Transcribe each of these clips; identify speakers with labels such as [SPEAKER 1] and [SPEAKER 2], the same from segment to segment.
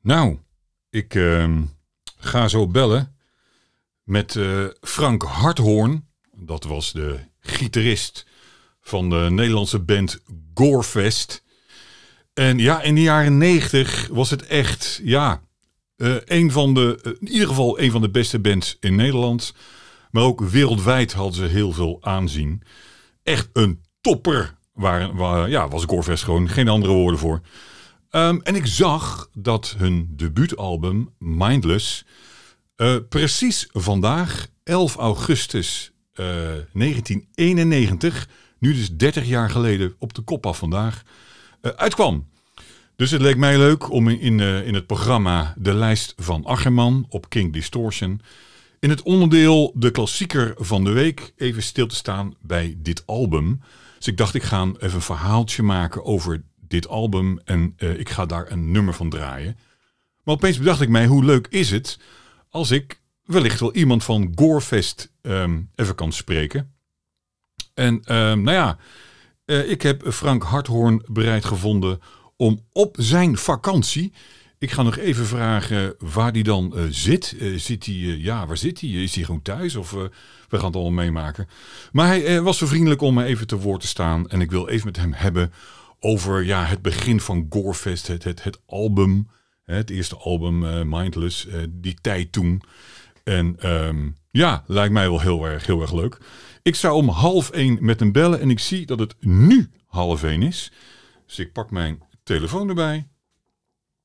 [SPEAKER 1] Nou, ik ehm, ga zo bellen met eh, Frank Harthoorn. Dat was de gitarist van de Nederlandse band Gorefest. En ja, in de jaren 90 was het echt, ja, eh, een van de, eh, in ieder geval een van de beste bands in Nederland. Maar ook wereldwijd hadden ze heel veel aanzien. Echt een topper waren, wa- ja, was Gorefest gewoon. Geen andere woorden voor. Ehm, en ik zag dat hun debuutalbum Mindless eh, precies vandaag, 11 augustus eh, 1991, nu dus 30 jaar geleden op de kop af vandaag, eh, uitkwam. Dus het leek mij leuk om in, in, eh, in het programma De Lijst van Acherman op King Distortion in het onderdeel De Klassieker van de Week even stil te staan bij dit album. Dus ik dacht, ik ga een- even een verhaaltje maken over dit album en eh, ik ga daar een nummer van draaien. Maar opeens bedacht ik mij, hoe leuk is het als ik wellicht wel iemand van Gorefest ehm, even kan spreken. En ehm, nou ja, eh, ik heb Frank Harthoorn bereid gevonden om op zijn vakantie. Ik ga nog even vragen waar die dan eh, zit. Eh, zit hij, eh, ja, waar zit hij? Is hij gewoon thuis? Of eh, we gaan het allemaal meemaken. Maar hij eh, was zo vriendelijk om me even te woord te staan. En ik wil even met hem hebben over ja, het begin van Gorefest. Het, het, het album, hè, het eerste album, eh, Mindless. eh, die tijd toen. En ehm, ja, lijkt mij wel heel erg, heel erg leuk. Ik zou om half één met hem bellen en ik zie dat het nu half één is. Dus ik pak mijn telefoon erbij.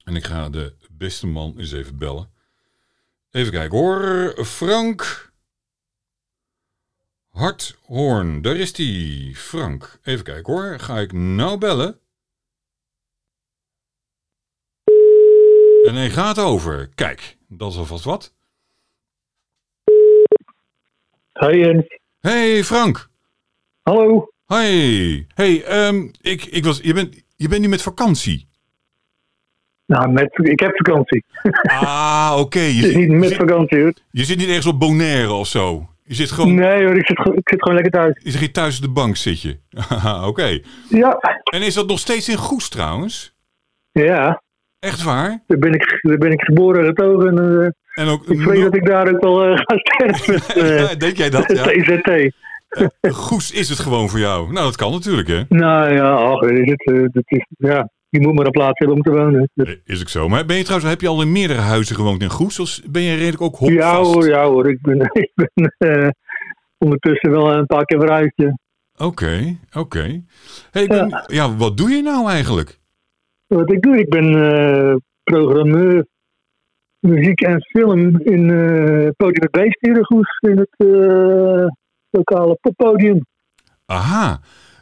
[SPEAKER 1] En ik ga de beste man eens even bellen. Even kijken hoor. Frank Harthoorn. Daar is hij. Frank. Even kijken hoor. Ga ik nou bellen? En hij gaat over. Kijk, dat is alvast wat.
[SPEAKER 2] Hey Jens.
[SPEAKER 1] Hey Frank.
[SPEAKER 2] Hallo.
[SPEAKER 1] Hoi. Hey, ehm, ik, ik was, je, bent, je bent nu met vakantie.
[SPEAKER 2] Nou, met, ik heb vakantie.
[SPEAKER 1] Ah, oké. Je,
[SPEAKER 2] Het is
[SPEAKER 1] zit-
[SPEAKER 2] niet
[SPEAKER 1] je,
[SPEAKER 2] met
[SPEAKER 1] zit-
[SPEAKER 2] vakantie hoor.
[SPEAKER 1] je zit niet ergens op Bonaire of zo. Je zit gewoon
[SPEAKER 2] Nee hoor, ik zit, gewoon- ik zit gewoon lekker thuis.
[SPEAKER 1] Is er hier thuis op de bank zit je? Haha, Oké.
[SPEAKER 2] Ja,
[SPEAKER 1] En is dat nog steeds in Goes trouwens?
[SPEAKER 2] ja.
[SPEAKER 1] Echt waar?
[SPEAKER 2] Daar ben ik, daar ben ik geboren en getogen. En, eh,
[SPEAKER 1] En ook.
[SPEAKER 2] ik vrees dat ik daar ook wel eh, ga sterven met eh,
[SPEAKER 1] Denk jij dat?
[SPEAKER 2] het
[SPEAKER 1] Ja.
[SPEAKER 2] EZT.
[SPEAKER 1] Goes is het gewoon voor jou. Nou, dat kan natuurlijk, hè?
[SPEAKER 2] Nou ja, ach, weet je, het, eh, dat is, ja, je moet maar een plaats hebben om te wonen. Dus,
[SPEAKER 1] Eh, Is ik zo. Maar ben je trouwens, heb je al in meerdere huizen gewoond in Goes? Of ben je redelijk ook hopvast?
[SPEAKER 2] ja hoor, ja hoor. Ik ben, ik ben eh, ondertussen wel een paar keer vooruit. ja.
[SPEAKER 1] Oké, oké. Hey, ik ben- ja. wat doe je nou eigenlijk?
[SPEAKER 2] Wat ik doe, ik ben eh, programmeur muziek en film in eh Podium het Beest hier in Goes, in het eh, lokale poppodium.
[SPEAKER 1] Aha.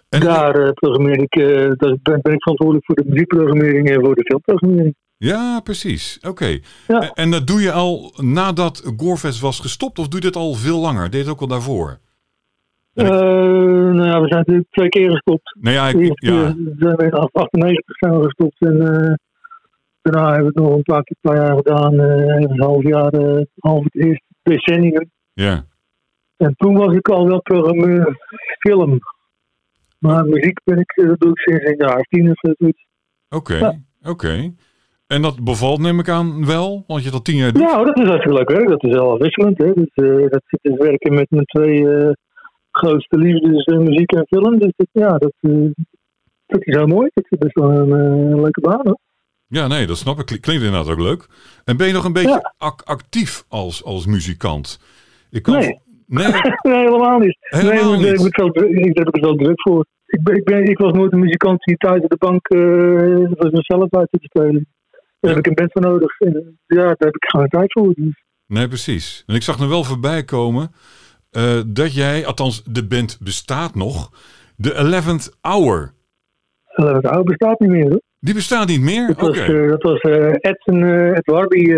[SPEAKER 1] En,
[SPEAKER 2] Daar eh, programmeer ik, eh, daar ben, ben ik verantwoordelijk voor de muziekprogrammering en voor de filmprogrammering.
[SPEAKER 1] Ja, precies. Oké.
[SPEAKER 2] Ja.
[SPEAKER 1] En, en dat doe je al nadat Gorefest was gestopt? Of doe je dat al veel langer? Deed het ook al daarvoor? En ik-
[SPEAKER 2] Eh, nou ja, we zijn natuurlijk twee keer gestopt.
[SPEAKER 1] Nou ja, ik,
[SPEAKER 2] Eerst
[SPEAKER 1] ja.
[SPEAKER 2] eh, zijn we in 98 zijn we gestopt en eh, daarna hebben we het nog een paar, keer- paar jaar gedaan. eh, even een half jaar, eh, half het eerste decennium.
[SPEAKER 1] ja.
[SPEAKER 2] En toen was ik al wel programmeur film. Maar muziek ben ik, eh, dat doe ik sinds een jaar of tien of zoiets.
[SPEAKER 1] Oké,
[SPEAKER 2] Ja.
[SPEAKER 1] oké. En dat bevalt neem ik aan wel, want je dat tien jaar doet.
[SPEAKER 2] Nou, dat is hartstikke leuk werk. Dat is wel afwisselend. Hè? Dus, eh, dat zit dus werken met mijn twee eh, grootste liefdes, eh, muziek en film. Dus dat, ja, dat, eh, dat is heel mooi. Dat is best wel een eh, leuke baan. Hoor.
[SPEAKER 1] Ja, nee, dat snap ik. Kli- Klinkt inderdaad ook leuk. En ben je nog een beetje
[SPEAKER 2] Ja.
[SPEAKER 1] ac- actief als, als muzikant? Ik kan...
[SPEAKER 2] Nee.
[SPEAKER 1] Nee?
[SPEAKER 2] nee, helemaal niet. nee,
[SPEAKER 1] Helemaal
[SPEAKER 2] want daar
[SPEAKER 1] niet.
[SPEAKER 2] heb ik wel druk- daar heb ik het wel druk voor. Ik, ben, ik, ben, ik was nooit een muzikant die thuis op de bank eh was mezelf uit te spelen. Daar heb ik een band voor nodig. En, eh, ja, daar heb ik gewoon tijd voor. Dus.
[SPEAKER 1] nee, precies. En ik zag er wel voorbij komen eh, dat jij, althans de band bestaat nog, de 11th Hour.
[SPEAKER 2] Uh, het oude bestaat niet meer. Hoor.
[SPEAKER 1] Die bestaat niet meer?
[SPEAKER 2] Dat
[SPEAKER 1] Oké.
[SPEAKER 2] was, eh, dat was eh, Ed, en, eh, Ed Warby, eh,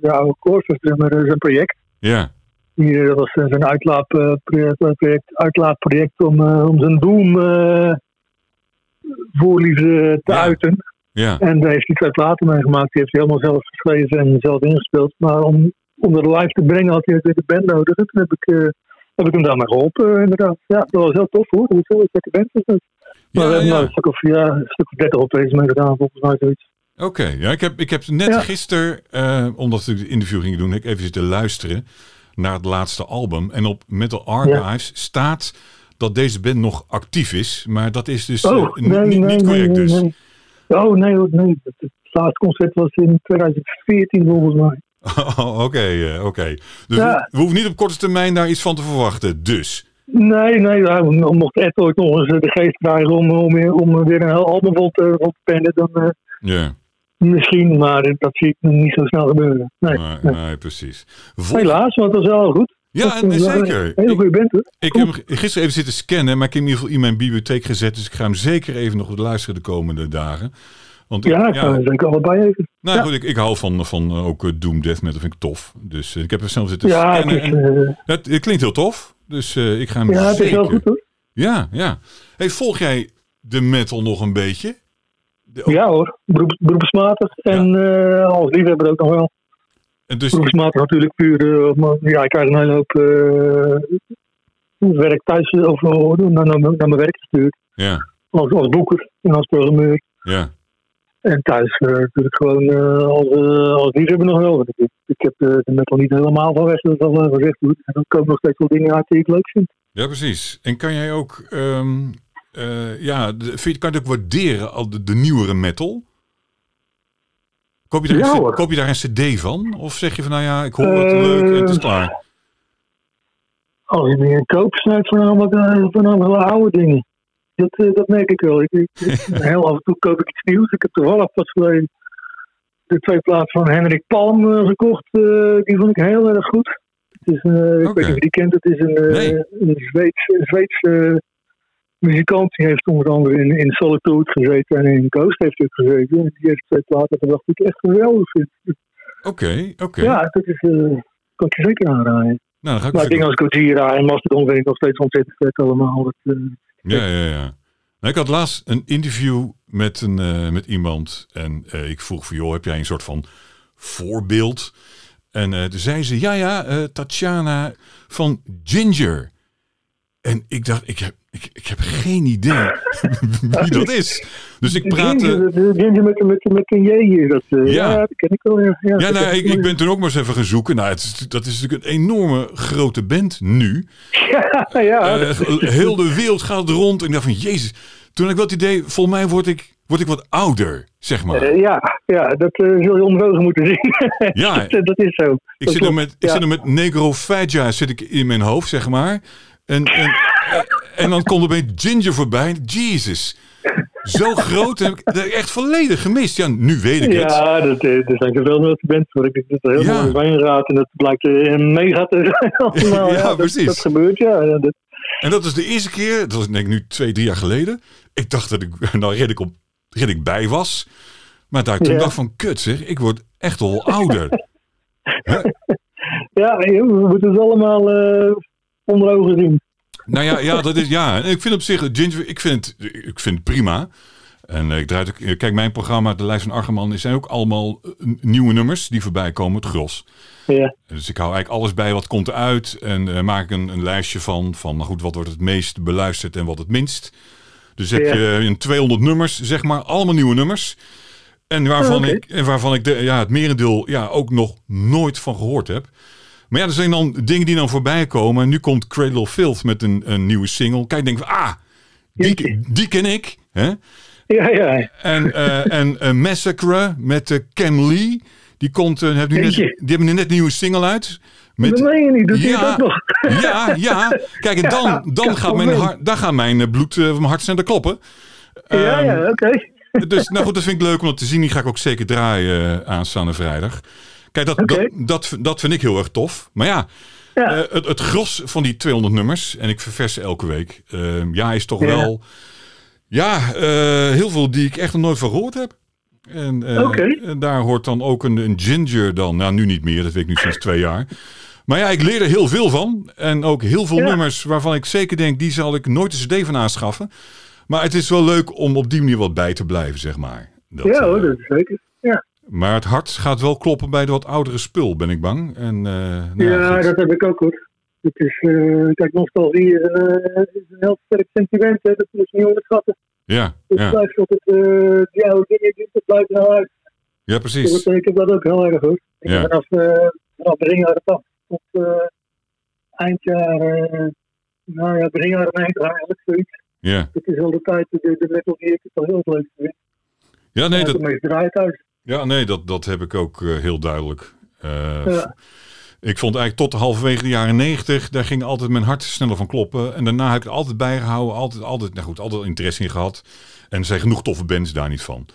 [SPEAKER 2] de oude koortsdrummer, eh, zijn project.
[SPEAKER 1] Ja,
[SPEAKER 2] Die, eh, dat was eh, zijn uitlaap, eh, project, eh, project- uitlaapproject om, eh, om zijn doem eh voorliefde te
[SPEAKER 1] Ja.
[SPEAKER 2] uiten.
[SPEAKER 1] ja,
[SPEAKER 2] En daar heeft hij twee platen mee gemaakt. Die heeft hij helemaal zelf geschreven en zelf ingespeeld. Maar om, om dat live te brengen had hij natuurlijk de band nodig. En toen heb ik, eh, heb ik hem daarmee geholpen, eh, inderdaad. Ja, dat was heel tof hoor. Dat was heel lekker band. was dat. Maar
[SPEAKER 1] Ja,
[SPEAKER 2] we hebben nou
[SPEAKER 1] ja.
[SPEAKER 2] daar een stuk of, ja, een stuk of 30 optredens mee gedaan, volgens mij zoiets.
[SPEAKER 1] Oké, ja, ik, heb, ik heb net
[SPEAKER 2] Ja.
[SPEAKER 1] gisteren, eh, omdat ik het interview ging doen, heb ik even zitten luisteren naar het laatste album. En op Metal Archives staat dat deze band nog actief is. Maar dat is dus eh,
[SPEAKER 2] Oh,
[SPEAKER 1] n-
[SPEAKER 2] nee,
[SPEAKER 1] niet,
[SPEAKER 2] nee,
[SPEAKER 1] niet
[SPEAKER 2] nee,
[SPEAKER 1] correct
[SPEAKER 2] nee,
[SPEAKER 1] dus.
[SPEAKER 2] nee. Oh, nee, hoor, nee. Het, het laatste concert was in 2014 volgens mij.
[SPEAKER 1] Oh, oké, eh, oké. Dus
[SPEAKER 2] Ja.
[SPEAKER 1] we, we hoeven niet op korte termijn daar iets van te verwachten. Dus,
[SPEAKER 2] Nee, nee, ja, mo- mocht Ed ooit nog eens eh, de geest krijgen om, om, om weer een heel album vol te, vol te pennen, dan eh,
[SPEAKER 1] ja,
[SPEAKER 2] misschien, maar eh, dat zie ik nog niet zo snel gebeuren. Nee.
[SPEAKER 1] maar- nee, precies. Vol-
[SPEAKER 2] Helaas, want dat is wel goed.
[SPEAKER 1] ja,
[SPEAKER 2] Dat is
[SPEAKER 1] en,
[SPEAKER 2] wel een
[SPEAKER 1] zeker.
[SPEAKER 2] Hele goede band, hoor.
[SPEAKER 1] Ik heb hem g- gisteren even zitten scannen, maar ik heb hem in ieder geval in mijn bibliotheek gezet. Dus ik ga hem zeker even nog luisteren de komende dagen. Want ik-
[SPEAKER 2] Ja, ik
[SPEAKER 1] ja,
[SPEAKER 2] zou denken allebei even.
[SPEAKER 1] nou ja,
[SPEAKER 2] ja.
[SPEAKER 1] goed, ik, ik hou van, van eh, ook eh, Doom Death Metal, vind ik tof. Dus eh, ik heb er zelf zitten
[SPEAKER 2] ja, het
[SPEAKER 1] scannen.
[SPEAKER 2] is,
[SPEAKER 1] en-
[SPEAKER 2] eh,
[SPEAKER 1] het, het klinkt heel tof, dus eh, ik ga hem
[SPEAKER 2] ja, het is
[SPEAKER 1] zeker...
[SPEAKER 2] wel goed, hoor.
[SPEAKER 1] Ja, ja. Hey, volg jij de metal nog een beetje? De- ook-
[SPEAKER 2] Ja hoor, beroep- beroepsmatig. En eh, als liefhebber ook nog wel.
[SPEAKER 1] en Dus,
[SPEAKER 2] Beroepsmatig natuurlijk puur. eh, maar ja, ik krijg een hele hoop eh, werk thuis eh, of, eh, naar, naar, mijn- naar mijn werk gestuurd.
[SPEAKER 1] ja,
[SPEAKER 2] Als, als boeker en als programmeur.
[SPEAKER 1] ja.
[SPEAKER 2] En thuis eh, natuurlijk gewoon eh, als, eh, als liefhebber nog wel. Want Ik, ik heb eh, er net al niet helemaal van weg, dat is al eh, gezegd. Hoor. En dan komen nog steeds wel dingen uit die ik leuk vind.
[SPEAKER 1] ja, precies. En kan jij ook... ehm, eh, ja, de, vind je, kan je het ook waarderen, al de, de nieuwere metal? Koop je, daar
[SPEAKER 2] Ja,
[SPEAKER 1] een, c-
[SPEAKER 2] hoor.
[SPEAKER 1] koop je daar een cd van? Of zeg je van, nou ja, ik hoor het
[SPEAKER 2] Eh,
[SPEAKER 1] leuk en het is klaar?
[SPEAKER 2] Als ik Oh, weer een koop snuit, voornamelijk, eh, voornamelijk wel oude dingen. Dat, eh, dat merk ik wel. Ik, ik- heel af en toe koop ik iets nieuws. Ik heb toevallig pas geleden de twee platen van Henrik Palm eh, gekocht. eh, die vond ik heel erg goed. Het is, een- Ik
[SPEAKER 1] Oké.
[SPEAKER 2] weet niet of je die kent. Het is een, eh,
[SPEAKER 1] Nee.
[SPEAKER 2] een Zweedse, Zweedse eh, muzikant. Die heeft onder andere in, in Solitude gezeten en in Ghost heeft hij ook gezeten. En Die heeft twee platen gebracht die ik echt geweldig vind.
[SPEAKER 1] Oké, oké.
[SPEAKER 2] Ja, dat is, eh, kan ik je zeker aanraden.
[SPEAKER 1] Nou, dan ga ik
[SPEAKER 2] Maar
[SPEAKER 1] eens even-
[SPEAKER 2] dingen als Gojira en Mastodon vind ik nog steeds ontzettend vet allemaal. Dat, eh,
[SPEAKER 1] Ja, ja, ja. Nou, ik had laatst een interview met, een, eh, met iemand. En eh, ik vroeg van, joh, heb jij een soort van voorbeeld? En eh, toen zei ze, ja, ja, eh Tatjana van Ginger. En ik dacht, ik heb, ik, ik heb geen idee wie dat is. Dus ik praatte...
[SPEAKER 2] Ginger, dat- Ginger met, met, met een J hier. Dat, eh,
[SPEAKER 1] Ja.
[SPEAKER 2] ja. dat ken ik wel. Ja, ja,
[SPEAKER 1] Ja,
[SPEAKER 2] dat
[SPEAKER 1] nou,
[SPEAKER 2] ken
[SPEAKER 1] ik, ik ben toen ook maar eens even gaan zoeken. Nou, het is, dat is natuurlijk een enorme grote band nu.
[SPEAKER 2] wel. ja,
[SPEAKER 1] Eh,
[SPEAKER 2] Ah, dat-
[SPEAKER 1] heel de wereld gaat rond. En ik dacht van, jezus. Toen had ik wel het idee, volgens mij word ik, word ik wat ouder, zeg maar.
[SPEAKER 2] eh, ja, ja, dat eh, zul je onderogen moeten zien.
[SPEAKER 1] Ja,
[SPEAKER 2] dat, dat is zo.
[SPEAKER 1] Ik
[SPEAKER 2] Dat
[SPEAKER 1] zit
[SPEAKER 2] klopt.
[SPEAKER 1] nog met, ik
[SPEAKER 2] ja.
[SPEAKER 1] zit nog met Negrofagia zit ik in mijn hoofd, zeg maar. En, en, eh, en dan komt er bij Ginger voorbij. Jezus. Zo groot heb ik dat heb ik echt volledig gemist. Ja, nu weet ik het.
[SPEAKER 2] Ja, dat, eh, er zijn geweldige bands voor. Ik denk dat er heel
[SPEAKER 1] Ja.
[SPEAKER 2] veel wijnraad en dat blijkt eh, mega te zijn. allemaal.
[SPEAKER 1] Ja,
[SPEAKER 2] dat-
[SPEAKER 1] precies.
[SPEAKER 2] Dat, gebeurt, ja. Ja, dat-
[SPEAKER 1] En dat is de eerste keer, dat was denk ik nu twee, drie jaar geleden. Ik dacht dat ik nou redelijk, op, redelijk bij was. Maar daar toen
[SPEAKER 2] Ja.
[SPEAKER 1] dacht ik van, kut zeg, ik word echt al ouder. Hè?
[SPEAKER 2] ja, we moeten het allemaal eh onder ogen zien.
[SPEAKER 1] Nou ja, ja, dat is, ja. En ik vind op zich, eh, Ginger, ik vind, het- ik vind het prima. En eh, ik draai het ook, eh, kijk, mijn programma, De Lijst van Argeman, is- zijn ook allemaal eh, n- nieuwe nummers die voorbij komen, het gros.
[SPEAKER 2] Ja.
[SPEAKER 1] Dus ik hou eigenlijk alles bij wat komt eruit en eh, maak een, een lijstje van, van, nou goed, wat wordt het meest beluisterd en wat het minst. Dus heb
[SPEAKER 2] Ja.
[SPEAKER 1] je een 200 nummers, zeg maar, allemaal nieuwe nummers. En waarvan
[SPEAKER 2] Oh, oké.
[SPEAKER 1] ik, en waarvan ik de, ja, het merendeel ja, ook nog nooit van gehoord heb. Maar ja, er zijn dan dingen die dan voorbij komen. En nu komt Cradle of Filth met een, een nieuwe single. Kijk, denk van, ah, die, die ken ik. Hè?
[SPEAKER 2] Ja, ja.
[SPEAKER 1] En, eh, en eh, Massacre met eh, Cam Lee. Die, komt, eh, heeft nu net, die
[SPEAKER 2] Jeetje.
[SPEAKER 1] hebben net een nieuwe single uit.
[SPEAKER 2] Dat
[SPEAKER 1] Met,
[SPEAKER 2] meen je niet, doet hij
[SPEAKER 1] ja,
[SPEAKER 2] het ook nog.
[SPEAKER 1] ja, ja. Kijk, en dan, dan gaat mijn,
[SPEAKER 2] moment.
[SPEAKER 1] hart, dan gaat mijn eh, bloed, eh, mijn hart sneller kloppen.
[SPEAKER 2] ja, ja,
[SPEAKER 1] Ehm,
[SPEAKER 2] oké.
[SPEAKER 1] Dus nou goed, dat vind ik leuk om dat te zien. Die ga ik ook zeker draaien eh, aanstaande vrijdag. Kijk, dat,
[SPEAKER 2] Oké.
[SPEAKER 1] dat, dat, dat vind ik heel erg tof. Maar ja,
[SPEAKER 2] Ja.
[SPEAKER 1] eh, het, het gros van die 200 nummers, en ik ververs ze elke week, eh, ja, is toch
[SPEAKER 2] Ja.
[SPEAKER 1] wel. Ja, eh, heel veel die ik echt nog nooit van gehoord heb. En, eh,
[SPEAKER 2] Oké.
[SPEAKER 1] en daar hoort dan ook een, een ginger dan. Nou, nu niet meer, dat weet ik nu sinds twee jaar. Maar ja, ik leer er heel veel van. En ook heel veel
[SPEAKER 2] Ja.
[SPEAKER 1] nummers waarvan ik zeker denk, die zal ik nooit een cd van aanschaffen. Maar het is wel leuk om op die manier wat bij te blijven, zeg maar. Dat,
[SPEAKER 2] ja hoor, dus.
[SPEAKER 1] eh,
[SPEAKER 2] dat is zeker. Ja,
[SPEAKER 1] Maar het hart gaat wel kloppen bij de wat oudere spul, ben ik bang. En, eh, nou ja,
[SPEAKER 2] ja
[SPEAKER 1] goed.
[SPEAKER 2] dat heb ik ook hoor. Het is, eh kijk, nostalgie is een, eh, is een heel sterk sentiment, hè. dat moet je niet onderschatten.
[SPEAKER 1] ja,
[SPEAKER 2] Het
[SPEAKER 1] ja.
[SPEAKER 2] blijft altijd, eh, die oude dingen, die- dat blijft nou uit.
[SPEAKER 1] Ja,
[SPEAKER 2] Dat
[SPEAKER 1] precies.
[SPEAKER 2] betekent dat ook heel erg hoor. Ik
[SPEAKER 1] Ja.
[SPEAKER 2] ben Vanaf, eh vanaf begin jaren 80 tot eh, eind jaren, eh, nou ja, begin jaren 90 eigenlijk zoiets.
[SPEAKER 1] Ja,
[SPEAKER 2] Het is al de tijd, de, de metal die ik toch heel leuk vind.
[SPEAKER 1] ja nee,
[SPEAKER 2] Ja,
[SPEAKER 1] dat,
[SPEAKER 2] de meest draait uit.
[SPEAKER 1] ja, nee dat, dat heb ik ook eh, heel duidelijk. Eh,
[SPEAKER 2] Ja.
[SPEAKER 1] Ik vond eigenlijk tot halverwege de jaren negentig, daar ging altijd mijn hart sneller van kloppen. En daarna heb ik het altijd bijgehouden, altijd, altijd, nou goed, altijd interesse in gehad. En er zijn genoeg toffe bands daar niet van.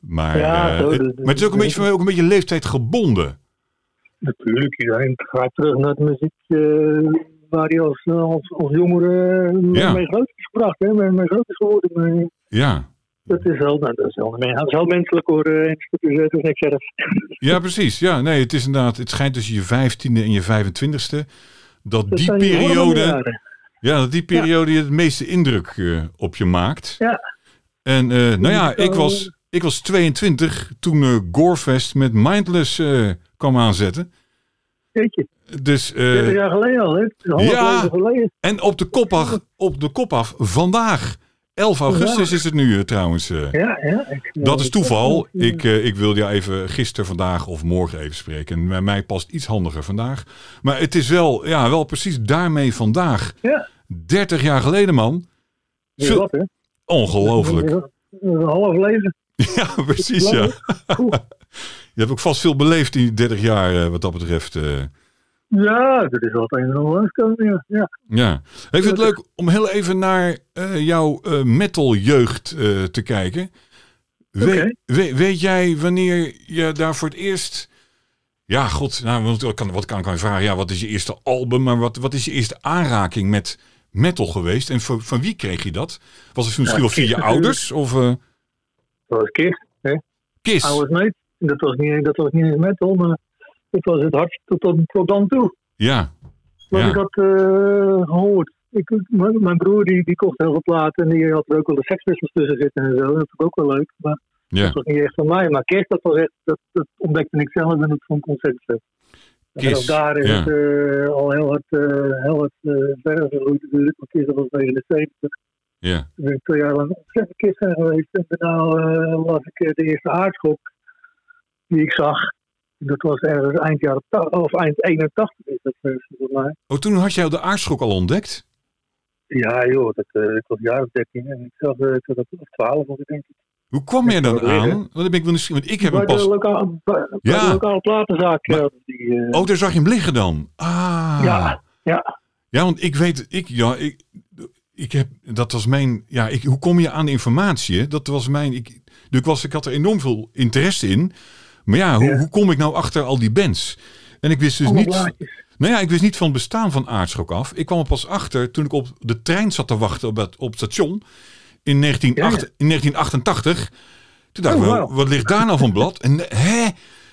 [SPEAKER 1] Maar,
[SPEAKER 2] Ja,
[SPEAKER 1] eh,
[SPEAKER 2] zo,
[SPEAKER 1] het,
[SPEAKER 2] dat-
[SPEAKER 1] maar het is ook een beetje, voor mij ook een beetje leeftijd gebonden.
[SPEAKER 2] Natuurlijk, iedereen gaat terug naar de muziek eh, waar hij als, als, als jongere eh,
[SPEAKER 1] Ja.
[SPEAKER 2] mee groot is gebracht, hè, mee, mee groot is geworden. Maar
[SPEAKER 1] Ja,
[SPEAKER 2] dat is wel, nou, dat is wel, nee, dat is wel menselijk hoor, eh, en dat is, dat is niks erg.
[SPEAKER 1] ja precies. Ja, nee, het is inderdaad, het schijnt tussen je vijftiende en je 25ste dat
[SPEAKER 2] Dat
[SPEAKER 1] die
[SPEAKER 2] zijn die hormonen
[SPEAKER 1] periode,
[SPEAKER 2] jaren.
[SPEAKER 1] ja, dat die periode je het meeste indruk eh, op je maakt.
[SPEAKER 2] Ja.
[SPEAKER 1] En eh, nou ja, ik was, ik was 22 toen eh, Gorefest met Mindless eh, kwam aanzetten.
[SPEAKER 2] Jeetje,
[SPEAKER 1] Dus, eh,
[SPEAKER 2] 30 jaar geleden al, hè? Het is Half
[SPEAKER 1] Ja.
[SPEAKER 2] leven geleden.
[SPEAKER 1] en op de, kop af, op de kop af vandaag. 11 augustus is het nu eh, trouwens. eh.
[SPEAKER 2] Ja, ja. ik-
[SPEAKER 1] Dat is toeval.
[SPEAKER 2] Ja.
[SPEAKER 1] Ik, eh, ik wil jou even gisteren, vandaag of morgen even spreken. En bij mij past iets handiger vandaag. Maar het is wel, ja, wel precies daarmee vandaag.
[SPEAKER 2] Ja.
[SPEAKER 1] 30 jaar geleden, man.
[SPEAKER 2] Dus
[SPEAKER 1] Zo-
[SPEAKER 2] wat, hè?
[SPEAKER 1] Ongelooflijk.
[SPEAKER 2] Dat is Een half leven.
[SPEAKER 1] Ja, precies. Ja.
[SPEAKER 2] Lang, hè? Oeh.
[SPEAKER 1] Je hebt ook vast veel beleefd in die 30 jaar, eh, wat dat betreft. eh.
[SPEAKER 2] Ja, dat is wel het een en ander uitkomen, ja. ja.
[SPEAKER 1] Ja. Ik vind het leuk om heel even naar eh, jouw eh metaljeugd eh, te kijken. We-
[SPEAKER 2] Oké.
[SPEAKER 1] we- weet jij wanneer je daar voor het eerst... Ja, god, nou, want wat, kan, wat kan ik aan je vragen? Ja, wat is je eerste album? Maar wat, wat is je eerste aanraking met metal geweest? En van, van wie kreeg je dat? Was het misschien wel via je
[SPEAKER 2] natuurlijk.
[SPEAKER 1] ouders? Of eh
[SPEAKER 2] Dat was Kist,
[SPEAKER 1] Kiss?
[SPEAKER 2] oude meid. Dat was niet, dat was niet eens metal, maar dat was het hardst tot, tot, tot dan toe.
[SPEAKER 1] Ja.
[SPEAKER 2] Wat
[SPEAKER 1] Ja.
[SPEAKER 2] ik had eh, gehoord. Ik, mijn, mijn broer die, die kocht heel veel platen en die had er ook wel de Sex Pistols tussen zitten en zo. Dat vond ik ook wel leuk, maar
[SPEAKER 1] ja.
[SPEAKER 2] dat was niet echt van mij. Maar Kist, dat, was echt, dat, dat ontdekte ik zelf en dat vond ik ontzettend leuk. En
[SPEAKER 1] Kiss,
[SPEAKER 2] vanaf daar is
[SPEAKER 1] ja.
[SPEAKER 2] het eh, al heel hard, eh, heel hard eh, verder gegroeid natuurlijk, want Kist dat was 79.
[SPEAKER 1] Ja.
[SPEAKER 2] Ik ben twee jaar lang ontzettend kist zijn geweest. En daarna eh, las ik eh, de eerste aardschok die ik zag. Dat was ergens eind, jaren ta- of eind 81 is dat eh, volgens mij.
[SPEAKER 1] Oh, toen had jij de aardschok al ontdekt?
[SPEAKER 2] Ja joh, dat, eh, ik was een jaar of 13 en ik zag eh, dat het op 12 was ik denk ik.
[SPEAKER 1] Hoe kwam jij dan
[SPEAKER 2] Ja, dat weet
[SPEAKER 1] aan?
[SPEAKER 2] ik.
[SPEAKER 1] Want dan ben ik wel nieuwsgierig, Want ik heb
[SPEAKER 2] bij,
[SPEAKER 1] hem pas...
[SPEAKER 2] de lokale, bij, bij
[SPEAKER 1] Ja.
[SPEAKER 2] de lokale platenzaak.
[SPEAKER 1] Maar-
[SPEAKER 2] eh, die, eh,
[SPEAKER 1] Oh, daar zag je hem liggen dan? Ah.
[SPEAKER 2] Ja, ja.
[SPEAKER 1] Ja, want ik weet, ik, ja, ik, ik heb, dat was mijn, ja, ik, hoe kom je aan informatie? hè? Dat was mijn, ik, dus ik, was, ik had er enorm veel interesse in. Maar ja, hoe,
[SPEAKER 2] Ja.
[SPEAKER 1] hoe kom ik nou achter al die bands? En ik wist dus
[SPEAKER 2] allemaal
[SPEAKER 1] niet,
[SPEAKER 2] blaadjes.
[SPEAKER 1] nou ja, ik wist niet van het bestaan van Aardschok af. Ik kwam er pas achter toen ik op de trein zat te wachten op het, op het station in, 1908 in 1988. Toen dacht ik,
[SPEAKER 2] Oh,
[SPEAKER 1] wel,
[SPEAKER 2] wauw.
[SPEAKER 1] wat ligt daar nou van blad? En hè?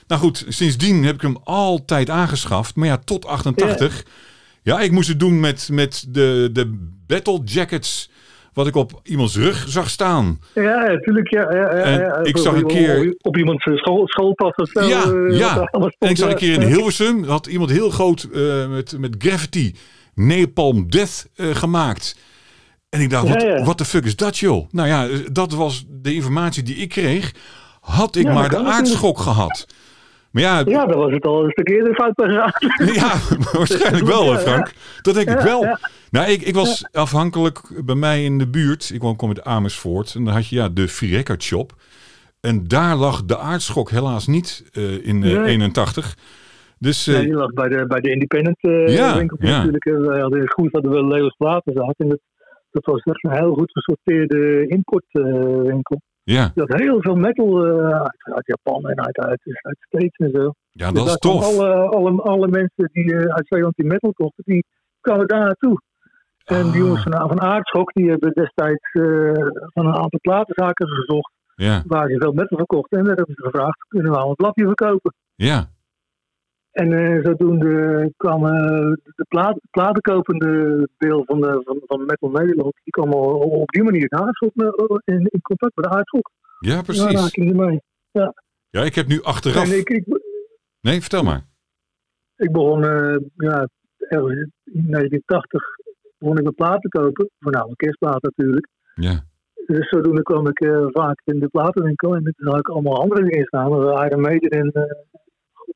[SPEAKER 1] Nou goed, sindsdien heb ik hem altijd aangeschaft. Maar ja, tot 88. Ja, ik moest het doen met, met de, de battle jackets. Wat ik op iemands rug zag staan.
[SPEAKER 2] Ja, natuurlijk. Ja, ja, ja,
[SPEAKER 1] En
[SPEAKER 2] ja.
[SPEAKER 1] ik
[SPEAKER 2] Op-
[SPEAKER 1] zag een
[SPEAKER 2] op-
[SPEAKER 1] keer-
[SPEAKER 2] op- Op iemands eh, school, schoolpas of zo.
[SPEAKER 1] Ja,
[SPEAKER 2] eh, wat
[SPEAKER 1] ja.
[SPEAKER 2] daar allemaal
[SPEAKER 1] En ik
[SPEAKER 2] stond,
[SPEAKER 1] zag een
[SPEAKER 2] ja.
[SPEAKER 1] keer in Hilversum, had iemand heel groot eh, met, met Gravity Napalm Death eh, gemaakt. En ik dacht,
[SPEAKER 2] Ja,
[SPEAKER 1] wat
[SPEAKER 2] ja.
[SPEAKER 1] what the fuck is dat joh? Nou ja, eh, dat was de informatie die ik kreeg. Had ik
[SPEAKER 2] Ja,
[SPEAKER 1] maar
[SPEAKER 2] dat
[SPEAKER 1] de
[SPEAKER 2] kan natuurlijk.
[SPEAKER 1] aardschok gehad. Maar ja, ja.
[SPEAKER 2] Ja, dat was het al een stuk eerder fout bij geraakt.
[SPEAKER 1] waarschijnlijk wel hè,
[SPEAKER 2] Ja, ja.
[SPEAKER 1] Frank. Dat denk ik
[SPEAKER 2] Ja,
[SPEAKER 1] wel.
[SPEAKER 2] ja.
[SPEAKER 1] Nou, ik, ik was afhankelijk bij mij in de buurt. Ik woon kom uit Amersfoort. En dan had je ja, de Free Record Shop. En daar lag de aardschok helaas niet eh, in eh,
[SPEAKER 2] Nee.
[SPEAKER 1] 81. Dus eh,
[SPEAKER 2] Ja, die lag bij de, bij de independent eh
[SPEAKER 1] Ja,
[SPEAKER 2] winkel
[SPEAKER 1] ja.
[SPEAKER 2] natuurlijk. En Wij hadden in Schoens hadden we Leos Platenzaak. En dat, dat was echt een heel goed gesorteerde importwinkel.
[SPEAKER 1] ja.
[SPEAKER 2] die had heel veel metal eh, uit, uit Japan en uit, uit, uit States en zo.
[SPEAKER 1] ja,
[SPEAKER 2] Dus
[SPEAKER 1] dat is
[SPEAKER 2] daar kwamen
[SPEAKER 1] tof.
[SPEAKER 2] Alle, alle, alle mensen die eh, uit Zeeland die metal kochten, die kwamen daar naartoe. En
[SPEAKER 1] Ah.
[SPEAKER 2] die jongens van, van Aardschok, die hebben destijds eh, van een aantal platenzaken gezocht
[SPEAKER 1] Ja,
[SPEAKER 2] waar ze veel metal verkochten. En daar hebben ze gevraagd, kunnen we al een blapje verkopen?
[SPEAKER 1] ja.
[SPEAKER 2] En eh, zodoende kwam eh, de plaat, platenkopende deel van, de, van, van Metal Nederland, die kwam al op die manier de aardschok, eh, in, in contact met de aardschok.
[SPEAKER 1] ja,
[SPEAKER 2] Daar
[SPEAKER 1] precies.
[SPEAKER 2] raakte hij mee.
[SPEAKER 1] Ja, ik heb nu achteraf...
[SPEAKER 2] En ik, ik,
[SPEAKER 1] Nee, vertel maar.
[SPEAKER 2] ik begon eh, ja, ergens in 1980 begon ik met platen kopen, voornamelijk kerstplaten natuurlijk.
[SPEAKER 1] Ja,
[SPEAKER 2] dus zodoende kwam ik eh, vaak in de platenwinkel en toen had ik allemaal andere dingen staan. Maar Iron Maiden en eh, goed,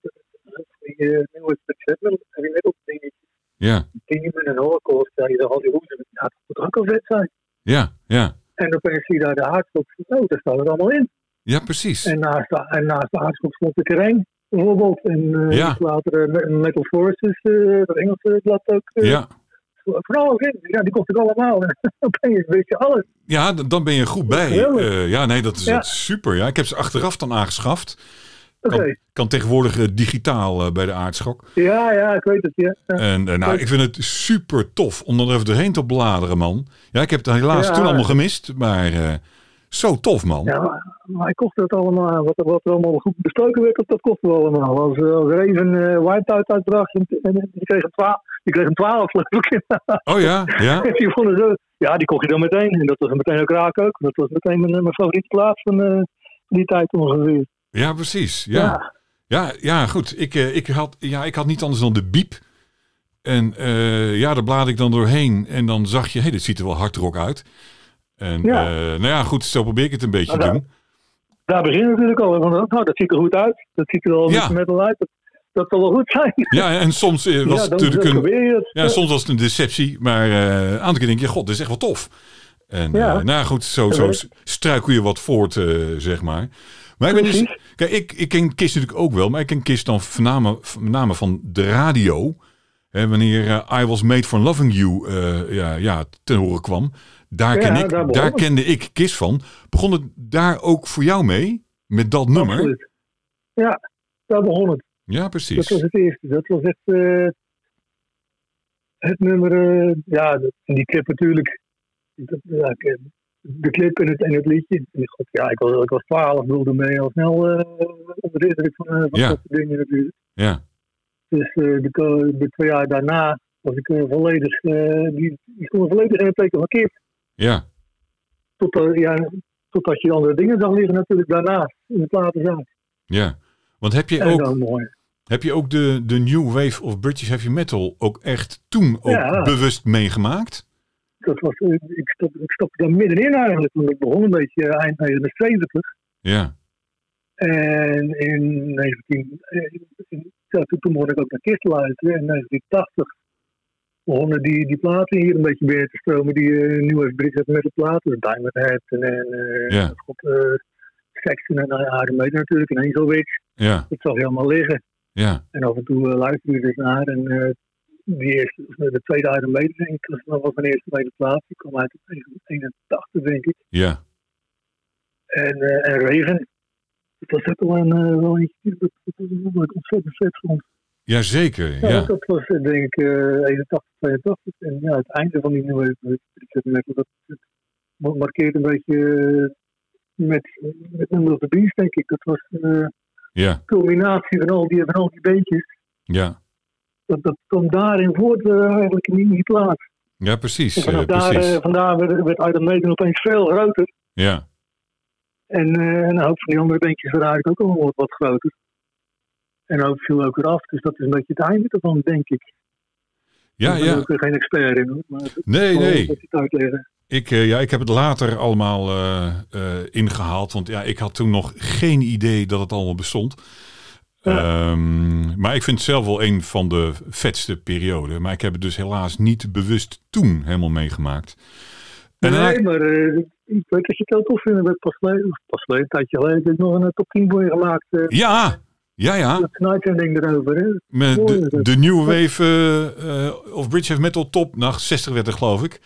[SPEAKER 2] die eh, nieuwe Sgt. Pepper, heavy metal dingen.
[SPEAKER 1] Ja,
[SPEAKER 2] Demon en Holocaust, ja, je zag al die hoezen. Ja, dat moet ook al vet zijn.
[SPEAKER 1] ja, ja.
[SPEAKER 2] En opeens zie je daar de haardklok. Oh, daar staat het allemaal in.
[SPEAKER 1] Ja, precies.
[SPEAKER 2] En naast de, en naast de haardklok stond de terrein. Bijvoorbeeld, en eh,
[SPEAKER 1] Ja.
[SPEAKER 2] later eh, Metal Forces, eh dat Engelse blad ook. eh,
[SPEAKER 1] Ja.
[SPEAKER 2] Vooral ook in. Ja, die kocht ik allemaal. Opeens weet je alles.
[SPEAKER 1] Ja, d- dan ben je goed bij.
[SPEAKER 2] Geweldig.
[SPEAKER 1] Eh, ja, nee, dat is,
[SPEAKER 2] Ja.
[SPEAKER 1] dat is super. Ja. Ik heb ze achteraf dan aangeschaft.
[SPEAKER 2] Oké.
[SPEAKER 1] Kan tegenwoordig eh, digitaal eh, bij de aardschok.
[SPEAKER 2] Ja, ja, ik weet het. Ja. Ja.
[SPEAKER 1] En eh, nou, ik vind het super tof om er even doorheen te bladeren, man. Ja, ik heb het helaas
[SPEAKER 2] Ja.
[SPEAKER 1] toen allemaal gemist, maar eh, zo tof, man.
[SPEAKER 2] Ja, maar, maar ik kocht dat allemaal. aan. Wat, er- wat er allemaal goed besproken werd, dat, dat kochten we allemaal. Als, eh, als Raven eh Whiteout uitbracht, en, en, die kreeg een 12, die kreeg een 12 geloof ik.
[SPEAKER 1] Oh ja, ja.
[SPEAKER 2] Die vonden zo, ja, die kocht je dan meteen. En dat was meteen ook raak ook. Dat was meteen mijn, mijn favoriete plaats van eh, die tijd ongeveer.
[SPEAKER 1] Ja, precies. Ja, ja, ja goed. Ik, eh, ik, had, ja, ik had niet anders dan de biep. En eh, ja, daar blaad ik dan doorheen. En dan zag je, hé, dit ziet er wel hardrock uit. En
[SPEAKER 2] Ja.
[SPEAKER 1] eh, nou ja, goed, zo probeer ik het een beetje te
[SPEAKER 2] Nou,
[SPEAKER 1] doen.
[SPEAKER 2] Daar beginnen we natuurlijk al. Van, nou, dat ziet er goed uit. Dat ziet er al
[SPEAKER 1] Ja.
[SPEAKER 2] met metal uit. Dat, dat zal wel goed zijn.
[SPEAKER 1] Ja, en soms eh, was
[SPEAKER 2] ja,
[SPEAKER 1] het
[SPEAKER 2] dan,
[SPEAKER 1] natuurlijk
[SPEAKER 2] dan
[SPEAKER 1] een...
[SPEAKER 2] probeer je het.
[SPEAKER 1] Ja, soms was het een deceptie, maar eh, een aantal keer denk je, god, dit is echt wel tof. En
[SPEAKER 2] Ja.
[SPEAKER 1] eh, nou goed, zo, zo
[SPEAKER 2] werkt.
[SPEAKER 1] struikel je wat voort, eh, zeg maar. Maar ik ben dus,
[SPEAKER 2] Precies.
[SPEAKER 1] kijk, ik, ik ken Kist natuurlijk ook wel, maar ik ken Kist dan voornamelijk met name van de radio. Hè, wanneer eh, I Was Made For Loving You eh, ja, ja, ten horen kwam. Daar,
[SPEAKER 2] Ja,
[SPEAKER 1] ken ik,
[SPEAKER 2] daar
[SPEAKER 1] daar,
[SPEAKER 2] begon het.
[SPEAKER 1] kende ik Kist van. Begon het daar ook voor jou mee? Met dat nummer?
[SPEAKER 2] Absoluut. Ja, daar begon het.
[SPEAKER 1] Ja,
[SPEAKER 2] Dat
[SPEAKER 1] precies.
[SPEAKER 2] was het eerste. Dat was echt eh, het nummer. eh, ja, dat- en die clip natuurlijk. Dat, ja, ik- eh, de clip en het, en het liedje. En God, ja, ik was, ik was 12, wilde mee al snel eh, onder de indruk van, eh, van
[SPEAKER 1] Ja.
[SPEAKER 2] dat soort dingen natuurlijk.
[SPEAKER 1] Ja,
[SPEAKER 2] Dus eh, de, ko- de twee jaar daarna was ik eh, volledig. eh, die, die stonden volledig in het teken van keer.
[SPEAKER 1] ja,
[SPEAKER 2] Totdat, ja, totdat je andere dingen zag liggen natuurlijk daarnaast in de platenzaak.
[SPEAKER 1] ja. Want heb je
[SPEAKER 2] En
[SPEAKER 1] ook...
[SPEAKER 2] zo mooi.
[SPEAKER 1] Heb je ook de, de New Wave of British Heavy Metal ook echt toen ook
[SPEAKER 2] Ja.
[SPEAKER 1] bewust meegemaakt?
[SPEAKER 2] dat was, eh, ik, stop, ik stopte daar middenin eigenlijk, want ik begon een beetje eh, eind 1970.
[SPEAKER 1] Ja,
[SPEAKER 2] En in 19, eh, in- ja, toen, toen begon ik ook naar Kist te luisteren. En in 1980 begonnen die, die platen hier een beetje binnen te stromen, die eh nieuwe Brits met de platen. Dus Diamond Head en, en eh,
[SPEAKER 1] Ja.
[SPEAKER 2] God, eh, Saxon en uh, Iron Maiden natuurlijk en Hazelwich.
[SPEAKER 1] ja,
[SPEAKER 2] Dat zag je allemaal liggen.
[SPEAKER 1] ja,
[SPEAKER 2] En af en toe luisterde luister je dus naar. En eh, die eerste, of, eh, de tweede Iron Maiden, denk ik, was nog wel mijn eerste tweede plaats. Die kwam uit 1981, denk ik.
[SPEAKER 1] ja,
[SPEAKER 2] En, eh, en Raven. Dat was ook wel een, eh, wel eentje die- dat, dat, dat, dat ik ontzettend vet vond.
[SPEAKER 1] ja, zeker.
[SPEAKER 2] Ja,
[SPEAKER 1] Ja,
[SPEAKER 2] Dat was eh, denk ik eh 81, 82. En ja, het einde van die nieuwe Richard Metal, dat, dat mar- markeert een beetje eh, met, met Number of the Beast, denk ik. Dat was eh, de
[SPEAKER 1] ja,
[SPEAKER 2] culminatie van al die, van al die beentjes.
[SPEAKER 1] ja,
[SPEAKER 2] Dat, dat kwam daarin voort eh, eigenlijk in die, in die plaats.
[SPEAKER 1] ja, precies.
[SPEAKER 2] En vanaf
[SPEAKER 1] eh,
[SPEAKER 2] daar,
[SPEAKER 1] precies.
[SPEAKER 2] eh, vandaar werd, werd Iron Maiden opeens veel groter.
[SPEAKER 1] ja,
[SPEAKER 2] En, eh, en een hoop van die andere bandjes waren eigenlijk ook al wat, wat groter. En een hoop viel ook weer af. Dus dat is een beetje het einde ervan, denk ik.
[SPEAKER 1] ja,
[SPEAKER 2] ik ben
[SPEAKER 1] ja.
[SPEAKER 2] ook weer geen expert in hoor. Maar dat
[SPEAKER 1] Nee,
[SPEAKER 2] zal wel
[SPEAKER 1] nee.
[SPEAKER 2] wat iets uitleggen.
[SPEAKER 1] Ik, eh, ja, ik heb het later allemaal eh, eh, ingehaald. Want ja, ik had toen nog geen idee dat het allemaal bestond. Ehm, maar ik vind het zelf wel een van de vetste perioden. Maar ik heb het dus helaas niet bewust toen helemaal meegemaakt. En daarna-
[SPEAKER 2] nee, maar eh, ik weet dat je het heel tof vindt. Ik heb pas geleden, of pas geleden, een tijdje geleden, heb ik nog een eh, top 10 voor je gemaakt. eh
[SPEAKER 1] ja, ja, ja.
[SPEAKER 2] met Tonight en ding erover. Hè.
[SPEAKER 1] Met
[SPEAKER 2] Mooi is
[SPEAKER 1] de,
[SPEAKER 2] het.
[SPEAKER 1] de nieuwe wave eh, eh, of Bridge of Metal top, nou 60 werd er geloof ik.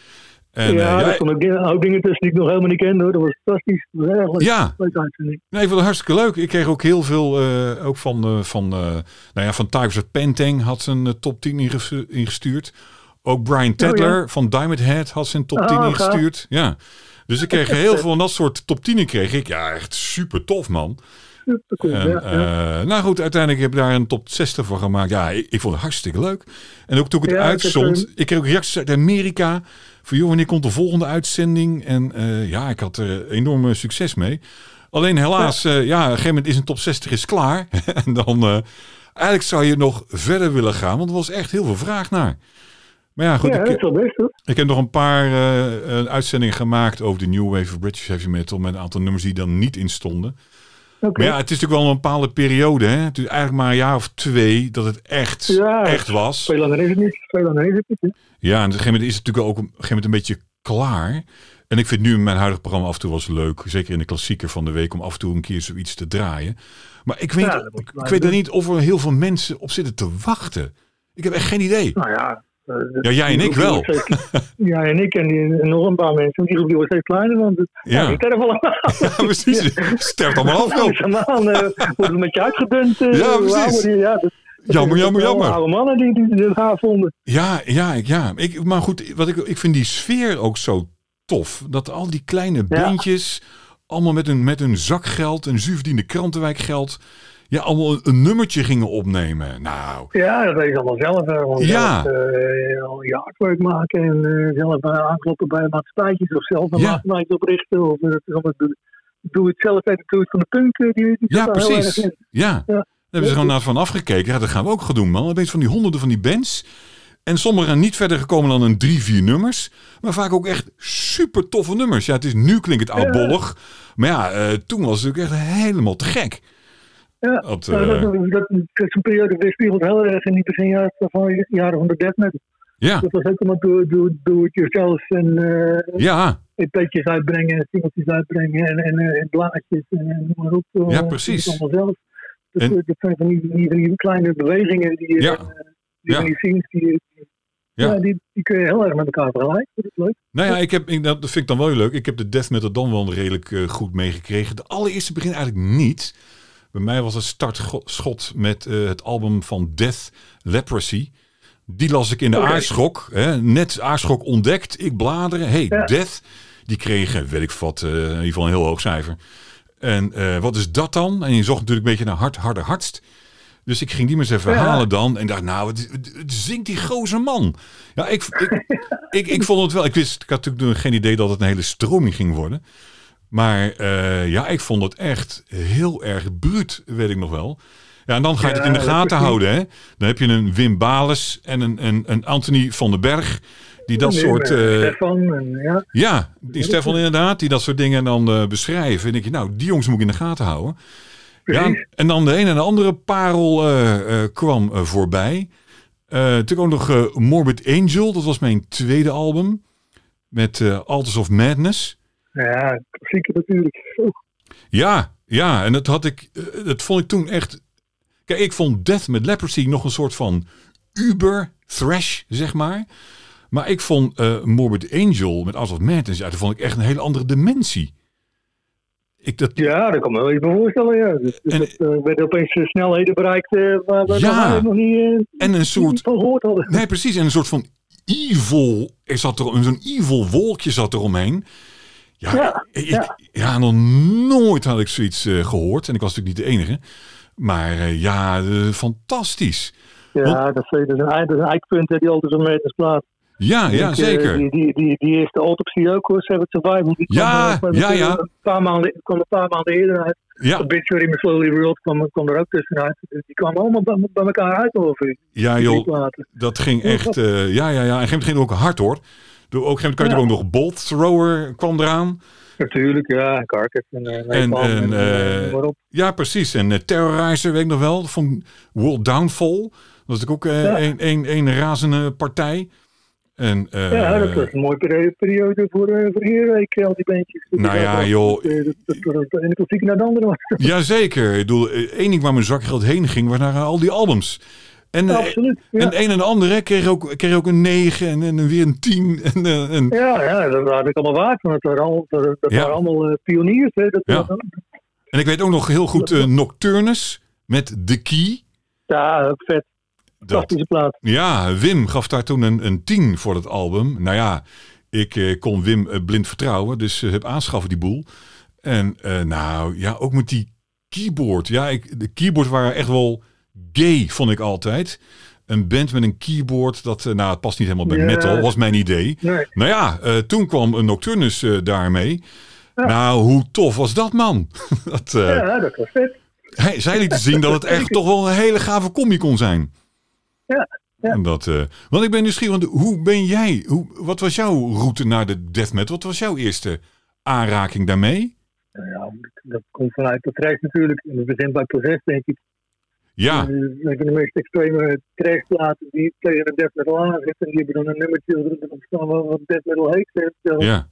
[SPEAKER 1] En,
[SPEAKER 2] ja,
[SPEAKER 1] eh,
[SPEAKER 2] daar stonden ook dingen- ook dingen tussen die ik nog helemaal niet kende hoor. Dat was fantastisch. Dat was eigenlijk
[SPEAKER 1] ja,
[SPEAKER 2] een leuke uitzending.
[SPEAKER 1] nee, ik vond het hartstikke leuk. Ik kreeg ook heel veel eh, ook van, eh, van, eh, nou ja, van Tigers of Pentang had zijn eh, top 10 inges- ingestuurd. Ook Brian Tedler van Diamond Head had zijn top 10
[SPEAKER 2] Ah, Oh, gaaf.
[SPEAKER 1] ingestuurd. Ja. Dus ik kreeg heel veel van dat soort top 10 kreeg ik. Ja, echt super tof man.
[SPEAKER 2] Super cool.
[SPEAKER 1] En,
[SPEAKER 2] ja, ja.
[SPEAKER 1] eh, nou goed, uiteindelijk heb ik daar een top 60 van gemaakt. Ja, ik, ik vond het hartstikke leuk. En ook toen ik het
[SPEAKER 2] Ja, ik
[SPEAKER 1] uitzond,
[SPEAKER 2] heb,
[SPEAKER 1] ik, kreeg ook reacties uit Amerika. Van joh, wanneer komt de volgende uitzending? En eh, ja, ik had er enorm eh, succes mee. Alleen helaas, eh, ja, op een gegeven moment is een top 60 is klaar. en dan, eh, eigenlijk zou je nog verder willen gaan, want er was echt heel veel vraag naar. Maar Maar ja, goed.
[SPEAKER 2] ja, dat
[SPEAKER 1] ik,
[SPEAKER 2] is wel best hoor.
[SPEAKER 1] ik heb nog een paar eh, eh, uitzendingen gemaakt over de New Wave of British Heavy Metal. Met een aantal nummers die dan niet in stonden.
[SPEAKER 2] Oké.
[SPEAKER 1] Maar ja, het is natuurlijk wel een bepaalde periode. Hè? Het is eigenlijk maar een jaar of twee dat het echt,
[SPEAKER 2] Ja.
[SPEAKER 1] echt was.
[SPEAKER 2] Veel langer is het niet. Veel langer is het niet. hè.
[SPEAKER 1] Ja, en op een gegeven moment is het natuurlijk ook op een gegeven moment een beetje klaar. En ik vind nu mijn huidige programma af en toe wel eens leuk. Zeker in de klassieker van de week om af en toe een keer zoiets te draaien. Maar ik weet,
[SPEAKER 2] Ja, dat moet je
[SPEAKER 1] ik
[SPEAKER 2] maar
[SPEAKER 1] weet er
[SPEAKER 2] doen.
[SPEAKER 1] niet of er heel veel mensen op zitten te wachten. Ik heb echt geen idee.
[SPEAKER 2] Nou ja. eh, dat-
[SPEAKER 1] Ja, jij en
[SPEAKER 2] die
[SPEAKER 1] ik
[SPEAKER 2] groep
[SPEAKER 1] wel.
[SPEAKER 2] wordt steeds- ja, en ik en, die- en nog een paar mensen. Die groep die wordt steeds kleiner, want het
[SPEAKER 1] Ja. Nou.
[SPEAKER 2] ja. sterven allemaal.
[SPEAKER 1] Ja, precies. Sterft allemaal af. joh.
[SPEAKER 2] Langzaamaan eh, wordt het met je uitgedund. eh,
[SPEAKER 1] Ja,
[SPEAKER 2] hoe
[SPEAKER 1] precies.
[SPEAKER 2] ouder je- ja, dat- dat
[SPEAKER 1] Jammer,
[SPEAKER 2] is
[SPEAKER 1] jammer,
[SPEAKER 2] wel
[SPEAKER 1] jammer.
[SPEAKER 2] Oude mannen die, die, die het gaaf vonden.
[SPEAKER 1] Ja, ja, ik- ja. Ik, maar goed, wat ik, ik vind die sfeer ook zo tof. Dat al die kleine bandjes, allemaal met hun, met hun zakgeld, een zuurverdiende krantenwijkgeld, ja, allemaal een, een nummertje gingen opnemen. Nou,
[SPEAKER 2] Ja, dat weet je allemaal zelf. hè, want
[SPEAKER 1] Ja.
[SPEAKER 2] Zelf, eh, al je artwork maken en eh, zelf eh, aankloppen bij maatschappijtjes of zelf een
[SPEAKER 1] Ja.
[SPEAKER 2] maatschappijtje oprichten. Of eh, dat is allemaal doe, doe het zelf uit de toer van de punk. eh, die, die
[SPEAKER 1] Ja,
[SPEAKER 2] zit daar heel erg
[SPEAKER 1] precies.
[SPEAKER 2] in.
[SPEAKER 1] Ja. Daar hebben ze gewoon naar van afgekeken. Ja, dat gaan we ook gaan doen, man. Opeens van die honderden van die bands. En sommigen zijn niet verder gekomen dan een drie, vier nummers. Maar vaak ook echt super toffe nummers. Ja, het is, nu klinkt het oudbollig. Maar ja, eh, toen was het natuurlijk echt helemaal te gek.
[SPEAKER 2] Ja,
[SPEAKER 1] Dat,
[SPEAKER 2] nou,
[SPEAKER 1] eh,
[SPEAKER 2] dat, dat, dat is een periode die spiegelt heel erg in die beginjaren van, jaren van de death metal.
[SPEAKER 1] Ja,
[SPEAKER 2] Dat was ook allemaal doe do, do it yourself en eh
[SPEAKER 1] ja,
[SPEAKER 2] EP'tjes uitbrengen en singeltjes uitbrengen en, en, eh, en blaadjes en, en noem maar op. Eh,
[SPEAKER 1] Ja, precies.
[SPEAKER 2] dat Allemaal zelf. Dus,
[SPEAKER 1] En-
[SPEAKER 2] eh, dat zijn van die, die, van die kleine bewegingen die, eh,
[SPEAKER 1] Ja.
[SPEAKER 2] eh, die,
[SPEAKER 1] Ja.
[SPEAKER 2] van die scenes, die, eh, die-
[SPEAKER 1] Ja.
[SPEAKER 2] ja. die, die kun je heel erg met elkaar vergelijken. Dat is leuk.
[SPEAKER 1] Nou ja, ik heb, ik- dat vind ik dan wel heel leuk. Ik heb de death metal dan wel redelijk eh, goed meegekregen. De allereerste begin eigenlijk niet. Bij mij was het startschot met eh, het album van Death Leprosy. Die las ik in de
[SPEAKER 2] Oké.
[SPEAKER 1] aarschok. Hè, net aarschok ontdekt. Ik bladeren. hey,
[SPEAKER 2] Ja.
[SPEAKER 1] Death. Die kreeg, eh, weet ik wat, eh, in ieder geval een heel hoog cijfer. En eh, wat is dat dan? En je zocht natuurlijk een beetje naar hard, harder, hardst. Dus ik ging die maar eens even
[SPEAKER 2] Ja.
[SPEAKER 1] halen dan. En dacht, nou, het, het- het zingt die gozer man. Ja, ik, ik, ik, ik vond het wel. Ik wist, ik had natuurlijk nog geen idee dat het een hele stroming ging worden. Maar eh, ja, ik vond het echt heel erg bruut, weet ik nog wel. Ja, en dan ga je het in de
[SPEAKER 2] Ja,
[SPEAKER 1] gaten
[SPEAKER 2] precies.
[SPEAKER 1] houden, hè. Dan heb je een Wim Bales en een, een, een Anthony van den Berg. Die dat
[SPEAKER 2] Nee,
[SPEAKER 1] soort...
[SPEAKER 2] maar
[SPEAKER 1] eh,
[SPEAKER 2] Stefan en ja.
[SPEAKER 1] ja, die Stefan inderdaad, die dat soort dingen dan eh, beschrijven. En denk je, nou, die jongens moet ik in de gaten houden. Ja,
[SPEAKER 2] Precies.
[SPEAKER 1] en dan de een en de andere parel eh, eh, kwam eh, voorbij. Eh, natuurlijk ook nog eh, Morbid Angel, dat was mijn tweede album. Met eh Alters of Madness.
[SPEAKER 2] Ja, klassieke natuurlijk. Oeh,
[SPEAKER 1] Ja, ja, en dat had ik, eh, dat vond ik toen echt. Kijk, ik vond Death met Leprosy nog een soort van uber thrash, zeg maar. Maar ik vond eh, Morbid Angel met Alsof Madness, ja, dat vond ik echt een hele andere dimensie. Ik, dat,
[SPEAKER 2] Ja, dat kan me wel iets bij voorstellen. Ja. Dus, dus
[SPEAKER 1] En-
[SPEAKER 2] dat, eh, werden opeens eh, snelheden bereikt eh, waar we
[SPEAKER 1] Ja.
[SPEAKER 2] daar nog niet, eh,
[SPEAKER 1] en een soort
[SPEAKER 2] niet van gehoord hadden.
[SPEAKER 1] Nee, precies. En een soort van evil. Er zat er zo'n evil wolkje zat eromheen. Ja,
[SPEAKER 2] Ja,
[SPEAKER 1] ik, ja.
[SPEAKER 2] ja.
[SPEAKER 1] nog nooit had ik zoiets eh, gehoord. En ik was natuurlijk niet de enige. Maar eh, ja, eh, fantastisch.
[SPEAKER 2] Ja, dat is, dat is een, ei- dat is een eikpunt hè, die altijd zo'n meters plaat.
[SPEAKER 1] Ja,
[SPEAKER 2] Ik,
[SPEAKER 1] ja
[SPEAKER 2] eh,
[SPEAKER 1] zeker.
[SPEAKER 2] Die, die, die, die eerste autopsie ook hoor, Seven Survival. Die kwam,
[SPEAKER 1] Ja,
[SPEAKER 2] eh, kwam
[SPEAKER 1] ja, ja.
[SPEAKER 2] Een paar maanden, kwam een paar maanden eerder uit.
[SPEAKER 1] ja,
[SPEAKER 2] Obituary in Slowly World kwam, kwam er ook tussenuit. Dus die kwamen allemaal bij, bij elkaar uit over
[SPEAKER 1] ja,
[SPEAKER 2] die
[SPEAKER 1] Ah, joh.
[SPEAKER 2] platen.
[SPEAKER 1] Dat ging echt. eh, ja, ja, ja. En op een gegeven moment ging het ook hard hoor. Door, ook op een gegeven moment kan je natuurlijk ook nog Bolt Thrower kwam eraan.
[SPEAKER 2] Natuurlijk, ja, Carcass en eh,
[SPEAKER 1] En-
[SPEAKER 2] Napalm
[SPEAKER 1] en,
[SPEAKER 2] eh,
[SPEAKER 1] eh,
[SPEAKER 2] noem maar op.
[SPEAKER 1] Ja, precies. En eh, Terrorizer, weet ik nog wel, van World Downfall. Dat was natuurlijk ook eh,
[SPEAKER 2] Ja.
[SPEAKER 1] een, een, een razende partij. En, eh,
[SPEAKER 2] Ja, dat was een mooie peri- periode voor, eh voor Heerwijk, al die bandjes.
[SPEAKER 1] Nou ja, joh.
[SPEAKER 2] Eh, Dat, dat, dat, de ene klassiek naar de andere was.
[SPEAKER 1] Jazeker. Ik bedoel, eh, één ding waar mijn zakgeld heen ging, was naar eh, al die albums. En, eh,
[SPEAKER 2] Absoluut. Ja.
[SPEAKER 1] en de een en de andere kreeg ook, kreeg ook een 9 en, en weer een 10. En, eh, en,
[SPEAKER 2] Ja, ja, dat waren ik allemaal waard, want dat waren, al, dat, dat
[SPEAKER 1] Ja.
[SPEAKER 2] waren allemaal eh, pioniers. Hè. Dat
[SPEAKER 1] Ja.
[SPEAKER 2] waren-
[SPEAKER 1] en ik weet ook nog heel goed eh, Nocturnus met The Key.
[SPEAKER 2] ja, ook vet.
[SPEAKER 1] Dat,
[SPEAKER 2] Fantastische plaat.
[SPEAKER 1] ja, Wim gaf daar toen een, een 10 voor dat album. Nou ja, ik eh, kon Wim eh, blind vertrouwen, dus eh, heb aanschaffen die boel. En eh, nou ja, ook met die keyboard. Ja, ik, de keyboards waren echt wel gay, vond ik altijd. Een band met een keyboard, dat, eh, nou, het past niet helemaal bij
[SPEAKER 2] Ja.
[SPEAKER 1] metal, was mijn idee.
[SPEAKER 2] Nee.
[SPEAKER 1] Nou ja, eh, toen kwam een Nocturnus eh, daarmee. Nou, hoe tof was dat, man? dat, eh,
[SPEAKER 2] Ja, dat was vet.
[SPEAKER 1] hij, zij lieten zien dat het echt toch wel een hele gave combi kon zijn.
[SPEAKER 2] Ja. Ja.
[SPEAKER 1] En dat, eh, want ik ben nieuwsgierig, want hoe ben jij, hoe, wat was jouw route naar de death metal? Wat was jouw eerste aanraking daarmee?
[SPEAKER 2] Nou ja, dat komt vanuit de trash natuurlijk. En dat begint bij proces, denk ik.
[SPEAKER 1] Ja,
[SPEAKER 2] Dus dat zijn de meest extreme trashplaten die tegen de death metal aan zitten. En die hebben dan een nummertje erop staan wat wat death metal heet. Eh, zo.
[SPEAKER 1] ja.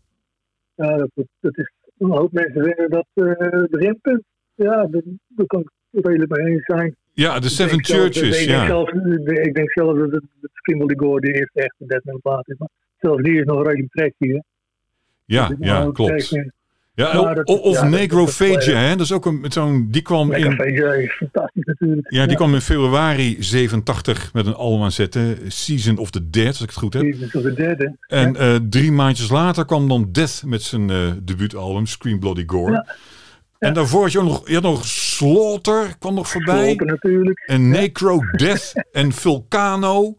[SPEAKER 2] Ja, dat, dat is, een hoop mensen vinden dat eh, het beginpunt. Ja, dat- daar kan ik het redelijk mee eens zijn.
[SPEAKER 1] Ja, de Seven
[SPEAKER 2] Ik denk zelf-
[SPEAKER 1] Churches,
[SPEAKER 2] ik denk
[SPEAKER 1] ja.
[SPEAKER 2] zelf- ik denk zelf dat het dat Kimball Gore de eerste echte death metal plaat is. Maar zelfs die is nog redelijk trashy. hè.
[SPEAKER 1] Ja,
[SPEAKER 2] Dus ik
[SPEAKER 1] ja,
[SPEAKER 2] wou ook
[SPEAKER 1] klopt.
[SPEAKER 2] zeggen,
[SPEAKER 1] Ja,
[SPEAKER 2] Maar
[SPEAKER 1] of
[SPEAKER 2] dat-
[SPEAKER 1] of
[SPEAKER 2] ja, dat- dat-
[SPEAKER 1] Necrophagia, hè? Dat is ook een, met zo'n, die kwam
[SPEAKER 2] Mecca
[SPEAKER 1] in,
[SPEAKER 2] VJ is fantastisch natuurlijk.
[SPEAKER 1] ja, die kwam in februari 87 met een album aanzetten, Season of the Dead, als ik het goed heb.
[SPEAKER 2] Die is natuurlijk de derde.
[SPEAKER 1] En eh, drie maandjes later kwam dan Death met zijn eh, debuutalbum, Scream Bloody Gore.
[SPEAKER 2] Ja.
[SPEAKER 1] En daarvoor had je ook nog, je had nog Slaughter, kwam nog voorbij.
[SPEAKER 2] Slopen natuurlijk.
[SPEAKER 1] En Necro Death en Vulcano.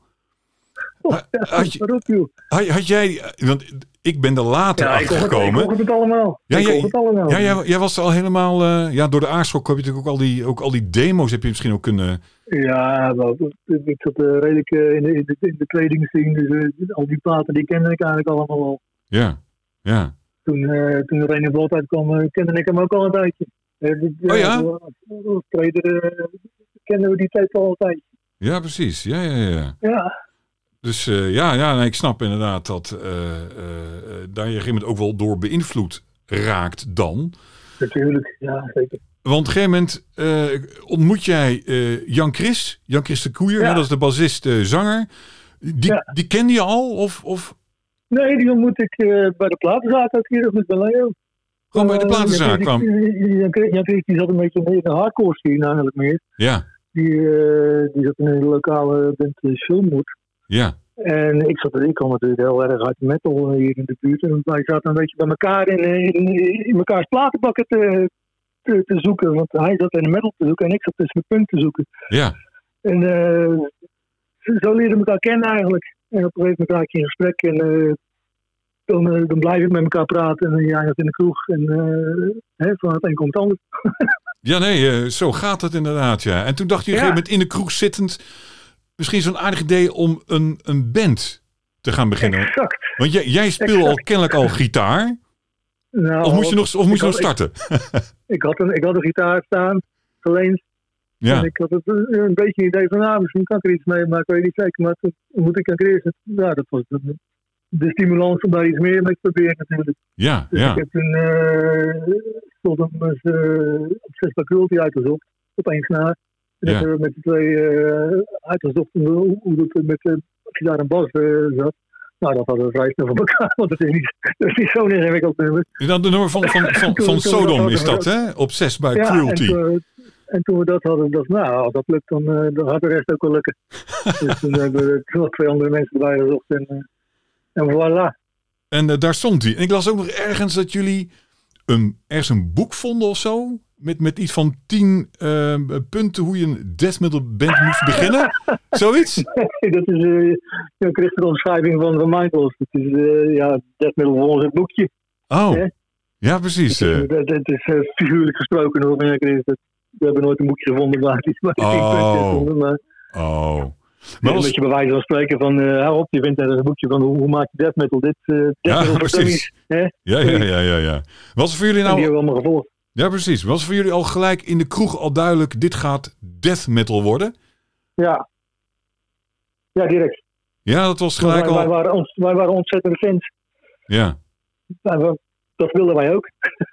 [SPEAKER 2] Oh, ja,
[SPEAKER 1] had je-
[SPEAKER 2] waarop, joh.
[SPEAKER 1] Had, had jij, eh, want ik ben er later
[SPEAKER 2] Ja, ik
[SPEAKER 1] achter
[SPEAKER 2] hoor het, ik
[SPEAKER 1] gekomen.
[SPEAKER 2] hoor het allemaal.
[SPEAKER 1] Ja,
[SPEAKER 2] ik
[SPEAKER 1] jij-
[SPEAKER 2] hoor het allemaal.
[SPEAKER 1] Ja, jij, jij was er al helemaal. eh, ja, door de aarschok heb je natuurlijk ook al die, ook al die demo's heb je misschien ook kunnen.
[SPEAKER 2] Ja, maar ik ik zat eh, redelijk eh, in, de, in, de, in de trading scene. Dus eh, al die platen die kende ik eigenlijk allemaal al.
[SPEAKER 1] Ja, ja.
[SPEAKER 2] Toen, eh toen René Bot uitkwam, eh, kende ik hem ook al een tijdje. Eh, dit-
[SPEAKER 1] Oh ja?
[SPEAKER 2] als- Als trader eh, kennen we die tijd al een tijdje.
[SPEAKER 1] Ja, precies. Ja, ja, ja.
[SPEAKER 2] Ja,
[SPEAKER 1] Dus eh, ja, ja nee, ik snap inderdaad dat eh, eh, eh, daar je op een gegeven moment ook wel door beïnvloed raakt dan.
[SPEAKER 2] natuurlijk. Ja, zeker.
[SPEAKER 1] Want op een gegeven moment eh, ontmoet jij eh, Jan Chris, Jan Chris de Koeier,
[SPEAKER 2] Ja.
[SPEAKER 1] hè, dat is de bassist, eh, zanger. Die,
[SPEAKER 2] Ja.
[SPEAKER 1] die kende je al? Of, of
[SPEAKER 2] Nee, die ontmoet ik eh, bij de platenzaak ook hier, of met Eh, Leo.
[SPEAKER 1] gewoon Oh, bij de platenzaak kwam?
[SPEAKER 2] Ja, die zat een beetje in de hardcore scene eigenlijk meer.
[SPEAKER 1] Ja,
[SPEAKER 2] Die, eh, die zat in een lokale band eh, Filmwood.
[SPEAKER 1] ja.
[SPEAKER 2] En ik zat ik kwam natuurlijk heel erg uit metal eh, hier in de buurt. En wij zaten een beetje bij elkaar in, eh, in, in mekaars platenbakken te, te, te zoeken. Want hij zat in de metal te zoeken en ik zat tussen mijn punt te zoeken.
[SPEAKER 1] Ja,
[SPEAKER 2] En eh, zo- zo leerden we elkaar kennen eigenlijk. En op een gegeven moment raak je in gesprek en eh, dan, eh, dan blijf ik met elkaar praten. En jij gaat in de kroeg en eh, hè, van het een komt het ander.
[SPEAKER 1] ja nee, eh, zo gaat het inderdaad, ja. En toen dacht je op een
[SPEAKER 2] Ja.
[SPEAKER 1] gegeven moment in de kroeg zittend... misschien zo'n aardig idee om een, een band te gaan beginnen.
[SPEAKER 2] Exact.
[SPEAKER 1] Want jij, jij speelt al
[SPEAKER 2] Exact.
[SPEAKER 1] kennelijk al gitaar.
[SPEAKER 2] Nou,
[SPEAKER 1] Of moest je nog, of moest je nog
[SPEAKER 2] had-
[SPEAKER 1] starten?
[SPEAKER 2] ik, had een, ik had een gitaar staan, geleend. En
[SPEAKER 1] Ja,
[SPEAKER 2] ik had het, eh, een beetje een idee van, ah, misschien kan ik er iets mee, maar ik weet niet zeker. Maar toen moet ik aan Chris. Ja, dat was de, de stimulans om daar iets meer mee te proberen natuurlijk.
[SPEAKER 1] ja,
[SPEAKER 2] Dus ik
[SPEAKER 1] ja.
[SPEAKER 2] heb toen eh Sodom eens, eh, op zes faculty uitgezocht, op één snaar. En
[SPEAKER 1] Ja.
[SPEAKER 2] dat hebben we met de twee eh, uitgezocht hoe, hoe dat met eh gitaar en bas eh, zat. Nou, dat hadden we vrij snel voor elkaar, want het is niet, dat is niet zo'n ingewikkeld nummer.
[SPEAKER 1] Dan de nummer van, van, van,
[SPEAKER 2] Toen-
[SPEAKER 1] van
[SPEAKER 2] toen
[SPEAKER 1] Sodom
[SPEAKER 2] dat-
[SPEAKER 1] is dat, hè? Op 6 bij
[SPEAKER 2] en,
[SPEAKER 1] Cruelty.
[SPEAKER 2] toen, en toen we dat hadden, dacht ik, nou, als dat lukt, dan, eh, dan gaat de rest ook wel lukken. dus toen hebben we nog twee andere mensen erbij gezocht en, eh, en voilà.
[SPEAKER 1] En eh, daar stond hij. En ik las ook nog ergens dat jullie een, ergens een boek vonden of zo. Met, met iets van tien eh, punten hoe je een death metal band moest beginnen. Zoiets?
[SPEAKER 2] dat is eh een christelijke omschrijving van, van Mindless. Het is, eh, ja, dat middel van ons het boekje.
[SPEAKER 1] Oh,
[SPEAKER 2] Hè?
[SPEAKER 1] ja precies. eh.
[SPEAKER 2] Dat, dat is eh, figuurlijk gesproken hoor, meneer Chris. Dat, we hebben nooit een boekje gevonden waar iets waar
[SPEAKER 1] Oh.
[SPEAKER 2] geen puntje in stonden, Maar
[SPEAKER 1] Oh.
[SPEAKER 2] maar
[SPEAKER 1] Maar
[SPEAKER 2] een
[SPEAKER 1] als-
[SPEAKER 2] beetje bij wijze van spreken van, eh, hou op, je vindt ergens een boekje van hoe, hoe maak je death metal dit, eh death
[SPEAKER 1] Ja,
[SPEAKER 2] metal voor
[SPEAKER 1] precies. Nou,
[SPEAKER 2] dummies, hè? En
[SPEAKER 1] ja, ja, ja, ja, ja. Was er voor jullie
[SPEAKER 2] die hebben
[SPEAKER 1] nou...
[SPEAKER 2] we allemaal gevolgd.
[SPEAKER 1] Ja, precies. Was er voor jullie al gelijk in de kroeg al duidelijk... dit gaat death metal worden?
[SPEAKER 2] Ja. Ja, direct.
[SPEAKER 1] Ja, dat was
[SPEAKER 2] Wij,
[SPEAKER 1] gelijk
[SPEAKER 2] wij,
[SPEAKER 1] al...
[SPEAKER 2] waren, ons- wij waren ontzettend fans.
[SPEAKER 1] Ja,
[SPEAKER 2] Wij wa- Dat wilden wij ook.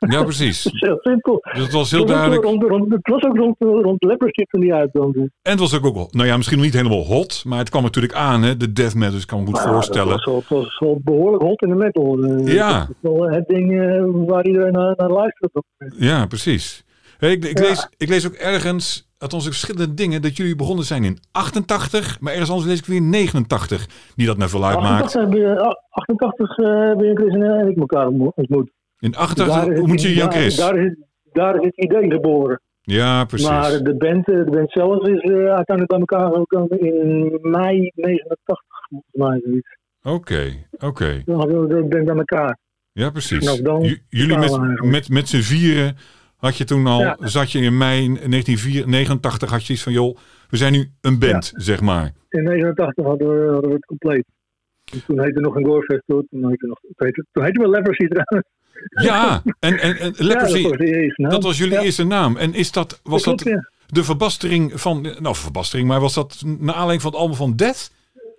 [SPEAKER 1] ja precies.
[SPEAKER 2] Dat is heel simpel.
[SPEAKER 1] Dus het was heel
[SPEAKER 2] Het was ook
[SPEAKER 1] duidelijk.
[SPEAKER 2] Rond, rond, het was ook rond, rond Leprosy toen die uitbrandde.
[SPEAKER 1] En het was ook, ook... Nou ja, misschien nog niet helemaal hot... maar het kwam natuurlijk aan, hè. De death metal, dus ik kan me goed
[SPEAKER 2] Ja,
[SPEAKER 1] voorstellen.
[SPEAKER 2] dat was wel- Het was, wel behoorlijk hot in de metal. Eh,
[SPEAKER 1] Ja.
[SPEAKER 2] Dat is wel het ding eh, waar iedereen naar, naar luistert. op.
[SPEAKER 1] Ja, precies. Hey, ik, ik,
[SPEAKER 2] Ja.
[SPEAKER 1] lees, ik lees ook ergens, althans ook verschillende dingen, dat jullie begonnen zijn in 88, maar ergens anders lees ik weer 89, die dat naar veel uitmaakt.
[SPEAKER 2] 88 ben je- ah, 88 eh, ben je Chris en eh, ik elkaar ontmo- ontmoet.
[SPEAKER 1] In
[SPEAKER 2] Daar
[SPEAKER 1] 88
[SPEAKER 2] is
[SPEAKER 1] moet
[SPEAKER 2] het-
[SPEAKER 1] je Jan
[SPEAKER 2] daar-
[SPEAKER 1] Chris.
[SPEAKER 2] Daar, is het- daar is het idee geboren.
[SPEAKER 1] Ja, precies.
[SPEAKER 2] Maar de band, eh, de band zelf is eh, uiteindelijk bij elkaar gekomen in mei 89, volgens mij. zoiets.
[SPEAKER 1] Oké, oké.
[SPEAKER 2] Dan hadden we de band bij elkaar.
[SPEAKER 1] Ja, precies.
[SPEAKER 2] Vanaf Nou, dan
[SPEAKER 1] J- jullie
[SPEAKER 2] totaal
[SPEAKER 1] met,
[SPEAKER 2] eigenlijk.
[SPEAKER 1] met, met z'n vieren had je toen al,
[SPEAKER 2] Ja.
[SPEAKER 1] zat je in mei 1989, had je iets van, joh, We zijn nu een band, zeg maar.
[SPEAKER 2] In 1989 hadden we, hadden we het compleet. En toen heette nog een Gorefestival. Toen heette, nog, toen heette, toen heette we Leprosy trouwens.
[SPEAKER 1] Ja, en, en, en Leprosy,
[SPEAKER 2] Ja, dat was, de eerste naam.
[SPEAKER 1] dat was jullie
[SPEAKER 2] Ja,
[SPEAKER 1] eerste naam. En is dat, was
[SPEAKER 2] klopt,
[SPEAKER 1] dat
[SPEAKER 2] ja.
[SPEAKER 1] de verbastering van, nou verbastering, maar was dat naar aanleiding van het album van Death?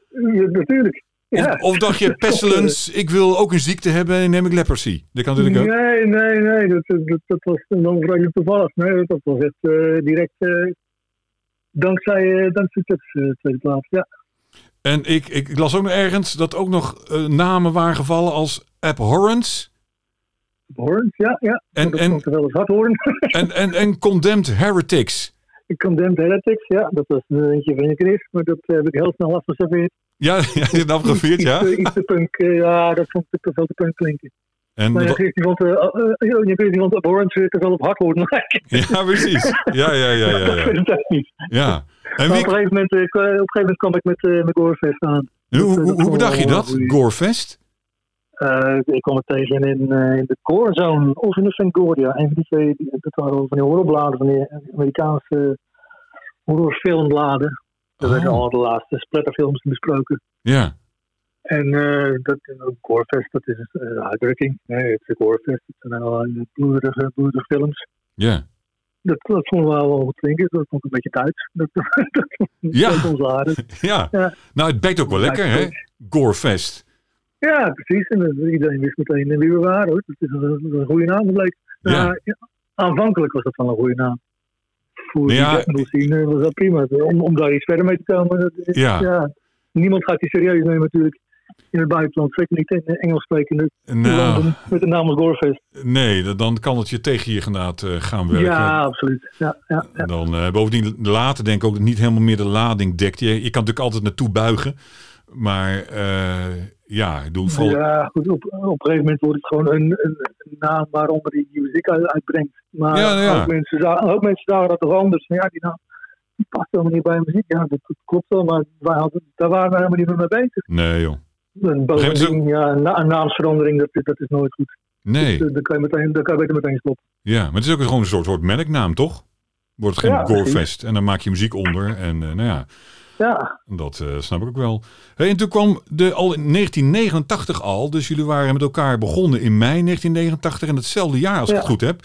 [SPEAKER 2] Ja, natuurlijk.
[SPEAKER 1] Of,
[SPEAKER 2] Ja.
[SPEAKER 1] of dacht je, pestilence, ik wil ook een ziekte hebben en neem ik leprosy. Dat kan natuurlijk ook.
[SPEAKER 2] Nee, nee, nee. Dat, dat, dat was dan vrij toevallig. Nee, dat was echt eh, direct eh, dankzij, eh dankzij Tips, eh, tweede plaats. Ja.
[SPEAKER 1] En ik, ik, ik las ook nog ergens dat ook nog eh, namen waren gevallen als abhorrence
[SPEAKER 2] Horns, ja, ja.
[SPEAKER 1] En-
[SPEAKER 2] Oh, dat
[SPEAKER 1] en-
[SPEAKER 2] komt er wel eens hard horen.
[SPEAKER 1] en, en, en condemned heretics.
[SPEAKER 2] Ik Condemned Heretics, ja. Dat was een eentje van je Chris, maar dat heb ik heel snel afgeserveerd.
[SPEAKER 1] Ja, ja je hebt afgeveerd,
[SPEAKER 2] Iets,
[SPEAKER 1] ja.
[SPEAKER 2] te- iets te punk, eh, ja, dat vond ik te veel te punk klinken.
[SPEAKER 1] En,
[SPEAKER 2] Maar ja,
[SPEAKER 1] wat-
[SPEAKER 2] Chris die vond, eh, eh, eh, je Chris die vond Abhorrent weer te veel op hard horen lijken.
[SPEAKER 1] ja, precies. Ja, ja, ja, ja.
[SPEAKER 2] Dat
[SPEAKER 1] ja.
[SPEAKER 2] vind ik echt niet.
[SPEAKER 1] ja. En
[SPEAKER 2] Maar
[SPEAKER 1] wie,
[SPEAKER 2] Op een gegeven moment, eh, kwa- op een gegeven moment kwam ik met, eh met Gorefest aan.
[SPEAKER 1] hoe, hoe,
[SPEAKER 2] dat
[SPEAKER 1] hoe bedacht je
[SPEAKER 2] wel
[SPEAKER 1] dat?
[SPEAKER 2] een goeie.
[SPEAKER 1] Gorefest?
[SPEAKER 2] Eh, ik kwam het tegen in, eh, in de Gorezone of in de Fangoria. Een van die twee, die- dat waren van die horrorbladen, van die Amerikaanse horrorfilmbladen. Daar
[SPEAKER 1] Oh.
[SPEAKER 2] werden al de laatste splatterfilms besproken.
[SPEAKER 1] Ja.
[SPEAKER 2] En eh dat Gorefest, dat is een eh, uitdrukking. Nee, het is een Gorefest, het zijn allerlei bloederige, bloederige films.
[SPEAKER 1] Ja.
[SPEAKER 2] Dat, dat vonden we wel goed klinken, dat vond ik een beetje Duits. Dat, dat,
[SPEAKER 1] Ja.
[SPEAKER 2] dat ons aardig.
[SPEAKER 1] ja.
[SPEAKER 2] Ja.
[SPEAKER 1] Nou, het bijt ook wel lekker, hè? Gorefest.
[SPEAKER 2] Ja, precies. En eh, iedereen wist meteen wie we waren. Hoor. Dat is een, een goede naam bleek. Eh,
[SPEAKER 1] Ja.
[SPEAKER 2] Ja, ja, aanvankelijk was dat wel een goede naam. Voor
[SPEAKER 1] Nou Ja.
[SPEAKER 2] die techno scene was dat prima. Dus Om, om daar iets verder mee te komen. Dat, is-
[SPEAKER 1] Ja.
[SPEAKER 2] ja. Niemand gaat die serieus nemen natuurlijk. In het buitenland, zeker niet in de Engels sprekende
[SPEAKER 1] Nou,
[SPEAKER 2] landen met de naam als Gorefest.
[SPEAKER 1] nee, dan- dan kan het je tegen je genaad eh, gaan werken.
[SPEAKER 2] Ja, absoluut. Ja, ja, ja.
[SPEAKER 1] En dan eh, bovendien later denk ik ook dat het niet helemaal meer de lading dekt. Je, je kan natuurlijk altijd naartoe buigen. Maar eh, ja, ik doe vooral.
[SPEAKER 2] Ja, Dus, eh, goed, op, op een gegeven moment wordt het gewoon een, een, een naam waaronder die die muziek uit- uitbrengt. Maar
[SPEAKER 1] Ja, nou ja.
[SPEAKER 2] Ook, mensen zagen, ook mensen zagen dat toch anders. Ja, die naam die past helemaal niet bij muziek. Ja, dat, dat klopt wel, maar wij hadden, daar waren we helemaal niet meer mee bezig.
[SPEAKER 1] Nee joh.
[SPEAKER 2] Een,
[SPEAKER 1] gegeven moment
[SPEAKER 2] bovendien, ja, een, na- een naamsverandering, dat, dat is nooit goed.
[SPEAKER 1] Nee.
[SPEAKER 2] Dus, eh, daar, kan je meteen, daar kan je beter meteen stoppen.
[SPEAKER 1] Ja, maar het is ook gewoon een soort, soort merknaam, toch? Wordt het geen
[SPEAKER 2] Ja,
[SPEAKER 1] gorefest. En dan maak je muziek onder. En eh, nou ja,
[SPEAKER 2] Ja,
[SPEAKER 1] dat eh, snap ik ook wel. Hey, en toen kwam de, al in 1989 al. Dus jullie waren met elkaar begonnen in mei 1989. En hetzelfde jaar, als ik
[SPEAKER 2] Ja.
[SPEAKER 1] het goed heb,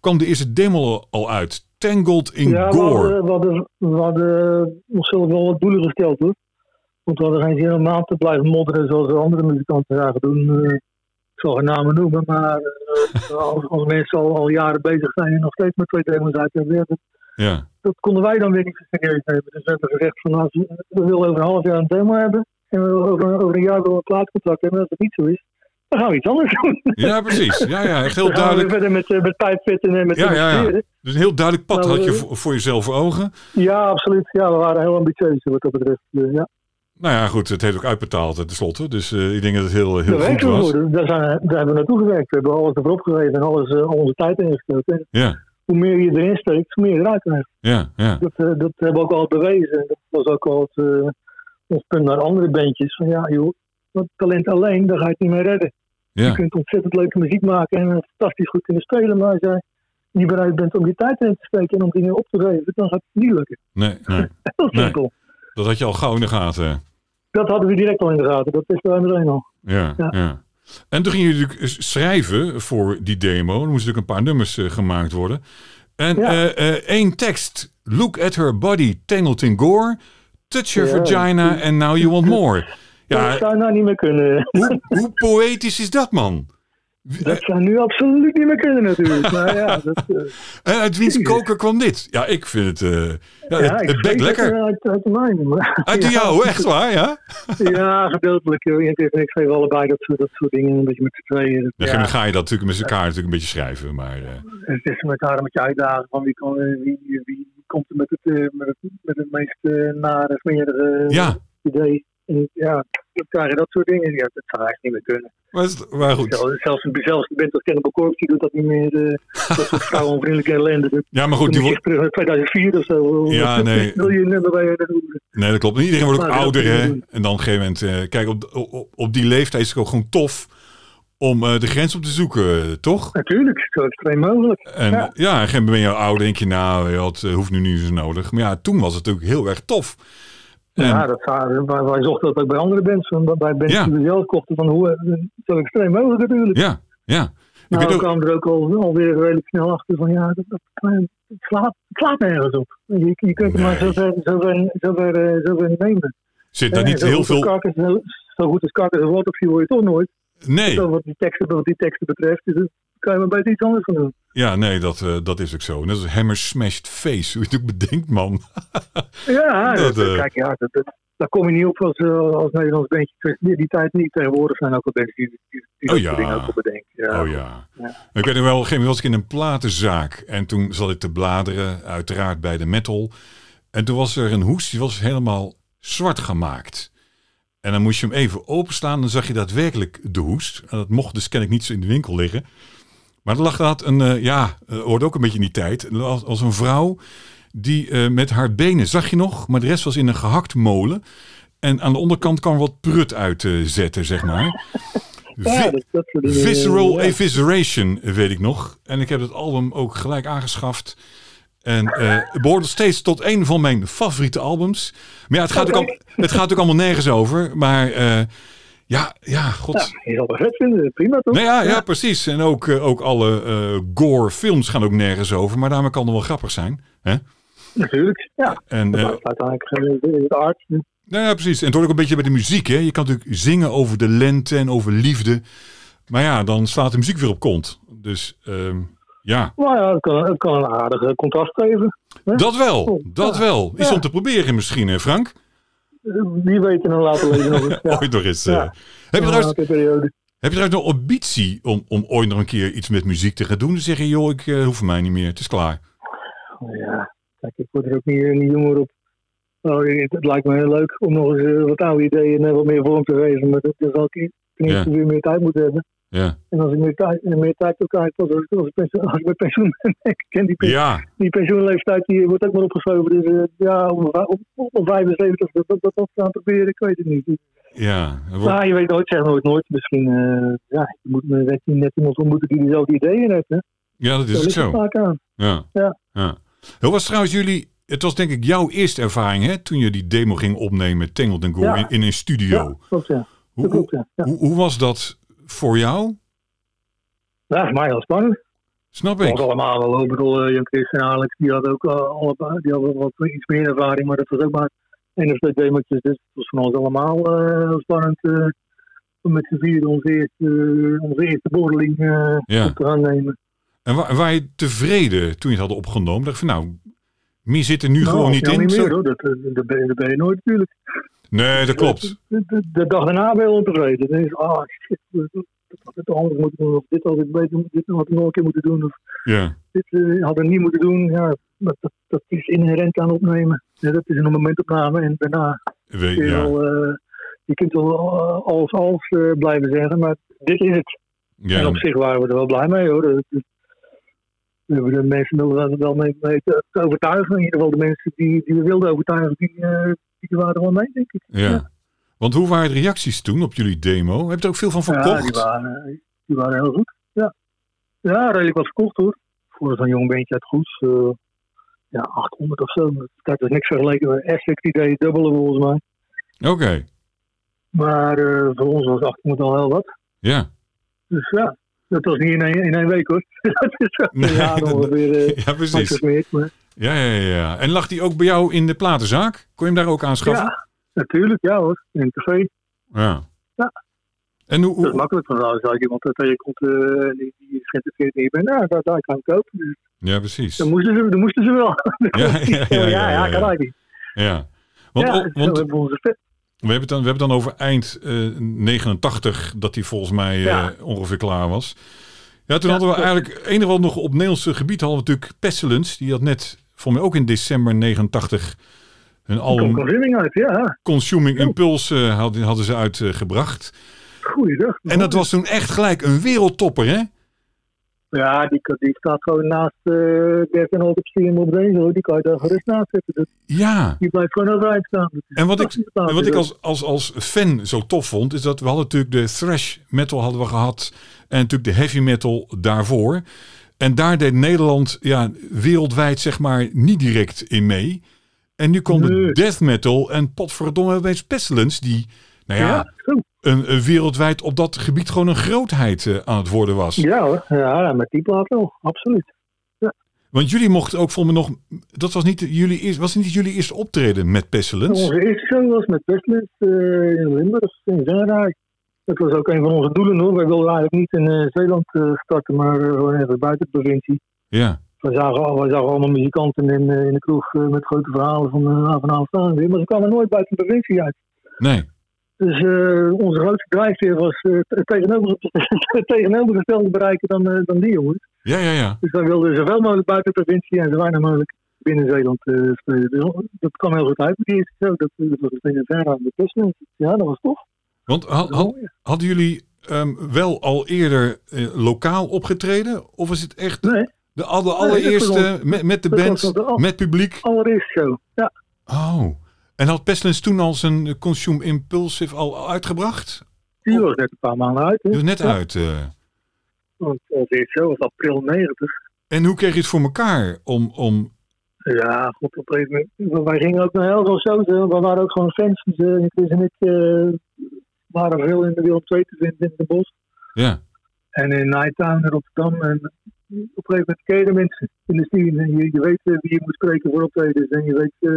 [SPEAKER 1] kwam de eerste demo al uit. Tangled in
[SPEAKER 2] ja we,
[SPEAKER 1] Gore.
[SPEAKER 2] hadden, we, hadden, we hadden eh, ons zelf wel wat doelen gesteld hoor. Want we hadden geen zin om aan te blijven modderen zoals de andere muzikanten zagen doen. Eh, ik zal geen namen noemen, maar eh, als, als mensen al, al jaren bezig zijn en nog steeds met twee thema's uit hebben, ja, dat,
[SPEAKER 1] Ja,
[SPEAKER 2] dat konden wij dan weer niet serieus nemen. Dus we hebben gezegd van als we, we willen over een half jaar een demo hebben en we willen over, over een jaar willen we een plaatcontract hebben. En als dat niet zo is, dan gaan we iets anders doen.
[SPEAKER 1] ja precies. Ja, ja, echt heel
[SPEAKER 2] dan gaan we
[SPEAKER 1] duidelijk.
[SPEAKER 2] weer verder met, eh, met pijpfitten en met
[SPEAKER 1] Ja, ja, ja.
[SPEAKER 2] investeren.
[SPEAKER 1] Dus een heel duidelijk pad
[SPEAKER 2] Nou,
[SPEAKER 1] had je
[SPEAKER 2] eh,
[SPEAKER 1] voor, voor jezelf voor ogen.
[SPEAKER 2] Ja, absoluut. Ja, we waren heel ambitieus wat dat betreft. Eh, Ja.
[SPEAKER 1] Nou ja, goed, het heeft ook uitbetaald eh, tenslotte. Dus eh, ik denk dat het heel, heel
[SPEAKER 2] Daar
[SPEAKER 1] goed
[SPEAKER 2] werken we
[SPEAKER 1] was.
[SPEAKER 2] voor. Daar, zijn, daar hebben we naartoe gewerkt. We hebben alles erop gegeven en alles, eh, al onze tijd ingestoken. En
[SPEAKER 1] Ja,
[SPEAKER 2] hoe meer je erin steekt, hoe meer je eruit krijgt.
[SPEAKER 1] ja, ja.
[SPEAKER 2] Dat, eh, dat hebben we ook al bewezen. En Dat was ook al het, eh, ons punt naar andere bandjes. Van ja, joh, dat talent alleen, daar ga je het niet mee redden. Je
[SPEAKER 1] ja.
[SPEAKER 2] kunt ontzettend leuke muziek maken en eh, fantastisch goed kunnen spelen. Maar als jij niet bereid bent om je tijd in te steken en om dingen op te geven, dan gaat het niet lukken.
[SPEAKER 1] Nee, nee.
[SPEAKER 2] Heel
[SPEAKER 1] Nee.
[SPEAKER 2] simpel.
[SPEAKER 1] Dat had je al gauw in de gaten.
[SPEAKER 2] Dat hadden we direct al in de gaten. Dat wisten wij meteen al.
[SPEAKER 1] Ja, ja.
[SPEAKER 2] Ja.
[SPEAKER 1] En toen gingen jullie natuurlijk schrijven voor die demo. Er moesten natuurlijk een paar nummers eh, gemaakt worden. En
[SPEAKER 2] Ja.
[SPEAKER 1] eh, eh, één tekst. Look at her body, tangled in gore. Touch her
[SPEAKER 2] Ja.
[SPEAKER 1] vagina and now you want more.
[SPEAKER 2] Dat
[SPEAKER 1] Ja,
[SPEAKER 2] zou nou niet meer kunnen.
[SPEAKER 1] hoe, hoe poëtisch is dat, man?
[SPEAKER 2] Dat zou nu absoluut niet meer kunnen natuurlijk. Maar ja, dat, eh,
[SPEAKER 1] En uit wiens koker kwam dit? Ja, ik vind het... eh, ja,
[SPEAKER 2] ja,
[SPEAKER 1] het,
[SPEAKER 2] ik
[SPEAKER 1] het
[SPEAKER 2] spreek
[SPEAKER 1] bekt lekker.
[SPEAKER 2] het, eh, Uit, uit de mijne. maar-
[SPEAKER 1] Uit
[SPEAKER 2] ja,
[SPEAKER 1] jou, echt waar, ja?
[SPEAKER 2] Ja, gedeeltelijk. joh. Ik geef- ik schreef allebei dat soort, dat soort dingen. Een beetje met z'n tweeën. Dat-
[SPEAKER 1] Dan
[SPEAKER 2] Ja,
[SPEAKER 1] ga- dan ga je dat natuurlijk met elkaar natuurlijk een beetje schrijven, maar... eh,
[SPEAKER 2] het is met elkaar een beetje uitdagen. Van wie, kan, eh, wie, wie komt er met het, eh, met het, met het meest eh, nare, smerige
[SPEAKER 1] ja,
[SPEAKER 2] idee. En ja, dan krijg je dat soort dingen. Ja, dat zou eigenlijk niet meer kunnen.
[SPEAKER 1] maar, is het- maar goed.
[SPEAKER 2] Zelfs, zelfs, zelfs de band als Cannibal Corpse, die doet dat niet meer. eh, dat soort vrouwenvriendelijke ellende. Dat
[SPEAKER 1] Ja, maar goed,
[SPEAKER 2] moet
[SPEAKER 1] die
[SPEAKER 2] je
[SPEAKER 1] wordt...
[SPEAKER 2] echt terug dus, naar 2004 of zo.
[SPEAKER 1] Ja,
[SPEAKER 2] Dat- dat
[SPEAKER 1] nee.
[SPEAKER 2] Wil je een nummer bij je dat doen?
[SPEAKER 1] Nee, dat klopt. Iedereen wordt ook
[SPEAKER 2] Maar dat
[SPEAKER 1] ouder,
[SPEAKER 2] moet je
[SPEAKER 1] hè?
[SPEAKER 2] doen.
[SPEAKER 1] En dan op een gegeven moment... eh, kijk, op, op, op die leeftijd is het ook gewoon tof om eh, de grens op te zoeken, eh, toch?
[SPEAKER 2] Natuurlijk, zo extreem mogelijk.
[SPEAKER 1] En ja,
[SPEAKER 2] Ja.
[SPEAKER 1] ja en ben je ouder, denk je, nou, ja, het eh, hoeft nu niet zo nodig. Maar ja, toen was het natuurlijk heel erg tof. En,
[SPEAKER 2] Ja, dat, waren- wij, wij zochten dat ook bij andere bands. van- Bij bands
[SPEAKER 1] Ja.
[SPEAKER 2] die we zelf kochten. Van hoe, eh, zo extreem mogelijk natuurlijk.
[SPEAKER 1] ja, ja. Ik
[SPEAKER 2] Nou,
[SPEAKER 1] weet
[SPEAKER 2] we
[SPEAKER 1] ook,
[SPEAKER 2] kwamen er ook al, alweer redelijk snel achter van ja, dat, dat, eh, het, slaat, het slaat nergens op. Je, je kunt het maar
[SPEAKER 1] Nee.
[SPEAKER 2] zover, zover, zover, eh, zover nemen.
[SPEAKER 1] zit daar
[SPEAKER 2] Eh,
[SPEAKER 1] niet
[SPEAKER 2] zo
[SPEAKER 1] heel
[SPEAKER 2] goed als
[SPEAKER 1] veel...
[SPEAKER 2] Carcass- zo- zo goed als Carcass en Waterview word je toch nooit.
[SPEAKER 1] Nee,
[SPEAKER 2] Zo Wat, die teksten, wat die teksten betreft, dus daar kan je maar beter iets anders van doen.
[SPEAKER 1] ja, nee, dat, eh, dat is ook zo. Net als Hammer Smashed Face, hoe je het ook bedenkt, man.
[SPEAKER 2] Ja,
[SPEAKER 1] Dat,
[SPEAKER 2] dat-
[SPEAKER 1] eh,
[SPEAKER 2] kijk, ja, dat, dat- daar kom je niet op als, eh, als Nederlands bandje. Terug. Die, die tijd niet. Tegenwoordig zijn ook al bands die, die, die
[SPEAKER 1] Oh
[SPEAKER 2] dat
[SPEAKER 1] ja.
[SPEAKER 2] soort dingen ook al bedenken.
[SPEAKER 1] oh ja.
[SPEAKER 2] Ja.
[SPEAKER 1] Ik weet nog wel, op een gegeven moment was ik in een platenzaak. En toen zat ik te bladeren, uiteraard bij de metal. En toen was er een hoes, die was helemaal zwart gemaakt. En dan moest je hem even openslaan, dan zag je daadwerkelijk de hoes. En dat mocht dus kennelijk niet zo in de winkel liggen. Maar er lag dat een, eh, ja, eh, hoort ook een beetje in die tijd. Als, als een vrouw die eh, met haar benen, zag je nog, maar de rest was in een gehakt molen. En aan de onderkant kwam wat prut uitzetten, zeg maar.
[SPEAKER 2] Ja,
[SPEAKER 1] Vi-
[SPEAKER 2] dat, dat soort dingen, eh,
[SPEAKER 1] Visceral
[SPEAKER 2] ja.
[SPEAKER 1] Evisceration, weet ik nog. En ik heb het album ook gelijk aangeschaft. En eh, het behoort nog steeds tot een van mijn favoriete albums. Maar ja, het gaat, ook, al, het gaat ook allemaal nergens over. Maar eh, ja, ja, god.
[SPEAKER 2] Ja, je zal het vet vinden. Prima toch?
[SPEAKER 1] Nou ja, ja, precies. En ook, eh, ook alle eh, gore films gaan ook nergens over. Maar daarmee kan het wel grappig zijn. Hè?
[SPEAKER 2] Natuurlijk. Ja.
[SPEAKER 1] En, eh,
[SPEAKER 2] Dat maakt uiteindelijk eh, geen- het art.
[SPEAKER 1] nou ja, precies. En het hoort ook een beetje bij de muziek. Hè? Je kan natuurlijk zingen over de lente en over liefde. Maar ja, dan slaat de muziek weer op kont. Dus ehm, ja.
[SPEAKER 2] Maar ja, het kan, het kan een aardige contrast geven.
[SPEAKER 1] Dat wel,
[SPEAKER 2] Oh,
[SPEAKER 1] dat
[SPEAKER 2] ja.
[SPEAKER 1] wel. Iets
[SPEAKER 2] Ja.
[SPEAKER 1] om te proberen misschien, hè Frank?
[SPEAKER 2] Eh, Wie weet en dan later lezen nog eens. Ja.
[SPEAKER 1] Ooit nog eens.
[SPEAKER 2] Ja.
[SPEAKER 1] eh. Heb, je trouwens,
[SPEAKER 2] Later periode.
[SPEAKER 1] heb je trouwens nog ambitie om, om ooit nog een keer iets met muziek te gaan doen? Dan zeg je, joh, ik eh, hoef mij niet meer, het is klaar.
[SPEAKER 2] Ja, kijk, ik word er ook niet, niet jonger op. Nou, het, het lijkt me heel leuk om nog eens eh, wat oude ideeën en wat meer vorm te geven. Maar dat, dat zal ik ten eerste weer meer tijd moeten hebben.
[SPEAKER 1] Ja,
[SPEAKER 2] En als ik meer tijd, en meer tijd op krijg, pas als, ik- als, ik pensioen- als ik bij pensioen ben. ik ken die, pen-
[SPEAKER 1] ja,
[SPEAKER 2] die pensioenleeftijd, die wordt ook maar opgeschoven. Dus eh, ja, op, op, op 75 dat, dat, dat, dat gaan proberen, ik weet het niet.
[SPEAKER 1] ja. Er wordt-
[SPEAKER 2] Nou, je weet nooit, zeg nooit nooit. Misschien eh, ja, je moet net, net iemand ontmoeten die dezelfde ideeën heeft. Hè?
[SPEAKER 1] ja, dat is ook
[SPEAKER 2] Daar ligt het
[SPEAKER 1] zo.
[SPEAKER 2] vaak aan.
[SPEAKER 1] Ja.
[SPEAKER 2] Ja.
[SPEAKER 1] Ja. Hoe was trouwens jullie, het was denk ik jouw eerste ervaring hè, toen je die demo ging opnemen, Tangled and Go,
[SPEAKER 2] Ja.
[SPEAKER 1] in, in een
[SPEAKER 2] Ja,
[SPEAKER 1] studio.
[SPEAKER 2] klopt, ja.
[SPEAKER 1] Hoe,
[SPEAKER 2] Dat klopt,
[SPEAKER 1] hoe,
[SPEAKER 2] ja. ja.
[SPEAKER 1] hoe, hoe was dat voor jou?
[SPEAKER 2] Ja, voor mij heel spannend.
[SPEAKER 1] Snap
[SPEAKER 2] Ons
[SPEAKER 1] ik.
[SPEAKER 2] allemaal wel. Ik bedoel, eh, Jan Christen en Alex, die hadden ook eh, allebei, die hadden wat iets meer ervaring, maar dat was ook maar één of twee demo's. Dus het was van ons allemaal eh, heel spannend. eh, om met z'n vier onze eerste, eh, onze eerste borreling eh,
[SPEAKER 1] Ja.
[SPEAKER 2] op te gaan nemen.
[SPEAKER 1] En wa- waar je tevreden toen je het had opgenomen? Dacht je van nou, meer zit er nu
[SPEAKER 2] Nou,
[SPEAKER 1] gewoon niet
[SPEAKER 2] nou,
[SPEAKER 1] in.
[SPEAKER 2] Niet
[SPEAKER 1] zo-
[SPEAKER 2] meer, hoor. Dat, dat, dat ben je- dat ben je nooit natuurlijk.
[SPEAKER 1] Nee, dat klopt.
[SPEAKER 2] De, de- de dag daarna ben je ontevreden. Dan denk je, ah shit, dat had ik toch anders moeten doen. Of dit had ik beter moeten- dit had ik nog een keer moeten doen. Of
[SPEAKER 1] Ja,
[SPEAKER 2] dit eh, had ik niet moeten doen. Ja, dat, dat, dat is inherent aan opnemen. Ja, dat is een momentopname. En daarna
[SPEAKER 1] weet,
[SPEAKER 2] kun je
[SPEAKER 1] ja,
[SPEAKER 2] wel, eh, je kunt wel eh, alles als eh, blijven zeggen. Maar dit is het. En op
[SPEAKER 1] ja,
[SPEAKER 2] zich waren we er wel blij mee hoor. Dat- dat- We hebben de mensen wel, wel mee, mee te, te overtuigen. In ieder geval de mensen die, die we wilden overtuigen, die, eh, die waren er wel mee, denk ik.
[SPEAKER 1] ja. Want hoe waren de reacties toen op jullie demo? Heb je er ook veel van
[SPEAKER 2] Ja, die
[SPEAKER 1] verkocht?
[SPEAKER 2] waren, die waren heel goed. Ja, ja redelijk wat verkocht hoor. Voor zo'n jong beentje uit Goes. eh, ja, 800 of zo. Kijk, dat is niks vergeleken met Essex. Die deed het dubbele volgens mij.
[SPEAKER 1] Oké,
[SPEAKER 2] Maar eh, voor ons was 800 al heel wat.
[SPEAKER 1] ja.
[SPEAKER 2] Dus ja, dat was niet in één, in één week hoor. dat is wel
[SPEAKER 1] Nee,
[SPEAKER 2] een jaar
[SPEAKER 1] dat-
[SPEAKER 2] ongeveer. eh
[SPEAKER 1] Ja,
[SPEAKER 2] max of
[SPEAKER 1] precies.
[SPEAKER 2] meer, maar,
[SPEAKER 1] Ja, ja, ja, ja. En lag die ook bij jou in de platenzaak? Kon je hem daar ook aanschaffen?
[SPEAKER 2] ja, natuurlijk. Ja hoor. In het café.
[SPEAKER 1] Ja.
[SPEAKER 2] Ja.
[SPEAKER 1] En hoe,
[SPEAKER 2] Dat is
[SPEAKER 1] hoe-
[SPEAKER 2] makkelijk. Want als je iemand tegenkomt eh, die, die is geïnteresseerd in je bent, nou, daar, daar kan ik kopen. Dus
[SPEAKER 1] Ja, precies.
[SPEAKER 2] dan moesten ze, dan moesten ze wel.
[SPEAKER 1] Ja, ja, ja, ja, ja, ja.
[SPEAKER 2] kan eigenlijk.
[SPEAKER 1] Ja. Want,
[SPEAKER 2] ja,
[SPEAKER 1] oh,
[SPEAKER 2] dus
[SPEAKER 1] want
[SPEAKER 2] we hebben onze vet.
[SPEAKER 1] we, hebben het dan, we hebben het dan over eind eh, 89 dat die volgens mij eh,
[SPEAKER 2] Ja.
[SPEAKER 1] ongeveer klaar was. Ja, toen
[SPEAKER 2] Ja,
[SPEAKER 1] hadden we
[SPEAKER 2] klopt.
[SPEAKER 1] eigenlijk, het enige wat nog op Nederlandse gebied hadden we natuurlijk Pestilence. Die had net, volgens mij ook in december 89, hun
[SPEAKER 2] Komt
[SPEAKER 1] album
[SPEAKER 2] een winning uit, ja.
[SPEAKER 1] Consuming
[SPEAKER 2] Oh.
[SPEAKER 1] Impulse eh, hadden, hadden ze uitgebracht.
[SPEAKER 2] Goeiedag.
[SPEAKER 1] En dat was toen echt gelijk een wereldtopper, hè?
[SPEAKER 2] Ja, die, kan- die staat gewoon naast eh Dirk en Holt op Steam op deze. hoor. Die kan je daar gerust naast zetten. Dat-
[SPEAKER 1] Ja,
[SPEAKER 2] Die blijft gewoon overeind staan. Dat is Dus-
[SPEAKER 1] en wat ik,
[SPEAKER 2] fantastisch plaatje,
[SPEAKER 1] en wat ik
[SPEAKER 2] dat-
[SPEAKER 1] als, als, als fan zo tof vond, is dat we hadden natuurlijk de thrash metal hadden we gehad. En natuurlijk de heavy metal daarvoor. En daar deed Nederland ja, wereldwijd zeg maar niet direct in mee. En nu kwam de
[SPEAKER 2] Nee.
[SPEAKER 1] death metal en potverdomme opeens Pestilence. Die, nou ja,
[SPEAKER 2] Ja, zo.
[SPEAKER 1] een, een wereldwijd op dat gebied gewoon een grootheid eh, aan het worden was.
[SPEAKER 2] ja hoor. Ja, met die plaat wel. Absoluut.
[SPEAKER 1] Want jullie mochten ook volgens mij nog... Dat was niet jullie, eerst- was niet jullie eerste optreden met Pestilence?
[SPEAKER 2] Onze eerste show was met Westlist eh, in Limburg, in Zenrijk. Dat was ook een van onze doelen hoor. Wij wilden eigenlijk niet in eh, Zeeland eh, starten, maar eh, gewoon even buiten de provincie.
[SPEAKER 1] Ja.
[SPEAKER 2] We zagen, al- we zagen allemaal muzikanten in, eh, in de kroeg eh, met grote verhalen van eh vanavond staan weer. Maar ze kwamen nooit buiten de provincie uit.
[SPEAKER 1] Nee.
[SPEAKER 2] Dus eh, onze grootste drijfveer was eh, het tegenover- het tegenovergestelde bereiken dan, eh, dan die jongens.
[SPEAKER 1] Ja, ja, ja.
[SPEAKER 2] Dus wij wilden zoveel mogelijk buiten de provincie en zo weinig mogelijk binnen Zeeland eh, spelen. Dus dat kwam heel goed uit. Maar die eerste show, dat, eh, dat was meteen een verre aan de kust. Ja, dat was tof.
[SPEAKER 1] Want ha- ha-
[SPEAKER 2] Mooi.
[SPEAKER 1] hadden jullie ehm, wel al eerder eh, lokaal opgetreden? Of is het echt
[SPEAKER 2] Nee.
[SPEAKER 1] de aller,
[SPEAKER 2] Nee,
[SPEAKER 1] allereerste
[SPEAKER 2] dat
[SPEAKER 1] met, met de
[SPEAKER 2] dat
[SPEAKER 1] band,
[SPEAKER 2] was al-
[SPEAKER 1] met publiek?
[SPEAKER 2] Allereerste show. Ja,
[SPEAKER 1] Oh. En had Pestilence toen al zijn eh, Consume Impulsive al uitgebracht?
[SPEAKER 2] die was net een paar maanden uit. hè.
[SPEAKER 1] Dus net
[SPEAKER 2] Ja,
[SPEAKER 1] uit. eh.
[SPEAKER 2] Want onze eerste show was april 90.
[SPEAKER 1] En hoe kreeg je het voor elkaar om, om
[SPEAKER 2] Ja, goed, op een gegeven moment. Wij gingen ook naar heel veel shows. hè. We waren ook gewoon fans. Dus, eh, Chris en ik eh, waren veel in de Willem 2 te vinden in de bos.
[SPEAKER 1] ja,
[SPEAKER 2] En in Nighttown in Rotterdam. En op een gegeven moment ken je de mensen in de scene. En je, je weet eh, wie je moet spreken voor optredens. En je weet, eh,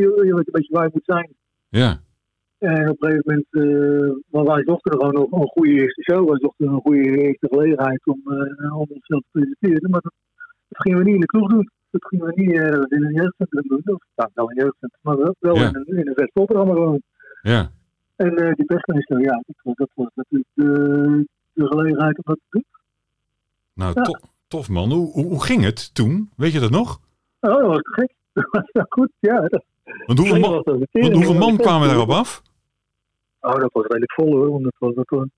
[SPEAKER 2] je, je weet een beetje waar je moet zijn.
[SPEAKER 1] ja,
[SPEAKER 2] En op een gegeven moment, eh want wij zochten gewoon nog een goede eerste show. Wij zochten een goede eerste gelegenheid om, eh, om onszelf te presenteren. Maar dat, dat gingen we niet in de kroeg doen. Dat gingen we niet eh, in een jeugdcentrum doen. Of nou, wel in een jeugdcentrum, maar wel, wel
[SPEAKER 1] Ja.
[SPEAKER 2] in een, in een festivalprogramma gewoon.
[SPEAKER 1] ja.
[SPEAKER 2] En eh, die bestminister, ja, dat was, dat was natuurlijk de, de gelegenheid om dat te doen.
[SPEAKER 1] Nou,
[SPEAKER 2] Ja.
[SPEAKER 1] to- tof man. Hoe, hoe, hoe ging het toen? Weet je dat nog?
[SPEAKER 2] Oh, dat was te gek. Dat was wel goed, ja. Dat,
[SPEAKER 1] Want hoeveel,
[SPEAKER 2] dat
[SPEAKER 1] man,
[SPEAKER 2] was een
[SPEAKER 1] want
[SPEAKER 2] tering.
[SPEAKER 1] hoeveel man kwamen
[SPEAKER 2] Ja.
[SPEAKER 1] daarop af?
[SPEAKER 2] Oh, dat was redelijk vol hoor. Want dat was, dat was-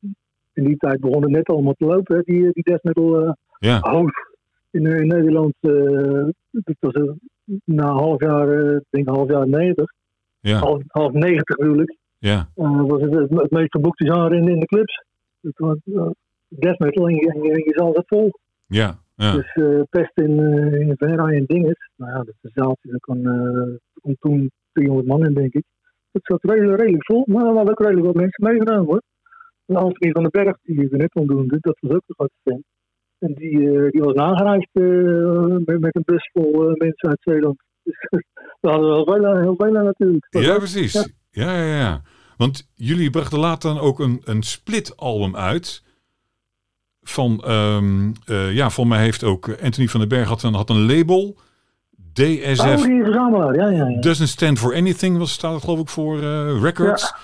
[SPEAKER 2] in die tijd begon het net allemaal te lopen, hè, die, die death metal eh,
[SPEAKER 1] Ja,
[SPEAKER 2] hoofd in, eh, in Nederland. eh, dat was eh, na een half jaar, eh, ik denk half jaar 90,
[SPEAKER 1] ja,
[SPEAKER 2] half, half 90 natuurlijk,
[SPEAKER 1] ja,
[SPEAKER 2] eh, was het het, het meest geboekte genre in, in de clubs. Het was eh, death metal en je, en je, en je zat het vol.
[SPEAKER 1] ja, ja,
[SPEAKER 2] Dus eh, pest in, eh in Venray en Dinges. Nou ja, dat is een zaaltje, daar kon, eh, kon toen 200 man in, denk ik. Het zat redelijk, redelijk vol, maar we hadden ook redelijk wat mensen meegenomen hoor. En Anthony van den Berg, die we net ontdoende, dat was ook een grote fan. En die, eh, die was nagereisd eh, met, met een bus vol eh, mensen uit Zeeland. Dus we hadden heel veel, aan- heel veel aan natuurlijk. Dat
[SPEAKER 1] ja,
[SPEAKER 2] was-
[SPEAKER 1] precies. Ja,
[SPEAKER 2] ja.
[SPEAKER 1] ja, ja. Want jullie brachten later dan ook een, een split-album uit. Van, ehm, eh, ja, volgens mij heeft ook eh, Anthony van den Berg had een, had een label.
[SPEAKER 2] Oh,
[SPEAKER 1] DSF
[SPEAKER 2] die verzamelaar, ja, ja, ja.
[SPEAKER 1] Doesn't Stand For Anything was, staat het geloof ik voor eh, records.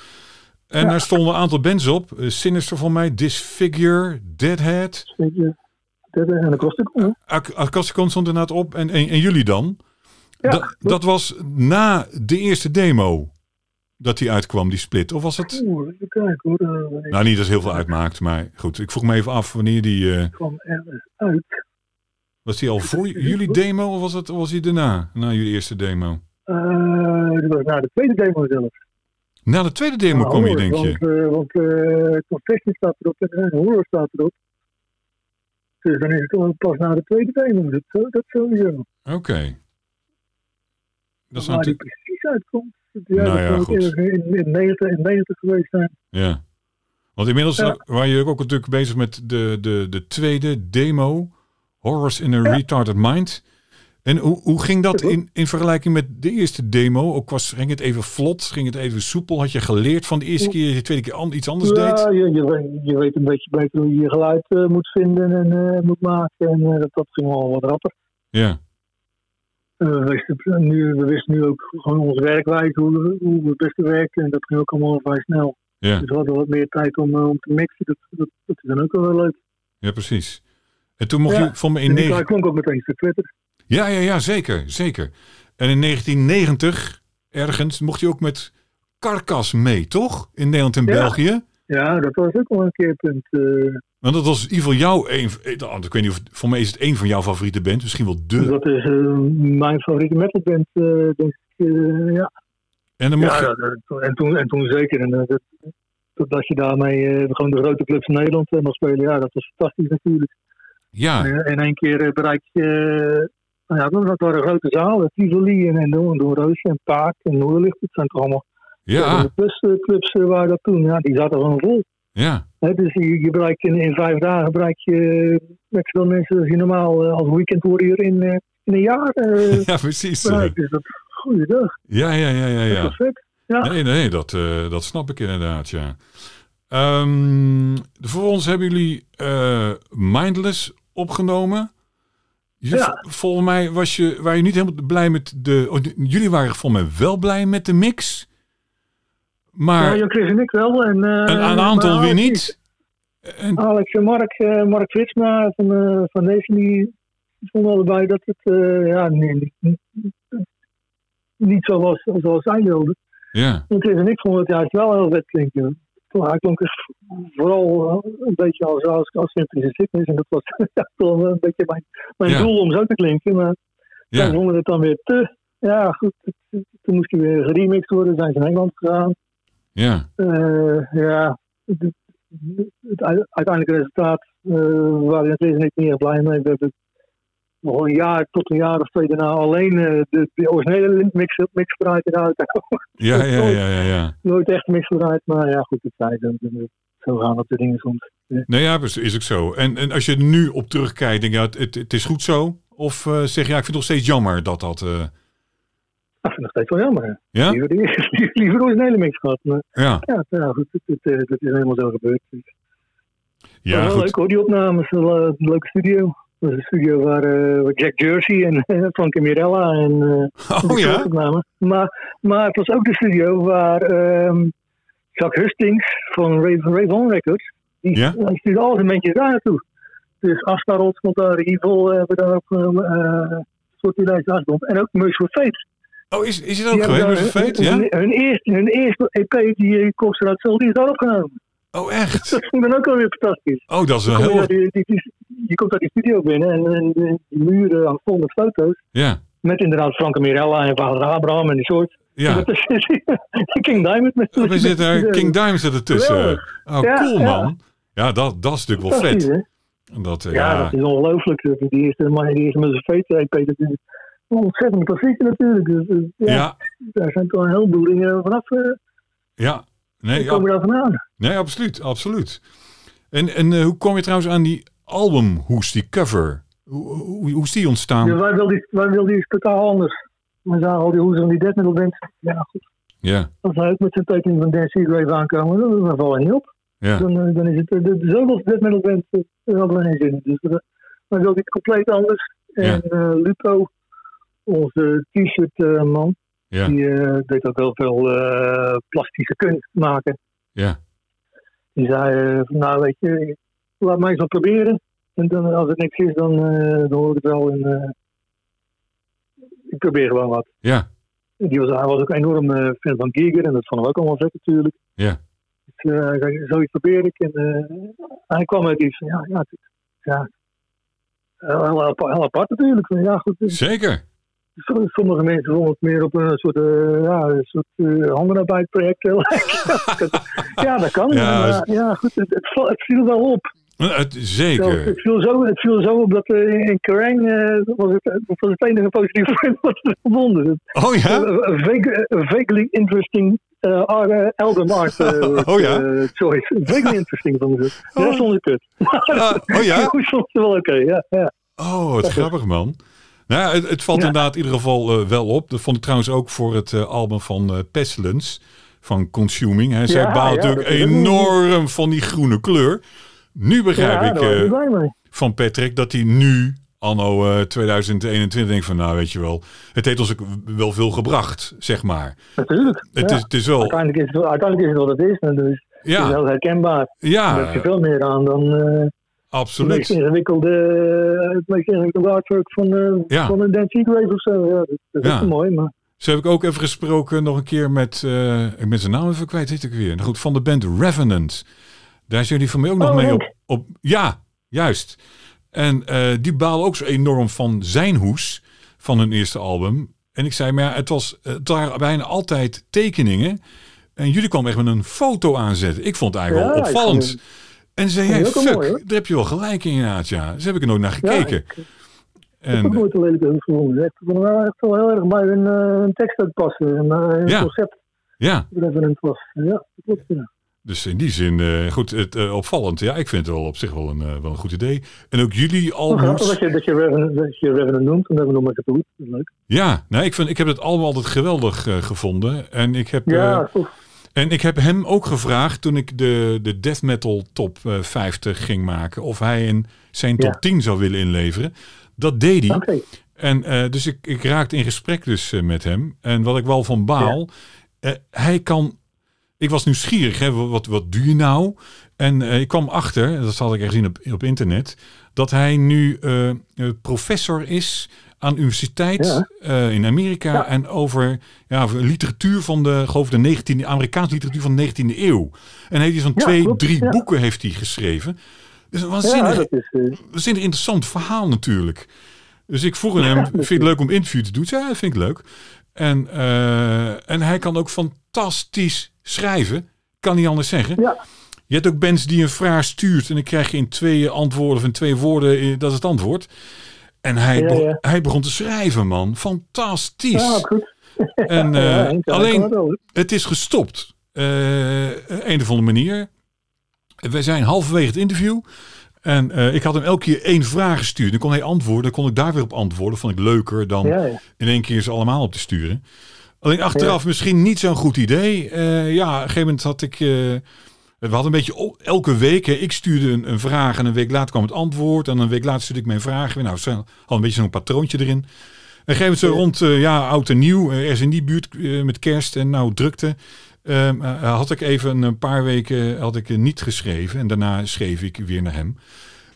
[SPEAKER 1] En daar stonden een aantal bands op. Eh, Sinister van mij, Disfigure, Deadhead.
[SPEAKER 2] Weet je, dat- En dat kostte ook. hè?
[SPEAKER 1] Ak- Akasticon stond inderdaad op. En, en, en jullie dan?
[SPEAKER 2] Ja,
[SPEAKER 1] Da- dat was na de eerste demo dat die uitkwam, die split. Of was het...
[SPEAKER 2] Oeh, even kijken hoor. eh, wanneer
[SPEAKER 1] Nou, niet dat het heel veel uitmaakt. Maar goed, ik vroeg me even af wanneer die... eh,
[SPEAKER 2] kwam ergens uit.
[SPEAKER 1] was die al voor j- jullie demo of was, het, was die daarna? Na jullie eerste demo?
[SPEAKER 2] Eh, dat was na de tweede demo zelf.
[SPEAKER 1] Na de tweede demo
[SPEAKER 2] Nou,
[SPEAKER 1] kwam je,
[SPEAKER 2] horror,
[SPEAKER 1] denk je?
[SPEAKER 2] Want, eh want eh, Confession staat erop en eh, Horror staat erop. Dus dan is het wel pas na de tweede demo. Dat, zo- dat sowieso.
[SPEAKER 1] Oké. Dat zijn
[SPEAKER 2] Waar die
[SPEAKER 1] natuurlijk...
[SPEAKER 2] precies uitkomt.
[SPEAKER 1] Nou
[SPEAKER 2] Ja, dat
[SPEAKER 1] ja,
[SPEAKER 2] zou
[SPEAKER 1] goed.
[SPEAKER 2] ergens In, in, 90, in 90 geweest zijn.
[SPEAKER 1] Ja. Want inmiddels
[SPEAKER 2] Ja.
[SPEAKER 1] eh, waren jullie ook natuurlijk bezig met de, de, de tweede demo, Horrors in a Retarded Mind. En hoe, hoe ging dat
[SPEAKER 2] Ja, goed.
[SPEAKER 1] in, in vergelijking met de eerste demo? Ook was, ging het even vlot? Ging het even soepel? Had je geleerd van de eerste keer dat je de tweede keer an- iets anders
[SPEAKER 2] Ja,
[SPEAKER 1] deed?
[SPEAKER 2] je, je, weet- je weet een beetje beter hoe je je geluid eh, moet vinden en eh, moet maken. En eh, dat, dat ging wel wat rapper.
[SPEAKER 1] Ja,
[SPEAKER 2] Eh, we, wisten nu, we wisten nu ook gewoon onze werkwijze, hoe, hoe we het beste werken. En dat ging ook allemaal vrij snel.
[SPEAKER 1] ja,
[SPEAKER 2] Dus we hadden wat meer tijd om, eh, om te mixen. Dat, dat, dat is dan ook wel leuk.
[SPEAKER 1] ja, precies. En toen mocht
[SPEAKER 2] Ja,
[SPEAKER 1] je van me in
[SPEAKER 2] En die klaar
[SPEAKER 1] negen...
[SPEAKER 2] klonk ook meteen een stuk Twitter.
[SPEAKER 1] Ja, ja, ja, zeker, zeker. En in 1990, ergens, mocht je ook met Karkas mee, toch? In Nederland en
[SPEAKER 2] Ja.
[SPEAKER 1] België.
[SPEAKER 2] Ja, dat was ook wel een keerpunt. eh
[SPEAKER 1] Want dat was in ieder geval jouw een. nou, Ik weet niet of voor mij is het een van jouw favoriete bands, misschien wel de.
[SPEAKER 2] Dat is eh, mijn favoriete metalband, eh, denk ik. eh, ja.
[SPEAKER 1] En dan mocht
[SPEAKER 2] Ja,
[SPEAKER 1] je-
[SPEAKER 2] ja, dat- en, toen, en toen zeker. En, eh, dat, dat, dat je daarmee eh, gewoon de grote clubs van Nederland eh, mag spelen, ja, dat was fantastisch natuurlijk.
[SPEAKER 1] ja.
[SPEAKER 2] En, eh, in één keer eh, bereik je, eh, nou ja, dat, dat waren grote zalen, Tivoli en, en Doorn Roosje en Paak en Noorderlicht, dat zijn toch allemaal
[SPEAKER 1] Ja,
[SPEAKER 2] plus clubs eh, waar dat toen, ja, die zaten gewoon vol.
[SPEAKER 1] ja,
[SPEAKER 2] Hè, dus je, je bereikt in, in vijf dagen bereik je eh, net zoveel mensen als je normaal eh, als weekend warrior in, eh, in een jaar eh
[SPEAKER 1] ja, precies.
[SPEAKER 2] bereikt. Dus dat goeiedag,
[SPEAKER 1] Ja, ja, ja, ja,
[SPEAKER 2] dat
[SPEAKER 1] ja.
[SPEAKER 2] is vet. Ja.
[SPEAKER 1] Nee, nee, dat, eh, dat snap ik inderdaad, ja. Ehm, voor ons hebben jullie eh, Mindless opgenomen. Je-
[SPEAKER 2] Ja.
[SPEAKER 1] Volgens mij was je, waren je niet helemaal blij met de... oh, de- jullie waren volgens mij wel blij met de mix. Maar
[SPEAKER 2] Ja, Jan Chris en ik wel. En, eh,
[SPEAKER 1] Ah. een, een
[SPEAKER 2] maar
[SPEAKER 1] aantal
[SPEAKER 2] Alex-
[SPEAKER 1] weer niet. En,
[SPEAKER 2] Alex en Mark, eh, Mark Fritsma van, eh van deze, die vonden allebei dat het eh, ja, nee, niet- niet, niet zo was zoals zij wilden.
[SPEAKER 1] ja,
[SPEAKER 2] En Chris en ik vonden het juist wel heel vet klinken. Hij klonk dus vooral eh, een beetje als, als, als Simplische Sickness. En dat was ja, toch wel een beetje mijn, mijn
[SPEAKER 1] Ja.
[SPEAKER 2] doel om zo te klinken. Maar zij
[SPEAKER 1] ja,
[SPEAKER 2] vonden het dan weer te... Ja, goed. Toen moest hij weer geremixed worden. Zijn ze naar Engeland gegaan.
[SPEAKER 1] ja,
[SPEAKER 2] Eh, ja, het, het u- uiteindelijke resultaat eh waar ik en ik niet echt blij mee. We hebben nog een jaar tot een jaar of twee daarna alleen eh, de, de originele mix, mix gedraaid in de auto.
[SPEAKER 1] ja, ja, ja, ja, ja.
[SPEAKER 2] Nooit echt mix gedraaid, maar ja, goed, het zij. dan- dan- Zo gaan dat de dingen soms.
[SPEAKER 1] Nou ja, is, is ook zo. En, en als je er nu op terugkijkt, denk je, ja, het, het, het is goed zo? Of eh, zeg je, ja, ik vind het nog steeds jammer dat dat... eh,
[SPEAKER 2] Ik vind het nog steeds wel jammer.
[SPEAKER 1] ja?
[SPEAKER 2] Liever, die- liever originele mix gehad. Maar
[SPEAKER 1] Ja,
[SPEAKER 2] ja, ja goed, het, het, eh, dat is helemaal zo gebeurd. Dus. Ja,
[SPEAKER 1] ja
[SPEAKER 2] Oh, wel leuk
[SPEAKER 1] goed.
[SPEAKER 2] hoor, die opnames. Wel, eh, een leuke studio. Dat is een studio waar, eh, waar Jack Jersey en eh, Frankie Mirella en eh,
[SPEAKER 1] Oh
[SPEAKER 2] Die
[SPEAKER 1] ja?
[SPEAKER 2] opname. Maar, maar het was ook de studio waar ehm Jacques Hustings van Raven, Raven Records, die
[SPEAKER 1] Ja?
[SPEAKER 2] hij stuurde al zijn mensen daar naartoe. Dus Astaroth stond daar, Evil eh, hebben daar ook eh, eh, soort die lijst daar stond. En ook Merciful Fate.
[SPEAKER 1] Oh, is, is het
[SPEAKER 2] Die
[SPEAKER 1] ook
[SPEAKER 2] hebben
[SPEAKER 1] geweest?
[SPEAKER 2] daar eh,
[SPEAKER 1] Met een feet,
[SPEAKER 2] hun,
[SPEAKER 1] ja?
[SPEAKER 2] hun, hun eerste, hun eerste EP, die eh, komt eruit zelf, die is daar opgenomen.
[SPEAKER 1] Oh, echt?
[SPEAKER 2] Dat vond ik dan ook alweer fantastisch.
[SPEAKER 1] Oh, dat is wel
[SPEAKER 2] Kom
[SPEAKER 1] heel...
[SPEAKER 2] je, eh, die, die, die- je komt uit die studio binnen en, en die muren hangt vol met foto's.
[SPEAKER 1] Ja,
[SPEAKER 2] Met inderdaad Franke Mirella en Vader Abraham en die soort.
[SPEAKER 1] ja. Oh,
[SPEAKER 2] Dat is King Diamond met eh,
[SPEAKER 1] We zitten er, eh, King Diamond zit ertussen.
[SPEAKER 2] Geweldig.
[SPEAKER 1] Oh,
[SPEAKER 2] Ja,
[SPEAKER 1] cool
[SPEAKER 2] ja.
[SPEAKER 1] man. Ja, dat, dat is natuurlijk wel
[SPEAKER 2] Fantastisch,
[SPEAKER 1] vet.
[SPEAKER 2] hè?
[SPEAKER 1] Dat, eh,
[SPEAKER 2] Ja,
[SPEAKER 1] ja,
[SPEAKER 2] dat is ongelooflijk. Dat Die eerste, maar die eerste met zijn VT, Peter, dat is een ontzettend klassiek natuurlijk. Dus, eh, ja,
[SPEAKER 1] ja,
[SPEAKER 2] daar zijn toch een heleboel dingen vanaf. eh,
[SPEAKER 1] ja. Nee, ja.
[SPEAKER 2] komen daar vandaan.
[SPEAKER 1] nee absoluut, absoluut. En, en eh, hoe kom je trouwens aan die albumhoes, die cover? Hoe, hoe, hoe is die
[SPEAKER 2] Ja,
[SPEAKER 1] ontstaan?
[SPEAKER 2] Dus wij wilden iets- wij wilden iets totaal anders. We zagen al die hoezen van die death metal bands. Ja, goed.
[SPEAKER 1] Ja,
[SPEAKER 2] Als hij ook met zijn tekening van Dan Seagrave aankomen, dan dan vallen we niet op.
[SPEAKER 1] ja,
[SPEAKER 2] Dan, eh, dan is het eh, de, de zoveelste death metal band. eh, Dat hadden we geen zin in. Dus we- wij wilden iets compleet anders. En eh, Lupo, onze t-shirt eh, man,
[SPEAKER 1] ja,
[SPEAKER 2] Die eh, deed ook heel veel eh, plastische kunst maken.
[SPEAKER 1] ja,
[SPEAKER 2] Die zei, eh, van, nou weet je, laat mij eens wat proberen. En dan, als het niks is, dan, eh, dan hoor ik het wel. En, eh, ik probeer gewoon wat.
[SPEAKER 1] ja,
[SPEAKER 2] Die was, hij was ook enorm eh, fan van Giger en dat vonden we ook allemaal vet natuurlijk.
[SPEAKER 1] Ja.
[SPEAKER 2] Dus eh, hij zei, zoiets probeer ik. En eh, hij kwam met iets van, ja, ja, het is- ja. Heel, heel, heel apart natuurlijk. Van, Ja, goed, dus-
[SPEAKER 1] zeker.
[SPEAKER 2] Somm- Sommige mensen vonden het meer op een soort, eh, ja, een soort eh, handenarbeidproject. heel erg. ja, dat kan.
[SPEAKER 1] Ja,
[SPEAKER 2] maar, ja goed, het, het, val- het viel wel op.
[SPEAKER 1] Eh, het-
[SPEAKER 2] Zelfs,
[SPEAKER 1] zeker.
[SPEAKER 2] het, viel zo, het viel zo op dat eh, in Kerrang eh, was, het, dat was het enige positieve punt wat ze vonden.
[SPEAKER 1] Oh
[SPEAKER 2] Een
[SPEAKER 1] ja?
[SPEAKER 2] vague- eh, vaguely interesting eh, ar- eh, album art eh,
[SPEAKER 1] Oh ja?
[SPEAKER 2] eh, choice. Vaguely interesting vonden ze. De rest vonden ze kut.
[SPEAKER 1] Ah, oh ja?
[SPEAKER 2] Die vonden ze wel oké, ja, ja.
[SPEAKER 1] Oh, wat grappig man. Nou, ja, het, het valt
[SPEAKER 2] Ja.
[SPEAKER 1] inderdaad in ieder geval eh, wel op. Dat vond ik trouwens ook voor het eh, album van eh, Pestilence, van Consuming. Hij zei
[SPEAKER 2] Ja,
[SPEAKER 1] baalt
[SPEAKER 2] ja,
[SPEAKER 1] natuurlijk
[SPEAKER 2] dat is ook niet-
[SPEAKER 1] enorm van die groene kleur. Nu begrijp
[SPEAKER 2] ja,
[SPEAKER 1] ik
[SPEAKER 2] daar was
[SPEAKER 1] eh,
[SPEAKER 2] ik blij mee.
[SPEAKER 1] van Patrick dat hij nu, anno eh, 2021, denkt van nou weet je wel, het heeft ons ook wel veel gebracht, zeg maar.
[SPEAKER 2] Natuurlijk.
[SPEAKER 1] Het,
[SPEAKER 2] ja.
[SPEAKER 1] is, het is wel,
[SPEAKER 2] Uiteindelijk is, het, uiteindelijk is het wat het is. En dus het is
[SPEAKER 1] ja,
[SPEAKER 2] heel herkenbaar. Daar heb je
[SPEAKER 1] ja,
[SPEAKER 2] veel meer aan dan eh het, meest
[SPEAKER 1] absoluut.
[SPEAKER 2] ingewikkelde, het meest ingewikkelde artwork van, eh,
[SPEAKER 1] Ja.
[SPEAKER 2] van een Dan Seagrave of zo. Ja, dat, dat is
[SPEAKER 1] Ja.
[SPEAKER 2] ook mooi, maar
[SPEAKER 1] Zo heb ik ook even gesproken nog een keer met, eh, ik ben zijn naam even kwijt, heet ik weer. Nou goed, van de band Revenant. Daar zijn jullie voor mij ook nog
[SPEAKER 2] Oh,
[SPEAKER 1] mee
[SPEAKER 2] Henk.
[SPEAKER 1] op. Op, ja, juist. En eh, die baalde ook zo enorm van zijn hoes van hun eerste album. En ik zei, maar ja, het, was, eh, het waren bijna altijd tekeningen. En jullie kwamen echt met een foto aanzetten. Ik vond het eigenlijk
[SPEAKER 2] Ja,
[SPEAKER 1] wel
[SPEAKER 2] ik
[SPEAKER 1] opvallend.
[SPEAKER 2] vond
[SPEAKER 1] en zei,
[SPEAKER 2] vond
[SPEAKER 1] hey,
[SPEAKER 2] het ook wel
[SPEAKER 1] fuck,
[SPEAKER 2] mooi, hoor.
[SPEAKER 1] daar heb je wel gelijk in, inderdaad, ja. Dus heb ik er nooit naar gekeken.
[SPEAKER 2] ik, ik heb
[SPEAKER 1] en,
[SPEAKER 2] ook nooit een lelijke hoek gevonden. Ik vond wel echt wel heel erg bij een, eh, een tekst uitpassen. En eh, een
[SPEAKER 1] Ja.
[SPEAKER 2] concept
[SPEAKER 1] ja,
[SPEAKER 2] referent was. Ja, dat klopt. Ja.
[SPEAKER 1] Dus in die zin, eh, goed, het, eh, opvallend. Ja, ik vind het wel op zich wel een, eh, wel een goed idee. En ook jullie
[SPEAKER 2] Maar grappig
[SPEAKER 1] albums.
[SPEAKER 2] dat je, dat je, Revenant, dat je Revenant noemt. En dat we nog maar kapoet. Dat is leuk.
[SPEAKER 1] Ja, nou, ik, vind, ik heb het album altijd geweldig eh, gevonden. En ik, heb,
[SPEAKER 2] Ja,
[SPEAKER 1] eh,
[SPEAKER 2] tof.
[SPEAKER 1] en ik heb hem ook gevraagd toen ik de, de death metal top eh, 50 ging maken. Of hij een, zijn top
[SPEAKER 2] Ja.
[SPEAKER 1] 10 zou willen inleveren. Dat deed hij.
[SPEAKER 2] Oké.
[SPEAKER 1] En eh, dus ik, ik raakte in gesprek dus eh, met hem. En wat ik wel van baal, eh, hij kan. Ik was nieuwsgierig, hè, wat, wat doe je nou? En eh, ik kwam achter, en dat had ik gezien op, op internet, dat hij nu eh, eh, professor is aan de universiteit
[SPEAKER 2] Ja.
[SPEAKER 1] eh, in Amerika
[SPEAKER 2] Ja.
[SPEAKER 1] en over, ja, over literatuur van de, geloof ik, de 19e, Amerikaanse literatuur van de 19e eeuw. En hij heeft zo'n
[SPEAKER 2] Ja,
[SPEAKER 1] twee,
[SPEAKER 2] klopt,
[SPEAKER 1] drie
[SPEAKER 2] ja.
[SPEAKER 1] boeken heeft hij geschreven. Dus een
[SPEAKER 2] Ja,
[SPEAKER 1] waanzinnig,
[SPEAKER 2] dat is... eh,
[SPEAKER 1] waanzinnig interessant verhaal natuurlijk. Dus ik vroeg aan hem, vind je het leuk om interview te doen? Zei hij, ja, vind ik leuk. En, eh, en hij kan ook fantastisch schrijven. Kan niet anders zeggen.
[SPEAKER 2] ja,
[SPEAKER 1] Je hebt ook bands die een vraag stuurt en dan krijg je in twee antwoorden of in twee woorden, eh, dat is het antwoord. En hij,
[SPEAKER 2] Ja,
[SPEAKER 1] be-
[SPEAKER 2] ja.
[SPEAKER 1] hij begon te schrijven, man. Fantastisch.
[SPEAKER 2] ja, goed.
[SPEAKER 1] en eh,
[SPEAKER 2] Ja, Henk, ja, dat kan
[SPEAKER 1] alleen,
[SPEAKER 2] wel, hè.
[SPEAKER 1] het is gestopt. Eh een of andere manier. We zijn halverwege het interview. En eh, ik had hem elke keer één vraag gestuurd. Dan kon hij antwoorden. Dan kon ik daar weer op antwoorden. Vond ik leuker dan
[SPEAKER 2] Ja, ja.
[SPEAKER 1] in één keer ze allemaal op te sturen. Alleen achteraf misschien niet zo'n goed idee. Eh, ja, op een gegeven moment had ik... eh, we hadden een beetje o- elke week. Hè, ik stuurde een, een vraag en een week later kwam het antwoord. En een week later stuurde ik mijn vraag. weer. Nou, we hadden een beetje zo'n patroontje erin. En gegeven moment zo rond eh, ja, oud en nieuw, eh, ergens in die buurt eh, met kerst en nou drukte, ehm, eh, had ik even een paar weken had ik, eh, niet geschreven. En daarna schreef ik weer naar hem.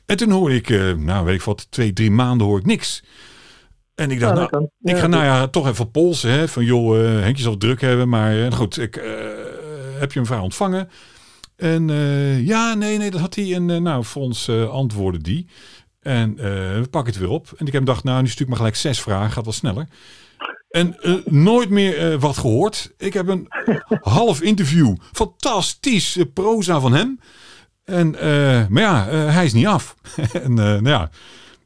[SPEAKER 1] En toen hoor ik, eh, nou weet ik wat, twee, drie maanden hoor ik niks. En ik
[SPEAKER 2] Ja,
[SPEAKER 1] dacht,
[SPEAKER 2] dat
[SPEAKER 1] nou,
[SPEAKER 2] kan.
[SPEAKER 1] ik
[SPEAKER 2] Ja,
[SPEAKER 1] ga
[SPEAKER 2] dat-
[SPEAKER 1] nou ja, toch even polsen. Hè, van joh, eh Henkje zal het druk hebben. Maar eh, goed, ik, eh, heb je een vraag ontvangen? En eh, ja, nee, nee, dat had hij. En eh, nou, voor ons eh, antwoordde die. En eh, we pakken het weer op. En ik heb gedacht, nou, nu stuur ik maar gelijk zes vragen. Gaat wel sneller. En eh, nooit meer eh, wat gehoord. Ik heb een half interview. Fantastisch eh, proza van hem. En, eh, maar ja, eh, hij is niet af. en eh, nou ja,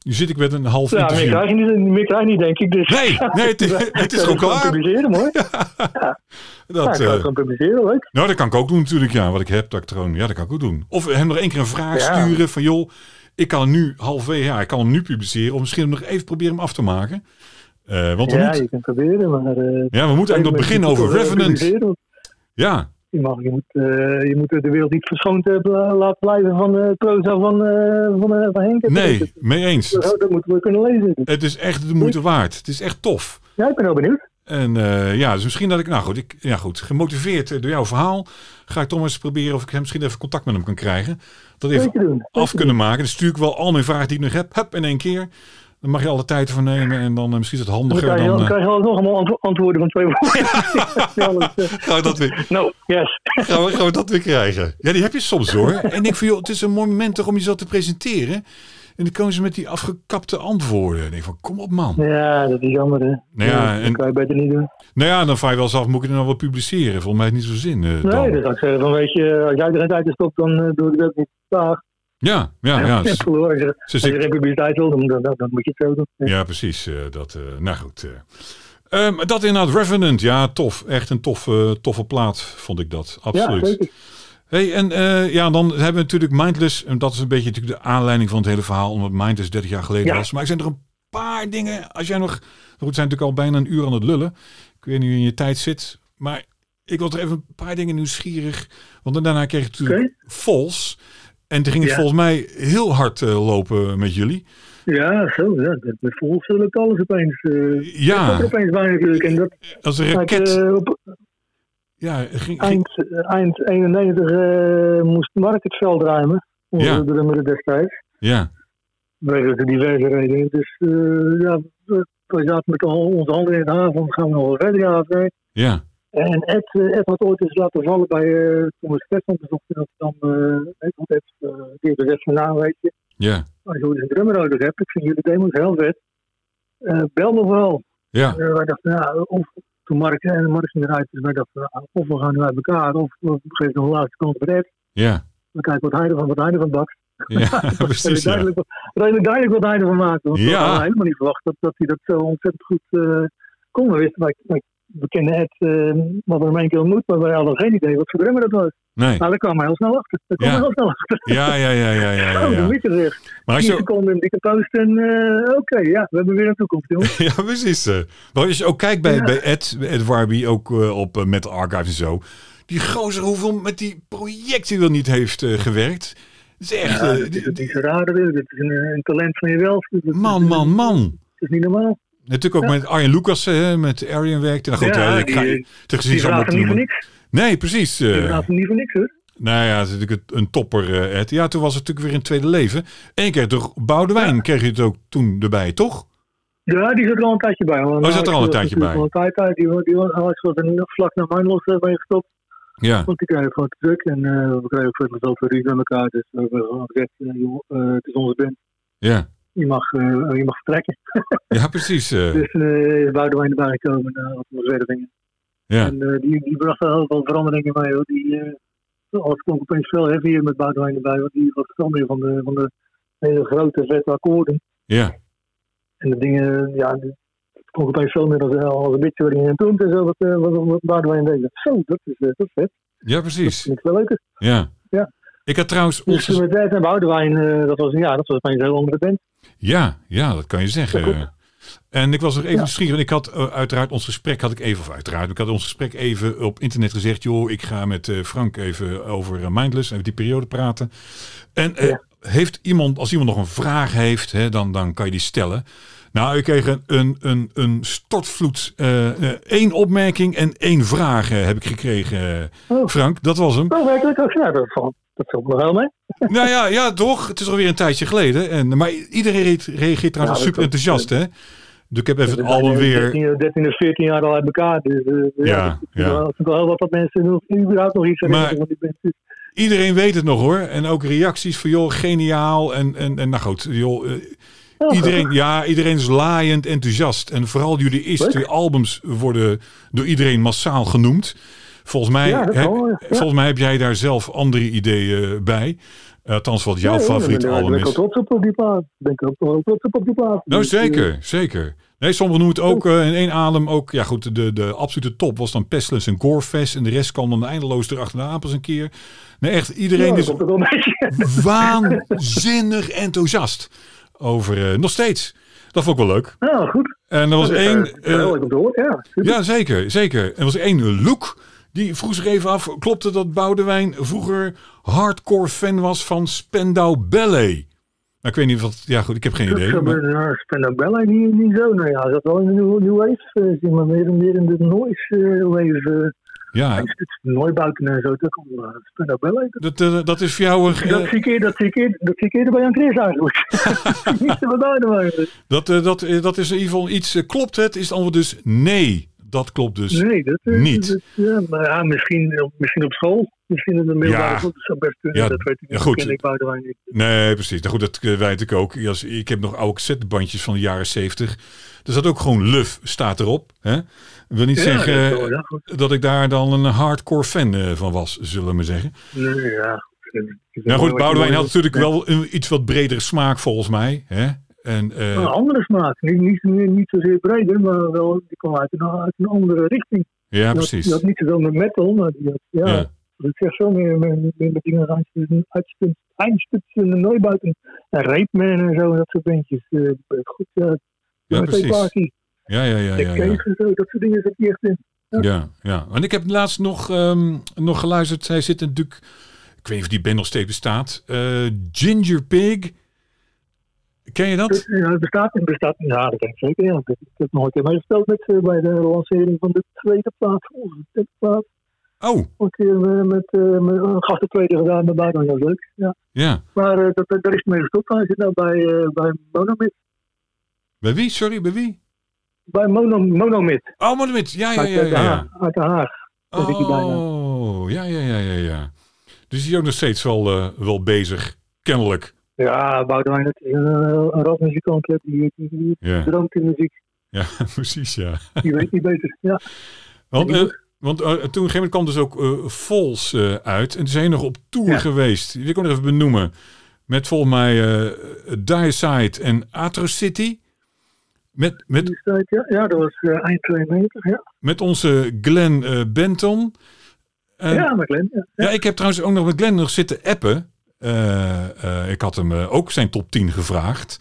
[SPEAKER 1] nu zit ik met een half
[SPEAKER 2] Ja, meer
[SPEAKER 1] interview.
[SPEAKER 2] krijg, je niet, meer krijg je niet, denk ik. Dus
[SPEAKER 1] Nee, nee, het is-
[SPEAKER 2] Ja,
[SPEAKER 1] het is
[SPEAKER 2] ik zou
[SPEAKER 1] gewoon klaar.
[SPEAKER 2] publiceren, hoor. Ja, ik
[SPEAKER 1] Dat,
[SPEAKER 2] zou het
[SPEAKER 1] eh,
[SPEAKER 2] gewoon publiceren, leuk.
[SPEAKER 1] nou, dat kan ik ook doen natuurlijk. Ja, wat ik heb, dat ik er gewoon- ja, dat kan ik ook doen. Of hem nog één keer een vraag
[SPEAKER 2] Ja.
[SPEAKER 1] sturen van joh, ik kan hem nu halfweg, ja, ik kan hem nu publiceren. Of misschien nog even proberen hem af te maken. Eh, want we
[SPEAKER 2] Ja,
[SPEAKER 1] moeten,
[SPEAKER 2] je kunt proberen, maar... eh,
[SPEAKER 1] ja, we moeten eigenlijk nog beginnen
[SPEAKER 2] je
[SPEAKER 1] over
[SPEAKER 2] moet het wel
[SPEAKER 1] Revenant.
[SPEAKER 2] publiceren, want
[SPEAKER 1] Ja,
[SPEAKER 2] Je, mag, je, moet, eh, je moet de wereld niet verschoond hebben, laten blijven van de proza van, eh, van, eh, van Henk.
[SPEAKER 1] nee, mee eens.
[SPEAKER 2] Dat, dat moeten we kunnen lezen.
[SPEAKER 1] Het is echt de moeite waard. Het is echt tof.
[SPEAKER 2] Ja, ik ben wel benieuwd.
[SPEAKER 1] En eh, ja, dus misschien dat ik, nou goed, ik, ja goed, gemotiveerd eh, door jouw verhaal, ga ik toch maar eens proberen of ik hem misschien even contact met hem kan krijgen. Dat even
[SPEAKER 2] Zeker doen.
[SPEAKER 1] af kunnen maken. Dan stuur ik wel al mijn vragen die ik nog heb, heb in één keer. Dan mag je alle tijd voor nemen en dan eh, misschien is het
[SPEAKER 2] Dan
[SPEAKER 1] handiger
[SPEAKER 2] krijg je,
[SPEAKER 1] dan...
[SPEAKER 2] dan
[SPEAKER 1] eh,
[SPEAKER 2] krijg je wel nog allemaal antwo- antwoorden van twee woorden. Ja, dat is, eh,
[SPEAKER 1] Gaan we, dat weer,
[SPEAKER 2] Nou, yes.
[SPEAKER 1] gaan, we, gaan we dat weer krijgen? Ja, die heb je soms hoor. En ik vind, joh, het is een mooi moment toch om jezelf te presenteren. En dan komen ze met die afgekapte antwoorden. En ik denk van, kom op man.
[SPEAKER 2] Ja, dat is jammer, hè.
[SPEAKER 1] Nou ja, en-
[SPEAKER 2] Dat kan je beter niet doen.
[SPEAKER 1] Nou ja, dan vraag je wel eens af, moet ik het nou wel publiceren? Volgens mij heeft het niet zo zin eh, dan.
[SPEAKER 2] Nee, dat zou ik zeggen. Van, weet je, als jij er geen tijd in stopt, dan eh, doe ik dat niet. Dag.
[SPEAKER 1] Ja, ja, ja.
[SPEAKER 2] Simpel,
[SPEAKER 1] Dus-
[SPEAKER 2] hoor. Als je,
[SPEAKER 1] dus
[SPEAKER 2] als je
[SPEAKER 1] ik-
[SPEAKER 2] geen publiciteit wil, dan, dan, dan moet je het zo doen. Ja.
[SPEAKER 1] Ja, precies. eh, dat, eh, nou goed. eh. Ehm, dat inderdaad, Revenant. Ja, tof. Echt een toffe, toffe plaat, vond ik dat. Absoluut.
[SPEAKER 2] Ja, zeker.
[SPEAKER 1] Hey, en eh, ja, dan hebben we natuurlijk Mindless. En dat is een beetje natuurlijk de aanleiding van het hele verhaal. Omdat Mindless 30 jaar geleden
[SPEAKER 2] Ja.
[SPEAKER 1] was. Maar er zijn er een paar dingen. Als jij nog. Nou Goed, we zijn natuurlijk al bijna een uur aan het lullen. Ik weet niet hoe je in je tijd zit. Maar ik was er even een paar dingen nieuwsgierig. Want daarna kreeg ik natuurlijk Vols. En toen ging het
[SPEAKER 2] Ja.
[SPEAKER 1] volgens mij heel hard eh, lopen met jullie.
[SPEAKER 2] Ja, zo. Ja. Met, met volgens lukt alles opeens. eh
[SPEAKER 1] Ja,
[SPEAKER 2] Dat is opeens bijna natuurlijk. En dat
[SPEAKER 1] als een
[SPEAKER 2] had ik,
[SPEAKER 1] Ah. raket.
[SPEAKER 2] eh, op
[SPEAKER 1] Ja, ging, ging-
[SPEAKER 2] eind, eh, eind 91 eh, moest Mark het veld ruimen. Onze
[SPEAKER 1] Ja.
[SPEAKER 2] drummer destijds.
[SPEAKER 1] ja,
[SPEAKER 2] Wegens de diverse redenen. Dus eh, ja, we we zaten met al onze handen in het haar van gaan we nog wel verder ja of nee.
[SPEAKER 1] ja,
[SPEAKER 2] En Ed, eh, Ed had ooit eens laten vallen bij, eh toen we Stefan bezochten in Amsterdam. eh, weet je, want Ed, eh, die heeft de weg van na, weet je.
[SPEAKER 1] Ja,
[SPEAKER 2] Als je ooit een drummer nodig hebt, ik vind jullie demos heel vet. Eh, bel me wel.
[SPEAKER 1] ja,
[SPEAKER 2] Eh, wij dachten, ja, of toen Mark en Mark ging eruit, dus wij dachten, nou, of we gaan nu uit elkaar, of we geven nog een laatste kans bij Ed.
[SPEAKER 1] ja.
[SPEAKER 2] We kijken wat hij ervan, wat hij ervan bakt.
[SPEAKER 1] Ja, precies.
[SPEAKER 2] Redelijk
[SPEAKER 1] Ja.
[SPEAKER 2] duidelijk, redelijk duidelijk wat hij ervan maakte. Want
[SPEAKER 1] Ja.
[SPEAKER 2] we hadden helemaal niet verwacht dat, dat hij dat zo ontzettend goed eh, kon. We wisten, wij, wij- we kennen het, eh, wat er in één keer ontmoet, maar wij hadden geen idee wat voor drummer dat was.
[SPEAKER 1] Nee.
[SPEAKER 2] Nou, daar kwam hij heel snel achter. Daar kwam
[SPEAKER 1] Ja.
[SPEAKER 2] hij heel snel achter.
[SPEAKER 1] Ja, ja, ja, ja, ja, ja,
[SPEAKER 2] Oh, de
[SPEAKER 1] ja.
[SPEAKER 2] mieter zeg.
[SPEAKER 1] Maar als
[SPEAKER 2] Tien
[SPEAKER 1] je,
[SPEAKER 2] seconden in dikke post en eh, oké, ja, we hebben weer een toekomst, jongens.
[SPEAKER 1] Ja, precies. eh. Maar als je ook kijkt bij,
[SPEAKER 2] Ja.
[SPEAKER 1] bij Ed, Ed Warby, ook eh, op eh, Metal Archives en zo. Die gozer hoeveel met die projecten wel niet heeft eh, gewerkt. Dat is echt...
[SPEAKER 2] Ja,
[SPEAKER 1] eh,
[SPEAKER 2] dat is,
[SPEAKER 1] die-
[SPEAKER 2] dat is raar, dat is, dat is een, eh, een talent van jezelf. Dat is-
[SPEAKER 1] man, man, man.
[SPEAKER 2] Dat is niet normaal.
[SPEAKER 1] Natuurlijk ook met Arjen Lucas, eh, met Arjen werkte. Nou goed,
[SPEAKER 2] Ja,
[SPEAKER 1] ja, ik ga
[SPEAKER 2] die-
[SPEAKER 1] je
[SPEAKER 2] Die
[SPEAKER 1] tegenzien zo
[SPEAKER 2] vragen
[SPEAKER 1] moeten
[SPEAKER 2] niet voor
[SPEAKER 1] noemen.
[SPEAKER 2] niks.
[SPEAKER 1] Nee, precies. eh.
[SPEAKER 2] Die vragen niet voor niks, hoor.
[SPEAKER 1] nou ja, het is natuurlijk een topper, eh, Ed. Ja, toen was het natuurlijk weer een tweede leven. En je kreeg toch Boudewijn, kreeg je het ook toen erbij, toch?
[SPEAKER 2] Ja, die zat er al een tijdje bij. Nou, Want
[SPEAKER 1] Oh, zat er al een
[SPEAKER 2] Alex was
[SPEAKER 1] tijdje
[SPEAKER 2] natuurlijk
[SPEAKER 1] bij.
[SPEAKER 2] al een tijd uit. Die, die, Alex was er vlak na mijn los eh, mee gestopt.
[SPEAKER 1] Ja,
[SPEAKER 2] Want die kreeg gewoon te druk. En eh, we kregen voor mezelf een ruzie met elkaar. Dus we hebben gewoon gezegd, eh, joh, eh, het is onze band.
[SPEAKER 1] ja.
[SPEAKER 2] Je mag, eh, je mag vertrekken.
[SPEAKER 1] Ja, precies. eh,
[SPEAKER 2] Dus eh is Boudewijn erbij gekomen na wat zwervingen.
[SPEAKER 1] ja.
[SPEAKER 2] En eh, die, die bracht wel heel veel veranderingen mee. Hoor. Die, eh, alles klonk opeens veel heavier met Boudewijn erbij. Want die was veel meer van de, van de hele grote vette akkoorden.
[SPEAKER 1] Ja,
[SPEAKER 2] En de dingen, ja, het klonk opeens veel meer als, als een beetje waarin je een toont en zo, wat, eh, wat, wat Boudewijn deed. Zo, dat is, eh, dat is vet.
[SPEAKER 1] ja,
[SPEAKER 2] Dat
[SPEAKER 1] precies.
[SPEAKER 2] vind ik wel leuker.
[SPEAKER 1] Ja.
[SPEAKER 2] Ja.
[SPEAKER 1] Ik had trouwens
[SPEAKER 2] Dus
[SPEAKER 1] onze...
[SPEAKER 2] met Ed en Boudewijn, eh, dat was, ja, dat was opeens een heel andere band.
[SPEAKER 1] Ja, ja, dat kan je zeggen.
[SPEAKER 2] Ja,
[SPEAKER 1] en ik was nog even
[SPEAKER 2] Ja.
[SPEAKER 1] nieuwsgierig, want ik had eh, uiteraard ons gesprek, had ik even, of uiteraard, ik had ons gesprek even op internet gezegd, joh, ik ga met eh, Frank even over eh, Mindless, even die periode praten. En eh,
[SPEAKER 2] Ja.
[SPEAKER 1] heeft iemand, als iemand nog een vraag heeft, hè, dan, dan kan je die stellen. Nou, ik kreeg een, een, een, een stortvloed, eh, eh, één opmerking en één vraag eh, heb ik gekregen, eh,
[SPEAKER 2] Oh.
[SPEAKER 1] Frank. Dat was hem.
[SPEAKER 2] Oh, werkelijk ook. Ja, dat valt dat valt me nog wel mee.
[SPEAKER 1] Nou ja, ja, toch? Het is alweer een tijdje geleden. En, maar iedereen re- reageert
[SPEAKER 2] Ja, dat
[SPEAKER 1] trouwens super
[SPEAKER 2] klopt.
[SPEAKER 1] enthousiast, hè? Dus ik heb even
[SPEAKER 2] We
[SPEAKER 1] het
[SPEAKER 2] zijn,
[SPEAKER 1] album
[SPEAKER 2] eh,
[SPEAKER 1] weer...
[SPEAKER 2] 13, 13 of 14 jaar al uit elkaar. Dus eh,
[SPEAKER 1] Ja,
[SPEAKER 2] dat is
[SPEAKER 1] ja.
[SPEAKER 2] wel- dat is wel heel wat dat mensen nog, überhaupt nog iets
[SPEAKER 1] Maar-
[SPEAKER 2] herinneren van die band. Dus,
[SPEAKER 1] Iedereen weet het nog, hoor. En ook reacties van, joh, geniaal. En, en, en nou goed, joh... eh,
[SPEAKER 2] ja,
[SPEAKER 1] iedereen, ja, iedereen is laaiend enthousiast. En vooral jullie eerste
[SPEAKER 2] Leuk.
[SPEAKER 1] albums worden door iedereen massaal genoemd. Volgens mij,
[SPEAKER 2] Ja, dat
[SPEAKER 1] heb,
[SPEAKER 2] wel, ja.
[SPEAKER 1] volgens mij heb jij daar zelf andere ideeën bij. Althans, wat jouw favoriet
[SPEAKER 2] ja,
[SPEAKER 1] album
[SPEAKER 2] Ik ben
[SPEAKER 1] is.
[SPEAKER 2] ook trots op, op die plaat. Ik ben ook wel trots op, op die plaat.
[SPEAKER 1] Nou,
[SPEAKER 2] Dus, eh, Oh.
[SPEAKER 1] zeker, zeker. Nee, sommigen noemen het ook eh, in één adem ook. Ja, goed, de, de absolute top was dan Pestlens en Gorefest. En de rest kwam dan eindeloos erachter de apels een keer. Nee, echt, iedereen
[SPEAKER 2] ja,
[SPEAKER 1] is
[SPEAKER 2] dat is wel een beetje.
[SPEAKER 1] waanzinnig enthousiast over. eh, nog steeds. Dat vond ik wel leuk.
[SPEAKER 2] Nou, goed.
[SPEAKER 1] En er was
[SPEAKER 2] Dat is,
[SPEAKER 1] één.
[SPEAKER 2] eh, heel
[SPEAKER 1] eh,
[SPEAKER 2] leuk om te horen, ja. super.
[SPEAKER 1] ja, zeker, zeker. Er was één Loek. Die vroeg zich even af, klopte dat Boudewijn vroeger hardcore fan was van Spendau Ballet? Nou, ik weet niet wat... Ja, goed, ik heb geen
[SPEAKER 2] Dat
[SPEAKER 1] idee.
[SPEAKER 2] zou
[SPEAKER 1] maar-
[SPEAKER 2] maar... nou, Spandau Ballet niet, niet zo. Nou ja, dat wel in de New, new Wave. eh, zie maar meer, meer in de Noise eh, Wave. eh,
[SPEAKER 1] ja,
[SPEAKER 2] het is Neubauten en zo. Dat komt uh, Spandau Ballet. Dat,
[SPEAKER 1] Dat, eh, dat is voor jou een.
[SPEAKER 2] dat,
[SPEAKER 1] eh,
[SPEAKER 2] zie ik eerder, dat, zie ik eerder, dat zie ik eerder bij Jan Chris eigenlijk. niet zo wat ouder waren.
[SPEAKER 1] dat, eh, dat, eh, dat is in ieder geval iets. eh, klopt het? Is het antwoord dus nee? Dat klopt dus.
[SPEAKER 2] Nee, dat eh,
[SPEAKER 1] Niet.
[SPEAKER 2] dat- ja, maar ja, misschien, eh, misschien op school. Misschien in de middelbare
[SPEAKER 1] Ja.
[SPEAKER 2] school. Dat zou best kunnen.
[SPEAKER 1] Ja,
[SPEAKER 2] dat weet ik niet.
[SPEAKER 1] ja, goed.
[SPEAKER 2] Dat ken ik Boudewijn niet.
[SPEAKER 1] Nee, precies. Nou goed, dat eh, weet ik ook. Als- Ik heb nog oude cassettebandjes van de jaren zeventig. Er staat ook gewoon luf, staat erop. Hè? Ik wil niet
[SPEAKER 2] Ja,
[SPEAKER 1] zeggen
[SPEAKER 2] dat is
[SPEAKER 1] eh,
[SPEAKER 2] wel, ja, goed.
[SPEAKER 1] dat ik daar dan een hardcore fan eh, van was, zullen we maar zeggen.
[SPEAKER 2] Nee, ja. goed.
[SPEAKER 1] Nou goed, Boudewijn had natuurlijk
[SPEAKER 2] Ja.
[SPEAKER 1] wel een iets wat bredere smaak volgens mij. Hè? En, eh,
[SPEAKER 2] Een andere smaak. Niet, niet, niet, niet zozeer breder, maar wel, die kwam uit een, uit een andere richting.
[SPEAKER 1] ja,
[SPEAKER 2] Die had-
[SPEAKER 1] precies.
[SPEAKER 2] Die had niet zoveel met metal, maar die had, ja,
[SPEAKER 1] Ja.
[SPEAKER 2] dat zegt veel meer met, met, met dingen uitstutsen, uitstutsen, uitstutsen en Neubauten. En Rapeman en zo, en dat soort dingetjes. Eh, goed, ja.
[SPEAKER 1] Ja, precies.
[SPEAKER 2] Party,
[SPEAKER 1] Ja, ja, ja. ja,
[SPEAKER 2] Dick
[SPEAKER 1] ja.
[SPEAKER 2] Cave en zo, dat soort dingen zat hij echt in.
[SPEAKER 1] Ja, ja. En ik heb laatst nog, ehm, nog geluisterd. Hij zit natuurlijk, ik weet niet of die band nog steeds bestaat. eh, Ginger Pig. Ken je
[SPEAKER 2] Dus,
[SPEAKER 1] dat?
[SPEAKER 2] ja, het bestaat, het bestaat, ja, dat denk ik zeker. Ja. Ik heb- ik heb nog een keer meegespeeld met, eh, bij de lancering van de tweede plaat, onze tweede plaat.
[SPEAKER 1] Oh,
[SPEAKER 2] Een keer eh, met, eh, met een gast de tweede gedaan, met Boudewijn, dat was leuk. Ja.
[SPEAKER 1] ja.
[SPEAKER 2] Maar eh, dat, daar is het mee gestopt. Hij zit nou bij, eh bij Monomit.
[SPEAKER 1] Bij wie? Sorry, bij wie?
[SPEAKER 2] Bij Mono, Monomit.
[SPEAKER 1] Oh, maar met. Ja, ja,
[SPEAKER 2] uit,
[SPEAKER 1] ja,
[SPEAKER 2] uit,
[SPEAKER 1] ja.
[SPEAKER 2] Den
[SPEAKER 1] ja.
[SPEAKER 2] Haag- uit Den Haag. Daar zit hij bijna.
[SPEAKER 1] Oh, ja, ja, ja, ja, ja. Dus die is ook nog steeds wel, eh, wel bezig, kennelijk.
[SPEAKER 2] Ja, Boudewijn, dat is een, eh, een rockmuzikant. hè. Die, eh, die, die
[SPEAKER 1] Ja,
[SPEAKER 2] droomt in muziek.
[SPEAKER 1] ja precies, ja.
[SPEAKER 2] Die weet niet beter. Ja,
[SPEAKER 1] Want,
[SPEAKER 2] Ja, die-
[SPEAKER 1] eh, want eh, toen op een gegeven moment kwam dus ook eh Vols eh, uit. En toen zijn je nog op tour
[SPEAKER 2] Ja.
[SPEAKER 1] geweest. Die wil ik ook nog even benoemen. Met volgens mij eh Dire Side en Atrocity. Met, met,
[SPEAKER 2] die tijd, ja. ja, dat was eh, eind 92. Ja,
[SPEAKER 1] met onze Glenn eh, Benton. En-
[SPEAKER 2] ja maar Glenn. Ja.
[SPEAKER 1] Ja, ik heb trouwens ook nog met Glenn nog zitten appen. Eh, eh, ik had hem eh, ook zijn top 10 gevraagd.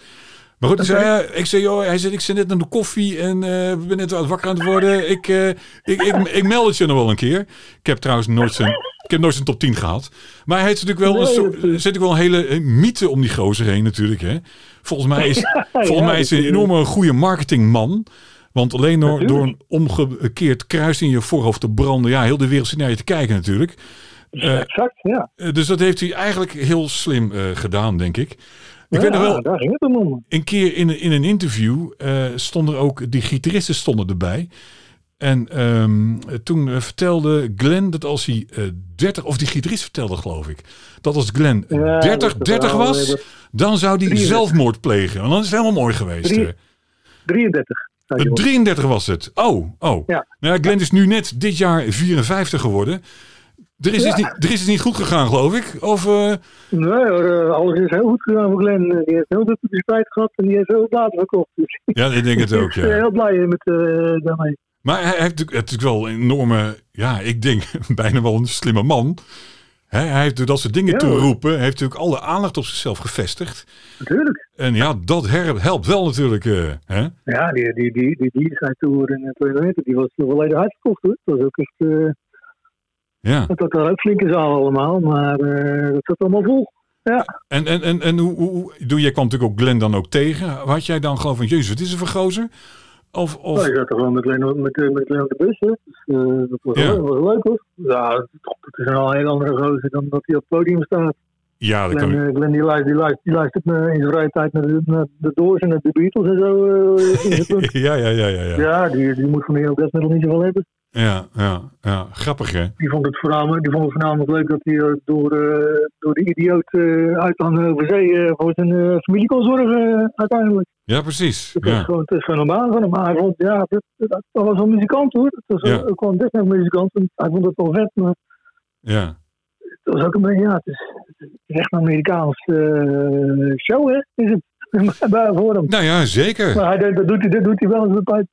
[SPEAKER 1] Maar goed, hij zei, ja, ik zei, joh, hij zei, ik zit net aan de koffie en eh, ik ben net wat wakker aan het worden. Ik, eh, ik, ik, ik meld het je nog wel een keer. Ik heb trouwens nooit zijn, ik heb nooit zijn top 10 gehad. Maar hij heeft natuurlijk wel, een,
[SPEAKER 2] Nee,
[SPEAKER 1] soort-
[SPEAKER 2] dat
[SPEAKER 1] er zit natuurlijk wel een hele eh, mythe om die gozer heen natuurlijk. Hè? Volgens mij is, volgens
[SPEAKER 2] ja,
[SPEAKER 1] mij is
[SPEAKER 2] dat
[SPEAKER 1] hij een
[SPEAKER 2] is-
[SPEAKER 1] enorme goede marketingman. Want alleen door, door een
[SPEAKER 2] Natuurlijk.
[SPEAKER 1] omgekeerd kruis in je voorhoofd te branden. Ja, heel de wereld zit naar je te kijken natuurlijk. Eh,
[SPEAKER 2] exact, ja.
[SPEAKER 1] eh, dus dat heeft hij eigenlijk heel slim eh, gedaan, denk ik. Ik
[SPEAKER 2] ja,
[SPEAKER 1] weet nog wel,
[SPEAKER 2] Daar ging het dan om.
[SPEAKER 1] een keer in, in een interview eh, stonden ook, die gitaristen stonden erbij. En ehm, toen eh, vertelde Glenn dat als hij eh 30, of die gitarist vertelde geloof ik, dat als Glenn
[SPEAKER 2] Ja, dat
[SPEAKER 1] 30,
[SPEAKER 2] is
[SPEAKER 1] 30
[SPEAKER 2] wel, eh,
[SPEAKER 1] was,
[SPEAKER 2] dat-
[SPEAKER 1] dan zou hij
[SPEAKER 2] 33.
[SPEAKER 1] zelfmoord plegen. Want dan is het helemaal mooi geweest.
[SPEAKER 2] Drie-
[SPEAKER 1] eh.
[SPEAKER 2] 33. zei
[SPEAKER 1] Eh,
[SPEAKER 2] Johan.
[SPEAKER 1] 33 was het. Oh, oh.
[SPEAKER 2] Ja.
[SPEAKER 1] Nou, ja, Glenn is nu net dit jaar 54 geworden. Er is,
[SPEAKER 2] Ja.
[SPEAKER 1] het, niet, er is het niet goed gegaan, geloof ik. Of, eh,
[SPEAKER 2] Nee hoor, eh, alles is heel goed gedaan voor Glenn. Eh, Die heeft heel veel spijt gehad en die heeft heel platen verkocht. Dus
[SPEAKER 1] ja, ik denk het ook.
[SPEAKER 2] Ik
[SPEAKER 1] Ja.
[SPEAKER 2] ben heel blij eh, met, eh, daarmee.
[SPEAKER 1] Maar hij heeft natuurlijk- het is natuurlijk wel een enorme, ja, ik denk bijna wel een slimme man. Hè, hij heeft door dat soort dingen
[SPEAKER 2] Ja,
[SPEAKER 1] te
[SPEAKER 2] hoor.
[SPEAKER 1] roepen, heeft natuurlijk alle aandacht op zichzelf gevestigd.
[SPEAKER 2] Natuurlijk.
[SPEAKER 1] En ja, dat her- helpt wel natuurlijk. eh, hè?
[SPEAKER 2] Ja, die, die, die, die, die zijn tour in 92, die was volledig uitverkocht hoor. Dat was ook echt, eh,
[SPEAKER 1] Ja.
[SPEAKER 2] dat had daar ook flinke zaal allemaal, maar eh, dat zat allemaal vol.
[SPEAKER 1] En, en, en, en hoe, hoe, hoe- doe, jij kwam natuurlijk ook Glenn dan ook tegen. Had jij dan gewoon van, jezus, wat is er voor gozer? Of, of
[SPEAKER 2] Ja, je zat er gewoon met Glenn, met, eh, met Glenn op de bus hè. Dus, eh, dat, was,
[SPEAKER 1] Ja.
[SPEAKER 2] dat was leuk hoor. Ja, het is al een heel andere gozer dan dat hij op het podium staat.
[SPEAKER 1] ja, dat
[SPEAKER 2] Glenn,
[SPEAKER 1] kan ik.
[SPEAKER 2] eh, Glenn die, luistert, die, luistert, die luistert eh, in zijn vrije tijd naar de, naar de Doors en naar de Beatles en zo. eh, in zijn punt.
[SPEAKER 1] Ja, ja, ja, ja, ja.
[SPEAKER 2] ja, die, die moet van mij ook best wel niet zoveel hebben.
[SPEAKER 1] Ja, ja, ja. Grappig, hè?
[SPEAKER 2] Die vond het voornamelijk, die vond het voornamelijk leuk dat hij eh, door, eh, door de idioot eh uit aan over zee eh, voor zijn eh, familie kon zorgen eh, uiteindelijk.
[SPEAKER 1] Ja, precies.
[SPEAKER 2] Dat is
[SPEAKER 1] Ja,
[SPEAKER 2] gewoon, het is gewoon een baan van hem. Maar hij vond, ja, dat, dat, dat was een muzikant hoor. Dat was
[SPEAKER 1] Ja.
[SPEAKER 2] ook ook wel een desnoods muzikant. En Hij vond het wel vet, maar
[SPEAKER 1] ja.
[SPEAKER 2] het was ook een beetje, ja, het is, het is echt een Amerikaans eh, show hè, is het. Bij- voor hem.
[SPEAKER 1] Nou ja, zeker.
[SPEAKER 2] Maar hij, deed- dat, doet hij, dat doet hij wel eens bij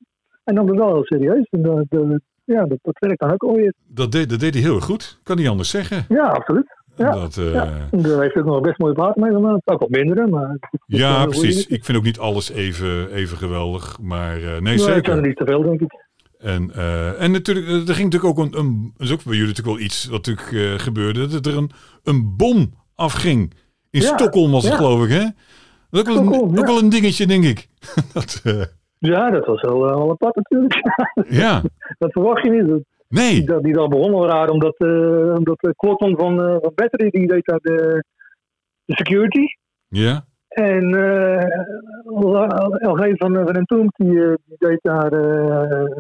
[SPEAKER 2] Hij nam het wel heel serieus. En dat, dat- ja, dat, dat werkt dan ook alweer.
[SPEAKER 1] Dat deed, dat deed hij heel erg goed. Kan niet anders zeggen.
[SPEAKER 2] Ja, absoluut. Ja.
[SPEAKER 1] Dat, eh, ja.
[SPEAKER 2] Ja. En Daar heeft hij ook nog best mooie platen mee gemaakt. Ook wat mindere, maar... het is wel een goede
[SPEAKER 1] precies.
[SPEAKER 2] muziek.
[SPEAKER 1] Ik vind ook niet alles even, even geweldig. Maar eh, nee,
[SPEAKER 2] Nee, het zijn er
[SPEAKER 1] zeker.
[SPEAKER 2] niet te veel, denk ik.
[SPEAKER 1] En, eh, en natuurlijk, eh, er ging natuurlijk ook een, een... Dat is ook bij jullie natuurlijk wel iets wat natuurlijk eh, gebeurde. Dat er een, een bom afging. In
[SPEAKER 2] Ja,
[SPEAKER 1] Stockholm was het,
[SPEAKER 2] ja.
[SPEAKER 1] geloof ik, hè? Dat is ook wel, een,
[SPEAKER 2] Stockholm, ja.
[SPEAKER 1] ook wel een dingetje, denk ik. dat, eh,
[SPEAKER 2] Ja, dat was wel, eh, wel apart natuurlijk.
[SPEAKER 1] ja,
[SPEAKER 2] dat verwacht je niet. Dat,
[SPEAKER 1] nee.
[SPEAKER 2] dat die dan begonnen waren, omdat, eh omdat eh, Cotton van, eh, van Battery, die deed daar de, de security.
[SPEAKER 1] Ja,
[SPEAKER 2] En eh, LG van, van Entombed, die, eh, die deed daar eh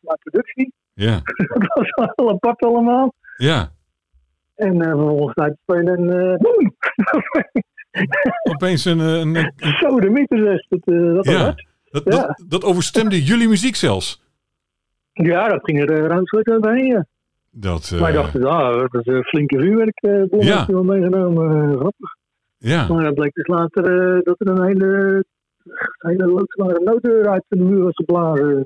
[SPEAKER 2] maar productie.
[SPEAKER 1] ja,
[SPEAKER 2] dat was wel apart allemaal.
[SPEAKER 1] ja.
[SPEAKER 2] En eh, vervolgens uit te spelen en eh boem!
[SPEAKER 1] Opeens een, eh, een, een
[SPEAKER 2] Zo de mythe zegt. Dat, eh, dat was
[SPEAKER 1] Ja.
[SPEAKER 2] hard.
[SPEAKER 1] Dat,
[SPEAKER 2] Ja.
[SPEAKER 1] dat, dat overstemde jullie muziek zelfs.
[SPEAKER 2] ja, dat ging er eh, ruim zo overheen. Ja.
[SPEAKER 1] Dat, eh,
[SPEAKER 2] Wij dachten, ah, dat is een flinke vuurwerk. eh bom
[SPEAKER 1] Ja.
[SPEAKER 2] heeft hij wel meegenomen. eh, grappig.
[SPEAKER 1] ja,
[SPEAKER 2] Maar het bleek dus later eh, dat er een hele, hele loodzware nooddeur uit de muur was geblazen.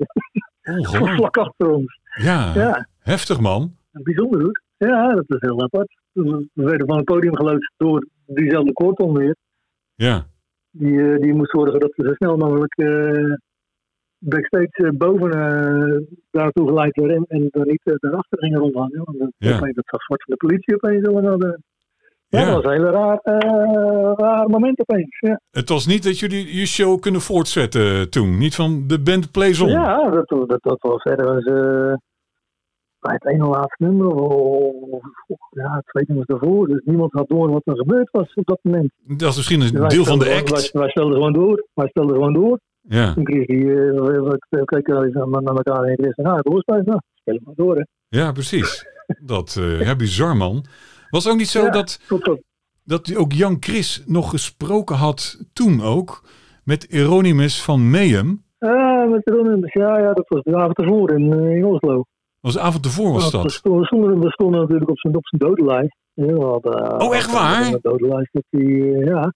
[SPEAKER 1] ongelooflijk.
[SPEAKER 2] Vlak achter ons.
[SPEAKER 1] Ja,
[SPEAKER 2] Ja.
[SPEAKER 1] heftig man.
[SPEAKER 2] Bijzonder hoor. Ja, dat is heel apart. We werden van het podium geloodst door diezelfde kortom weer.
[SPEAKER 1] Ja,
[SPEAKER 2] Die, eh, die moest zorgen dat we zo snel mogelijk eh, backstage eh, boven eh, daartoe geleid werden. En, en dan niet eh, daarachter gingen rondhangen. Want dat,
[SPEAKER 1] Ja.
[SPEAKER 2] opeens, dat zag zwart van de politie opeens. En dat, eh, ja,
[SPEAKER 1] Ja.
[SPEAKER 2] dat was een heel raar, eh, raar moment opeens. Ja,
[SPEAKER 1] het was niet dat jullie je show kunnen voortzetten eh, toen. Niet van de band Plays On.
[SPEAKER 2] ja dat, dat, dat was ergens eh, bij het ene laatste nummer. Of, of- of- ja, twee nummers daarvoor. Dus niemand had door wat er gebeurd was op dat moment. Dus
[SPEAKER 1] Dat is misschien een
[SPEAKER 2] Wij
[SPEAKER 1] deel van
[SPEAKER 2] stelden
[SPEAKER 1] de
[SPEAKER 2] gewoon-
[SPEAKER 1] act.
[SPEAKER 2] Wij, wij stelden gewoon door. Wij stelden gewoon door.
[SPEAKER 1] Ja,
[SPEAKER 2] En Chris, die, eh, we we keken wel eens aan- naar elkaar en Chris zei, nou, de hoorspijs, nou, spelen maar door, hè.
[SPEAKER 1] ja precies. Dat, eh ja, bizar man. Was ook niet zo
[SPEAKER 2] Ja.
[SPEAKER 1] dat,
[SPEAKER 2] Tot, tot.
[SPEAKER 1] dat ook Jan Chris nog gesproken had toen ook met Eronimus van Meum.
[SPEAKER 2] Ah, met de Ronnimbus, ja, ja, dat was de avond ervoor in, eh, in Oslo. Nou,
[SPEAKER 1] Was de avond ervoor was
[SPEAKER 2] We
[SPEAKER 1] dat.
[SPEAKER 2] stonden, we stonden- we stonden natuurlijk op zijn, op zijn dodenlijst. Ja, we hadden, eh,
[SPEAKER 1] Oh, echt waar?
[SPEAKER 2] Op zijn dodenlijst dat hij, eh, ja.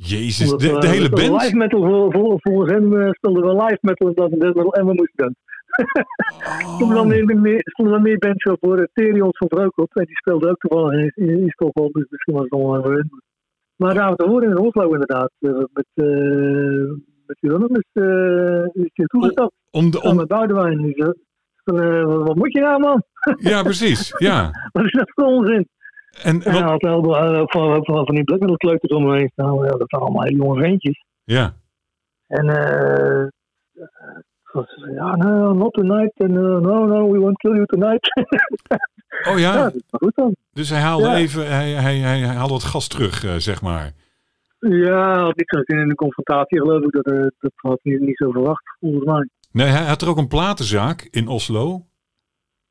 [SPEAKER 1] Jezus, de,
[SPEAKER 2] Omdat we-
[SPEAKER 1] de hele
[SPEAKER 2] eh, we speelden
[SPEAKER 1] band.
[SPEAKER 2] Live metal, vol- vol- volgens hem eh, speelden we live metal en dat en dat en we moesten dan. Stonden dan
[SPEAKER 1] Oh.
[SPEAKER 2] meer, meer, stonden dan meer bands op hoor. Therion stond er ook op en die speelde ook toevallig in, in, in Stockholm, dus misschien was het nog wel een Maar daar hadden we horen in Oslo inderdaad, eh, met, eh met Hieronymus eh is hier toegestapt.
[SPEAKER 1] Om de,
[SPEAKER 2] Om
[SPEAKER 1] om,
[SPEAKER 2] met Boudewijn. Dus, eh, van, eh, wat, wat moet je nou man?
[SPEAKER 1] ja, precies. Ja.
[SPEAKER 2] Wat is dat voor onzin?
[SPEAKER 1] En,
[SPEAKER 2] En
[SPEAKER 1] wat-
[SPEAKER 2] hij had wel eh, ook van, van, van die black metal kleuters om me heen staan. Ja, dat waren allemaal hele jonge ventjes.
[SPEAKER 1] ja.
[SPEAKER 2] En eh het was, Ah, nou, ja, no, not tonight. En eh, no, no, we won't kill you tonight.
[SPEAKER 1] Oh
[SPEAKER 2] ja,
[SPEAKER 1] ja,
[SPEAKER 2] dat is maar goed dan.
[SPEAKER 1] dus hij haalde
[SPEAKER 2] Ja.
[SPEAKER 1] even, hij, hij, hij, hij haalde wat gas terug, eh, zeg maar.
[SPEAKER 2] Ja, hij had niet zo'n zin in de confrontatie geloof ik. Dat, eh, dat had hij niet zo verwacht, volgens mij.
[SPEAKER 1] Nee, hij had er ook een platenzaak in Oslo.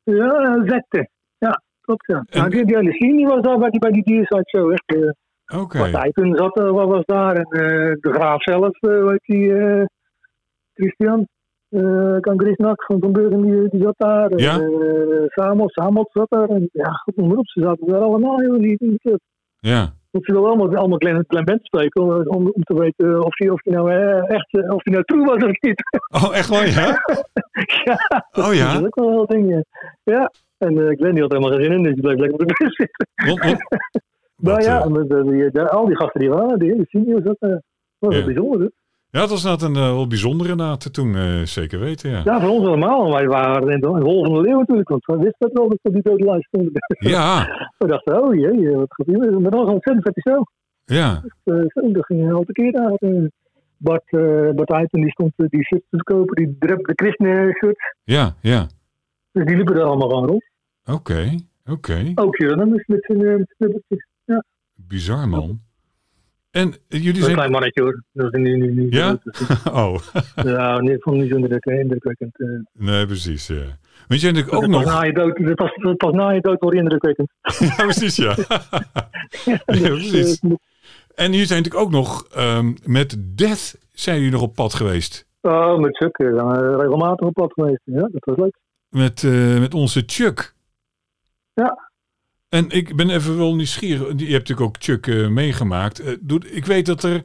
[SPEAKER 2] Ja, eh, zette. Ja, klopt ja.
[SPEAKER 1] En-
[SPEAKER 2] Nou, die, die hele scene die was daar bij die, bij die Deicide Show echt... eh,
[SPEAKER 1] Oké.
[SPEAKER 2] Partijpunt zat er, wat was daar. En eh, de graaf zelf, eh weet die, eh, Christian. eh kan Chris Nak van Van Beuren, die, die zat daar. En,
[SPEAKER 1] Ja.
[SPEAKER 2] eh, Samuel, Samuel zat daar. En, ja, goed, noem maar op. Ze zaten daar allemaal. Joh, die, die, die-
[SPEAKER 1] Ja.
[SPEAKER 2] want ze wilden allemaal, allemaal klein, klein band spreken. Om, om, om te weten of die, of die nou eh, echt eh, of die nou true was of niet.
[SPEAKER 1] Oh, echt wel, ja?
[SPEAKER 2] ja,
[SPEAKER 1] Oh
[SPEAKER 2] dat is
[SPEAKER 1] ja.
[SPEAKER 2] ook wel een ding. Ja. ja. En eh, Glenn die had helemaal geen zin in, dus die bleef lekker op de bus zitten.
[SPEAKER 1] Want- want-
[SPEAKER 2] Maar
[SPEAKER 1] dat,
[SPEAKER 2] Nou ja,
[SPEAKER 1] eh,
[SPEAKER 2] met, eh, die, daar- al die gasten die waren, die hele seniors, dat eh, was
[SPEAKER 1] Ja.
[SPEAKER 2] wel bijzonder. hè.
[SPEAKER 1] ja, het was inderdaad een eh, wel bijzondere naad toen, eh, zeker weten, ja.
[SPEAKER 2] Ja, voor ons allemaal. Wij waren in de in de hol van de leeuw natuurlijk, want we wisten dat wel dat we die dode lijst stonden.
[SPEAKER 1] Ja,
[SPEAKER 2] We dachten, oh jee, wat gaat hier? Maar dat was een ontzettend vette show.
[SPEAKER 1] ja.
[SPEAKER 2] Eh, zo, dat ging al te keer daar. Eh, Bart, eh Bart Huyten, die stond eh, die shirts te kopen, die drep, de Christen shirt.
[SPEAKER 1] Ja, ja.
[SPEAKER 2] Dus die liepen er allemaal aan rond.
[SPEAKER 1] Oké, oké.
[SPEAKER 2] Ook Jurgen met zijn eh, met zijn slippertjes.
[SPEAKER 1] Bizar, man. En eh, jullie
[SPEAKER 2] Een
[SPEAKER 1] zijn...
[SPEAKER 2] klein mannetje hoor. Dat is nu, nu, nu,
[SPEAKER 1] Ja? Oh,
[SPEAKER 2] Ja, nee, ik vond het niet zo indruk, eh, indrukwekkend. eh.
[SPEAKER 1] nee, precies, ja. Want jij natuurlijk ook
[SPEAKER 2] Dat is pas
[SPEAKER 1] nog...
[SPEAKER 2] na je dood, dat pas, dat pas na je dood wordt indrukwekkend.
[SPEAKER 1] Ja, precies, ja. Ja,
[SPEAKER 2] Dus,
[SPEAKER 1] precies.
[SPEAKER 2] eh,
[SPEAKER 1] En jullie zijn natuurlijk ook nog ehm, met Death zijn jullie nog op pad geweest.
[SPEAKER 2] Oh, met Chuck. eh, zijn we regelmatig op pad geweest. Ja, dat was leuk.
[SPEAKER 1] Met, eh, met onze Chuck.
[SPEAKER 2] Ja.
[SPEAKER 1] En ik ben even wel nieuwsgierig. Je hebt natuurlijk ook Chuck eh, meegemaakt. Eh, doet- ik weet dat er...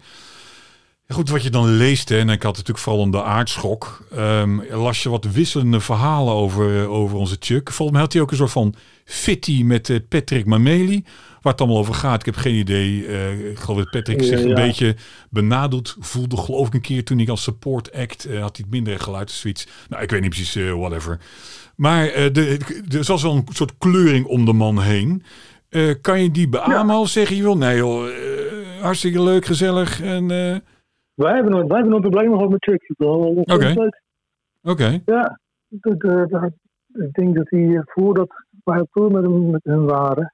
[SPEAKER 1] Goed, wat je dan leest, hè, en ik had het natuurlijk vooral om de aardschok. ehm, las je wat wisselende verhalen over, eh, over onze Chuck. Volgens mij had hij ook een soort van fitty met eh, Patrick Mameli. Waar het allemaal over gaat, ik heb geen idee. Eh, ik geloof dat Patrick
[SPEAKER 2] Ja,
[SPEAKER 1] zich een
[SPEAKER 2] ja.
[SPEAKER 1] beetje benadeeld voelde. Geloof ik een keer toen hij als support act eh, had hij het minder geluid of zoiets. Nou, ik weet niet precies, eh, whatever. Maar eh, de, de- er was wel een soort kleuring om de man heen. Eh, kan je die beamen of zeggen je wil? Nee joh, eh, hartstikke leuk, gezellig en... eh,
[SPEAKER 2] Wij hebben, nooit- wij hebben nooit problemen gehad met Chuck. Dat was wel ontzettend leuk.
[SPEAKER 1] Oké,
[SPEAKER 2] Ja, dat, eh, dat- ik denk dat hij eh, voordat wij op tour met hem, met hem waren,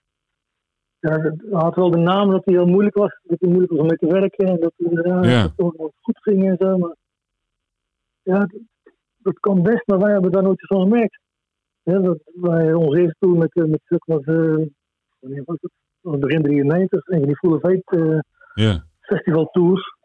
[SPEAKER 2] ja, dat- hij had wel de naam dat hij heel moeilijk was. Dat hij moeilijk was om mee te werken en dat hij ja,
[SPEAKER 1] Ja.
[SPEAKER 2] dat het ook wel goed ging en zo. Maar, ja, dat, dat kan best, maar wij hebben daar nooit iets van gemerkt. Ja, dat wij ons eerste tour met, eh, met Chuck was, eh, wanneer was het? Dat was begin 93, en die Full of Hate, eh,
[SPEAKER 1] ja.
[SPEAKER 2] festivaltours.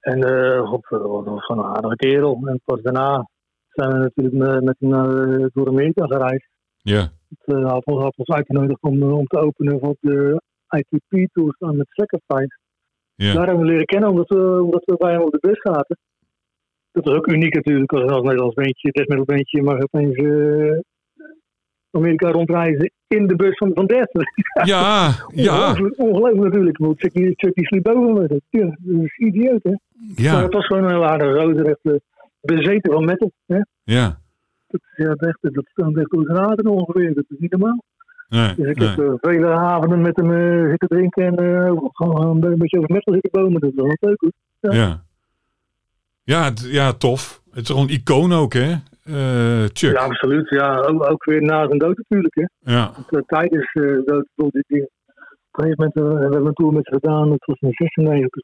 [SPEAKER 2] En eh god, dat was gewoon een aardige kerel. En pas daarna zijn we natuurlijk me- met hem naar, eh, door Amerika gereisd.
[SPEAKER 1] Ja,
[SPEAKER 2] Het eh, had, ons- had ons uitgenodigd om, eh, om te openen voor de ITP-tours aan het Sacrifice.
[SPEAKER 1] ja,
[SPEAKER 2] Daar hebben we leren kennen omdat we, omdat we bij hem op de bus zaten. Dat was ook uniek natuurlijk als als Nederlands beentje, desmiddels beentje, maar opeens eh, Amerika rondreizen in de bus van, van Death.
[SPEAKER 1] ja, ja,
[SPEAKER 2] Ongelooflijk, ongelooflijk natuurlijk. Want Chuck die- Chuck die sliep boven me. Dat, ja, dat is idioot, hè? Maar
[SPEAKER 1] ja,
[SPEAKER 2] Eh, het was gewoon een aardige roze, echt eh, bezeten van metal. Hè?
[SPEAKER 1] ja.
[SPEAKER 2] Dat, is, ja, echt, dat stond echt door zijn aderen ongeveer. Dat is niet normaal.
[SPEAKER 1] Nee,
[SPEAKER 2] Dus ik
[SPEAKER 1] nee.
[SPEAKER 2] heb eh, vele avonden met hem eh, zitten drinken en eh, gewoon een beetje over metal zitten bomen. Dat was wel leuk, hoor.
[SPEAKER 1] Ja. Ja, het- ja, tof. Het is gewoon een icoon ook, hè? Eh, Chuck.
[SPEAKER 2] Ja,
[SPEAKER 1] Ja.
[SPEAKER 2] absoluut. Ja, ook, ook weer na zijn dood natuurlijk, hè?
[SPEAKER 1] Ja.
[SPEAKER 2] Want, eh, Tijdens eh, de dood, ik bedoel, die, die, op een gegeven moment eh, we hebben we een tour met ze gedaan. Dat was in 96.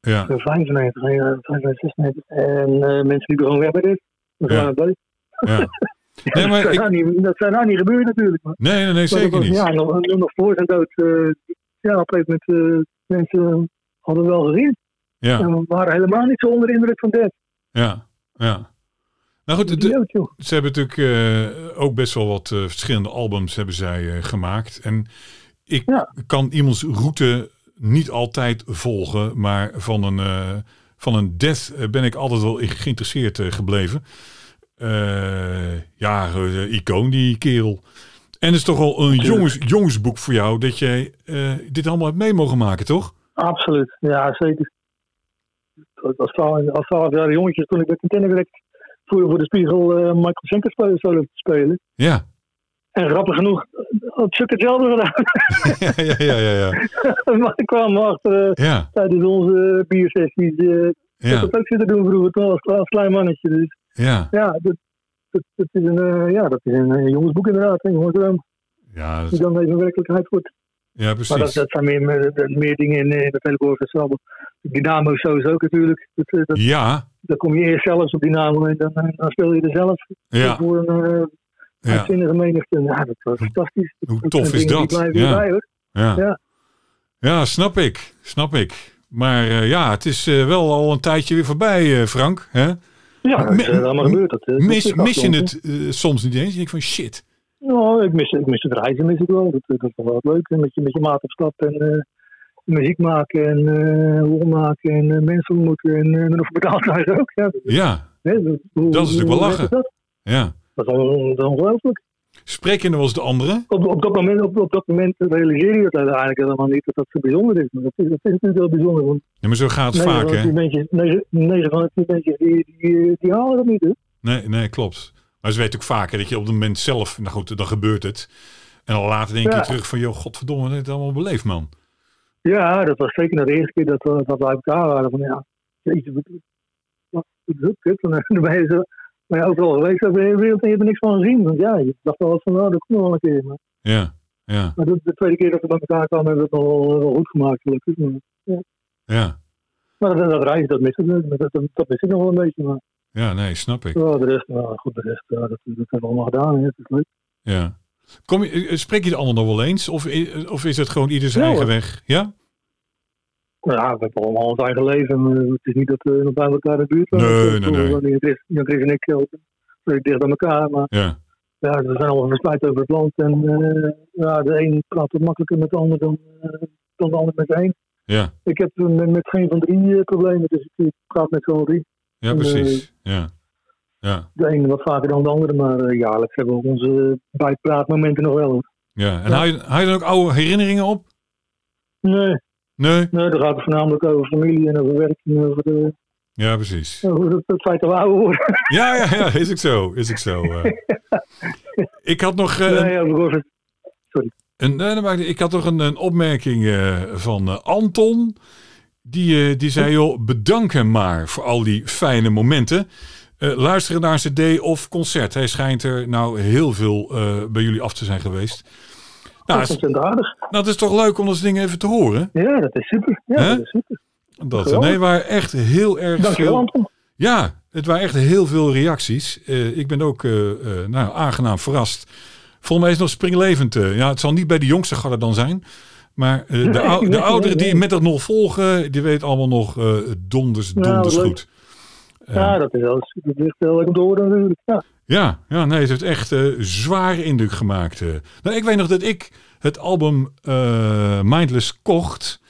[SPEAKER 1] Ja,
[SPEAKER 2] 95, ja, 95, 96. En eh, mensen die gewoon weg bij dit. Dat
[SPEAKER 1] Ja.
[SPEAKER 2] waren wij.
[SPEAKER 1] ja. Nee, maar
[SPEAKER 2] dat,
[SPEAKER 1] ik-
[SPEAKER 2] zou niet, dat zou nou niet gebeuren natuurlijk. Maar,
[SPEAKER 1] Nee, nee, nee,
[SPEAKER 2] maar
[SPEAKER 1] zeker
[SPEAKER 2] dat was,
[SPEAKER 1] niet.
[SPEAKER 2] Ja, nog, nog voor zijn dood. eh, ja, op een gegeven moment eh, mensen hadden wel gezien.
[SPEAKER 1] Ja,
[SPEAKER 2] En we waren helemaal niet zo onder de indruk van Dad.
[SPEAKER 1] ja, ja. Nou goed, het-
[SPEAKER 2] Idioot, joh.
[SPEAKER 1] Ze hebben natuurlijk eh, ook best wel wat eh, verschillende albums hebben zij eh, gemaakt. En ik
[SPEAKER 2] Ja.
[SPEAKER 1] kan iemands route niet altijd volgen, maar van een, eh, van een death eh, ben ik altijd wel in geïnteresseerd eh, gebleven. Eh, ja, eh, icoon die kerel. En het is toch wel een jongens, jongensboek voor jou dat jij eh, dit allemaal hebt mee mogen maken, toch?
[SPEAKER 2] Absoluut, ja zeker. Ik was 12 als 12 jaar jongetje toen ik bij Contender werd voor, voor de spiegel eh, Michael Schenker spelen, solo te spelen.
[SPEAKER 1] Ja.
[SPEAKER 2] En grappig genoeg eh, had Chuck hetzelfde gedaan.
[SPEAKER 1] ja, ja, ja, ja, ja.
[SPEAKER 2] maar ik kwam achter eh,
[SPEAKER 1] Ja,
[SPEAKER 2] tijdens onze biersessies. eh Ik heb
[SPEAKER 1] ja,
[SPEAKER 2] dat ook zitten doen vroeger toen als, als klein mannetje. Dus
[SPEAKER 1] ja.
[SPEAKER 2] ja, dat, dat, dat is een, eh, ja, dat is een eh, jongensboek inderdaad. Een jongensdroom
[SPEAKER 1] Ja,
[SPEAKER 2] die
[SPEAKER 1] dat-
[SPEAKER 2] ehm, dan even werkelijkheid wordt.
[SPEAKER 1] ja
[SPEAKER 2] Maar dat,
[SPEAKER 1] precies.
[SPEAKER 2] dat zijn meer, meer, meer dingen in, in het hele woord. Dynamo sowieso ook natuurlijk. Dat, eh, dat,
[SPEAKER 1] Ja,
[SPEAKER 2] dan kom je eerst zelfs op Dynamo en dan, eh, dan speel je er zelf
[SPEAKER 1] ja,
[SPEAKER 2] voor een eh,
[SPEAKER 1] ja.
[SPEAKER 2] uitzinnige menigte. Ja, dat was fantastisch.
[SPEAKER 1] Hoe
[SPEAKER 2] Dat
[SPEAKER 1] tof
[SPEAKER 2] zijn
[SPEAKER 1] is dat?
[SPEAKER 2] dingen Die blijven
[SPEAKER 1] Ja.
[SPEAKER 2] erbij, hoor.
[SPEAKER 1] Ja. ja.
[SPEAKER 2] Ja.
[SPEAKER 1] snap ik. Snap ik. Maar eh, ja, het is eh, wel al een tijdje weer voorbij, eh, Frank. Hè?
[SPEAKER 2] Ja, dat is eh,
[SPEAKER 1] Mi-
[SPEAKER 2] allemaal gebeurd. Dat, eh, dat
[SPEAKER 1] Mis,
[SPEAKER 2] is
[SPEAKER 1] mis je
[SPEAKER 2] afgelopen.
[SPEAKER 1] het eh, soms niet eens? Je denkt van shit.
[SPEAKER 2] Nou, ik mis, ik mis het reizen mis ik wel. Dat, eh, dat is wel wat leuk. En Met je, met je maat op stap en eh, muziek maken en eh horen maken en eh, mensen ontmoeten en eh, er nog voor betaald krijgen ook. Ja,
[SPEAKER 1] Ja,
[SPEAKER 2] Hè, dat, hoe-
[SPEAKER 1] Dat is natuurlijk wel
[SPEAKER 2] hoe
[SPEAKER 1] lachen.
[SPEAKER 2] is Dat?
[SPEAKER 1] ja.
[SPEAKER 2] dat is on- dat is ongelooflijk.
[SPEAKER 1] Spreek je nou als de anderen?
[SPEAKER 2] Op, op, dat moment, op, op dat moment realiseer je het eigenlijk helemaal niet dat dat zo bijzonder is. Maar dat is, dat is natuurlijk wel bijzonder. Want
[SPEAKER 1] Ja, maar zo gaat het
[SPEAKER 2] negen
[SPEAKER 1] vaak,
[SPEAKER 2] van de tien
[SPEAKER 1] hè?
[SPEAKER 2] mensen- negen- negen van de tien mensen die, die, die halen dat niet. Hè?
[SPEAKER 1] Nee, nee, klopt. Maar ze weten ook vaker dat je op het moment zelf... Nou goed, dan gebeurt het. En dan later denk je
[SPEAKER 2] Ja.
[SPEAKER 1] terug van... joh, godverdomme, dat heb ik allemaal beleefd, man.
[SPEAKER 2] Ja, dat was zeker na de eerste keer dat we, dat we bij elkaar waren. Van, ja, jezus, wat wat is dat kut? En dan ben je zo maar ja, overal geweest over de hele wereld en je hebt er niks van gezien. Want ja, je dacht wel eens van, nou, dat komt nog wel een keer. Maar,
[SPEAKER 1] Ja, ja,
[SPEAKER 2] maar de, de tweede keer dat we bij elkaar kwamen, hebben we het nog wel, wel goed gemaakt. gelukkig. Maar,
[SPEAKER 1] ja.
[SPEAKER 2] maar dat, dat reizen, dat mis ik, dat, dat, dat mis ik nog wel een beetje. Maar
[SPEAKER 1] Ja, nee, snap ik.
[SPEAKER 2] ja, de rest, nou, goed, de rest, ja, dat, dat hebben we allemaal gedaan. Hè, dat is leuk.
[SPEAKER 1] Ja. Kom je, eh, spreek je de anderen nog wel eens? Of, i- of is het gewoon ieder zijn
[SPEAKER 2] Ja,
[SPEAKER 1] eigen weg? Ja?
[SPEAKER 2] Nou ja, we hebben allemaal ons eigen leven. maar Het is niet dat we nog bij elkaar in de buurt waren.
[SPEAKER 1] Nee,
[SPEAKER 2] Ik
[SPEAKER 1] nee,
[SPEAKER 2] bedoel,
[SPEAKER 1] nee.
[SPEAKER 2] Jan Chris- Jan Chris en ik eh, vrij dicht bij elkaar, maar
[SPEAKER 1] Ja,
[SPEAKER 2] Ja, we zijn allemaal verspreid over het land. En eh, ja, de een praat wat makkelijker met de ander dan, eh, dan de ander met de een.
[SPEAKER 1] ja.
[SPEAKER 2] Ik heb eh, met, met geen van drie eh, problemen, dus ik praat met z'n allen drie.
[SPEAKER 1] Ja,
[SPEAKER 2] En,
[SPEAKER 1] precies. Ja. Ja,
[SPEAKER 2] De ene wat vaker dan de andere, maar eh, jaarlijks hebben we onze eh, bijpraatmomenten nog wel. hoor.
[SPEAKER 1] ja. En
[SPEAKER 2] Ja.
[SPEAKER 1] Haal, je, haal je dan ook oude herinneringen op?
[SPEAKER 2] Nee,
[SPEAKER 1] Nee?
[SPEAKER 2] nee, daar gaat het voornamelijk over familie en over werk en over, de,
[SPEAKER 1] Ja, precies.
[SPEAKER 2] over het, het feit dat we ouder worden.
[SPEAKER 1] Ja, ja, ja. Is ik zo. Is ik zo. eh. Ik had nog... eh,
[SPEAKER 2] nee, over Gorfert.
[SPEAKER 1] een, nee, dat maakt niet- ik had nog een, een opmerking eh, van eh, Anton. Die, eh, die zei, joh, bedank hem maar voor al die fijne momenten. Eh, luisteren naar een cd of concert. Hij schijnt er nou heel veel eh, bij jullie af te zijn geweest. Nou,
[SPEAKER 2] dat is
[SPEAKER 1] is-
[SPEAKER 2] ontzettend aardig.
[SPEAKER 1] nou, het is toch leuk om dat soort dingen even te horen.
[SPEAKER 2] Ja, dat is super. Ja,
[SPEAKER 1] Hè?
[SPEAKER 2] dat is super.
[SPEAKER 1] Dat,
[SPEAKER 2] Geweldig.
[SPEAKER 1] nee, maar echt heel erg
[SPEAKER 2] Dankjewel
[SPEAKER 1] veel...
[SPEAKER 2] Anton.
[SPEAKER 1] Ja, het waren echt heel veel reacties. Eh, ik ben ook eh, eh, nou, aangenaam verrast. Volgens mij is het nog springlevend. eh. ja, het zal niet bij de jongste garde dan zijn. Maar eh, de, ou-
[SPEAKER 2] nee,
[SPEAKER 1] de
[SPEAKER 2] nee,
[SPEAKER 1] ouderen
[SPEAKER 2] nee.
[SPEAKER 1] die met dat nog volgen, die weten allemaal nog eh, donders,
[SPEAKER 2] Nou,
[SPEAKER 1] donders
[SPEAKER 2] leuk.
[SPEAKER 1] goed. Eh,
[SPEAKER 2] Ja, dat is wel super. Dat is heel leuk om te horen natuurlijk. Ja.
[SPEAKER 1] ja, ja, nee, het heeft echt eh zwaar indruk gemaakt. eh. Nou, ik weet nog dat ik het album eh, Mindless kocht.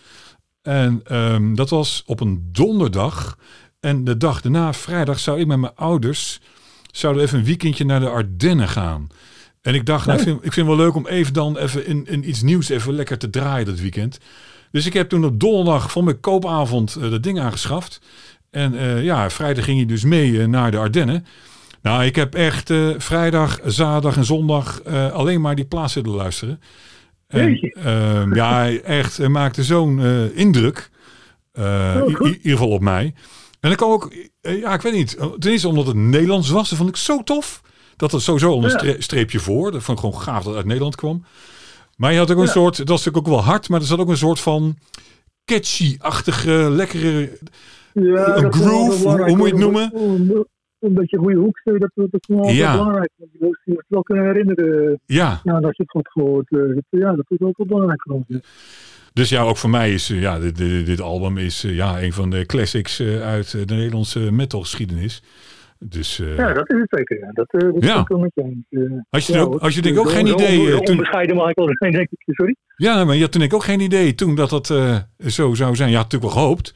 [SPEAKER 1] En ehm, dat was op een donderdag. En de dag daarna, vrijdag, zou ik met mijn ouders... zouden we even een weekendje naar de Ardennen gaan. En ik dacht, nou, ik, vind, ik vind het wel leuk om even dan even in, in iets nieuws... even lekker te draaien dat weekend. Dus ik heb toen op donderdag van mijn koopavond eh, dat ding aangeschaft. En eh, ja, vrijdag ging hij dus mee eh, naar de Ardennen. Nou, ik heb echt eh, vrijdag, zaterdag en zondag eh, alleen maar die plaats zitten luisteren. En,
[SPEAKER 2] Jeetje.
[SPEAKER 1] ehm, ja, echt, hij maakte zo'n eh, indruk. Eh,
[SPEAKER 2] Oh,
[SPEAKER 1] i-
[SPEAKER 2] goed.
[SPEAKER 1] i- in ieder geval op mij. En ik kwam ook, eh, ja, ik weet niet. eh, Ten eerste omdat het Nederlands was, dat vond ik zo tof. Dat er sowieso al een
[SPEAKER 2] Ja.
[SPEAKER 1] stre- streepje voor. Dat vond ik gewoon gaaf dat het uit Nederland kwam. Maar je had ook een
[SPEAKER 2] Ja.
[SPEAKER 1] soort, dat is natuurlijk ook wel hard, maar er zat ook een soort van catchy-achtige, lekkere...
[SPEAKER 2] Ja,
[SPEAKER 1] Een
[SPEAKER 2] dat is wel
[SPEAKER 1] groove,
[SPEAKER 2] belangrijk,
[SPEAKER 1] hoe moet je het
[SPEAKER 2] hoor.
[SPEAKER 1] noemen?
[SPEAKER 2] Een- Een beetje goede hoek, eh, dat, dat is wel
[SPEAKER 1] Ja.
[SPEAKER 2] ja. belangrijk. want Je moet je moet wel kunnen herinneren
[SPEAKER 1] Ja,
[SPEAKER 2] ja, dat je het goed gehoord eh, hebt. Ja, dat is ook wel belangrijk voor ons.
[SPEAKER 1] dus ja, ook voor mij is eh, ja, dit, dit, dit album is, eh, ja, een van de classics eh, uit eh, de Nederlandse metalgeschiedenis. Dus eh,
[SPEAKER 2] Ja, dat is het zeker. Ja. Dat, eh dat
[SPEAKER 1] Ja.
[SPEAKER 2] is ook wel met je eens. eh.
[SPEAKER 1] had je,
[SPEAKER 2] Ja,
[SPEAKER 1] er ook,
[SPEAKER 2] hoor.
[SPEAKER 1] had je denk ik ook
[SPEAKER 2] Zo-
[SPEAKER 1] geen
[SPEAKER 2] zo
[SPEAKER 1] idee... eh,
[SPEAKER 2] onbe-
[SPEAKER 1] toen,
[SPEAKER 2] Onbescheiden Michael, denk ik. Sorry?
[SPEAKER 1] ja, maar je had toen ik ook geen idee toen dat dat eh, zo zou zijn. Je had natuurlijk wel gehoopt,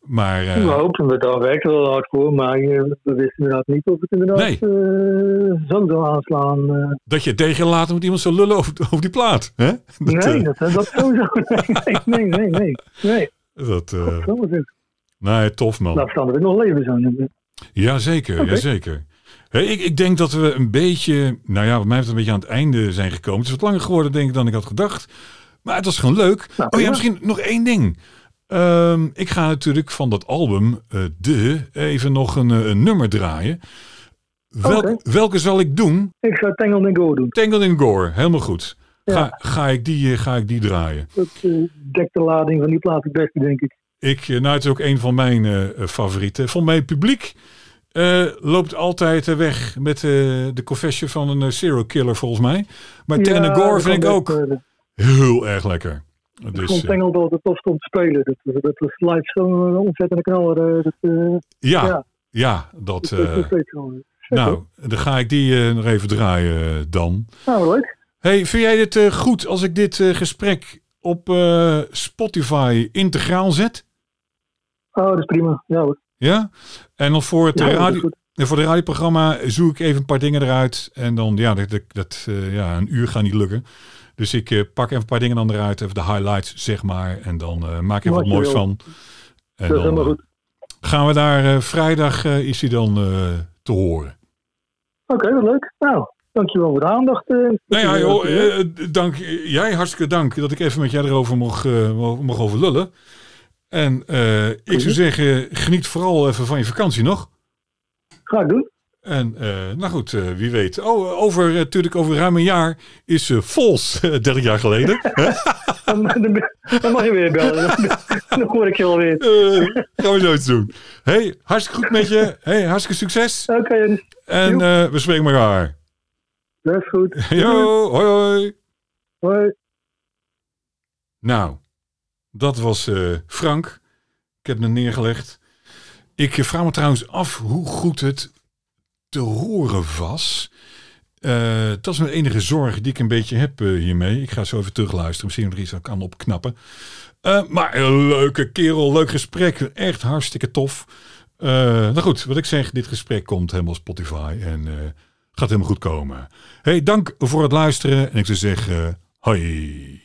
[SPEAKER 1] maar... eh,
[SPEAKER 2] we hoopten we daar werkte wel hard voor, maar eh, we wisten inderdaad niet of het inderdaad
[SPEAKER 1] Nee.
[SPEAKER 2] eh, zo zou aanslaan. eh.
[SPEAKER 1] dat je tegen laat moet iemand zo lullen over, over die plaat. Hè? Dat,
[SPEAKER 2] nee,
[SPEAKER 1] eh,
[SPEAKER 2] dat, dat sowieso. Nee, nee, nee, nee. nee.
[SPEAKER 1] dat, eh, oh.
[SPEAKER 2] Zo is het.
[SPEAKER 1] nee, tof man.
[SPEAKER 2] Nou, verstandig nog leven zijn.
[SPEAKER 1] Jazeker,
[SPEAKER 2] Oké.
[SPEAKER 1] jazeker. Hé, ik, ik denk dat we een beetje, nou ja, wat mij betreft een beetje aan het einde zijn gekomen. Het is wat langer geworden, denk ik, dan ik had gedacht. Maar het was gewoon leuk.
[SPEAKER 2] Nou,
[SPEAKER 1] oh ja,
[SPEAKER 2] prima.
[SPEAKER 1] misschien nog één ding. Ehm, ik ga natuurlijk van dat album, eh, De, even nog een, eh, een nummer draaien. Welk-
[SPEAKER 2] Oké.
[SPEAKER 1] Welke zal ik doen?
[SPEAKER 2] Ik zou Tangle en Go doen.
[SPEAKER 1] Tangled in Gore, helemaal goed. Ga,
[SPEAKER 2] Ja.
[SPEAKER 1] ga, ik, die, eh, ga ik die draaien?
[SPEAKER 2] Dat eh, dekt de lading van die plaat het beste, denk ik.
[SPEAKER 1] Ik, eh, nou, het is ook een van mijn eh, eh, favorieten. Van mijn publiek eh, loopt altijd eh, weg met eh, de confession van een eh, serial killer, volgens mij. Maar Tangle
[SPEAKER 2] Ja,
[SPEAKER 1] and Gore
[SPEAKER 2] dat
[SPEAKER 1] vind ik
[SPEAKER 2] kan
[SPEAKER 1] ook
[SPEAKER 2] best, eh,
[SPEAKER 1] heel erg lekker.
[SPEAKER 2] Ik
[SPEAKER 1] Dus,
[SPEAKER 2] vond
[SPEAKER 1] eh,
[SPEAKER 2] Tangle altijd tof om te spelen. Dat, eh, dat was live zo'n ontzettende knaller. eh, dat, eh,
[SPEAKER 1] ja, ja.
[SPEAKER 2] ja.
[SPEAKER 1] dat.
[SPEAKER 2] dat is
[SPEAKER 1] eh,
[SPEAKER 2] nog steeds zo.
[SPEAKER 1] nou, dan ga ik die eh, nog even draaien eh, dan.
[SPEAKER 2] Nou, leuk.
[SPEAKER 1] Hey, vind jij het eh, goed als ik dit eh, gesprek op eh, Spotify integraal zet?
[SPEAKER 2] Oh, dat is prima. Ja hoor.
[SPEAKER 1] Ja? En dan voor het
[SPEAKER 2] Ja, dat is
[SPEAKER 1] radio,
[SPEAKER 2] goed.
[SPEAKER 1] En voor het radioprogramma zoek ik even een paar dingen eruit. En dan, ja, dat, dat, dat, eh, ja een uur gaat niet lukken. Dus ik eh, pak even een paar dingen dan eruit. Even de highlights, zeg maar. En dan eh, maak ik even
[SPEAKER 2] Wat
[SPEAKER 1] wat
[SPEAKER 2] je
[SPEAKER 1] moois
[SPEAKER 2] wil.
[SPEAKER 1] van. En
[SPEAKER 2] Dat is
[SPEAKER 1] dan
[SPEAKER 2] helemaal
[SPEAKER 1] eh,
[SPEAKER 2] goed.
[SPEAKER 1] gaan we daar eh, vrijdag, eh, is hij dan eh, te horen.
[SPEAKER 2] Oké, wat leuk. Nou, dankjewel voor de aandacht. eh.
[SPEAKER 1] Nou ja,
[SPEAKER 2] Eh,
[SPEAKER 1] joh,
[SPEAKER 2] eh,
[SPEAKER 1] eh, eh, dank, eh, jij hartstikke dank dat ik even met jij erover mocht, eh, mo- mocht over lullen. En eh, ik zou
[SPEAKER 2] Goed.
[SPEAKER 1] zeggen, geniet vooral even van je vakantie nog.
[SPEAKER 2] Ga ik doen.
[SPEAKER 1] En eh, nou goed, eh, wie weet. Oh, eh, over, eh, natuurlijk over ruim een jaar is eh Vols, eh, 30 jaar geleden.
[SPEAKER 2] Dan, dan- dan mag je weer bellen. Dan hoor ik je alweer.
[SPEAKER 1] Eh, gaan we zoiets doen. hey, hartstikke goed met je. hey, hartstikke succes.
[SPEAKER 2] Oké, dus
[SPEAKER 1] En eh, we spreken elkaar.
[SPEAKER 2] dat is goed.
[SPEAKER 1] Yo, hoi hoi.
[SPEAKER 2] Hoi.
[SPEAKER 1] Nou, dat was eh, Frank. Ik heb hem neergelegd. Ik eh, vraag me trouwens af hoe goed het te horen was. Eh, dat is mijn enige zorg die ik een beetje heb eh, hiermee. Ik ga zo even terugluisteren. Misschien nog iets aan kan opknappen. Eh, maar een leuke kerel, leuk gesprek. Echt hartstikke tof. Eh, nou goed, wat ik zeg, dit gesprek komt helemaal Spotify en eh, gaat helemaal goed komen. Hey, dank voor het luisteren en ik zou zeggen, hoi.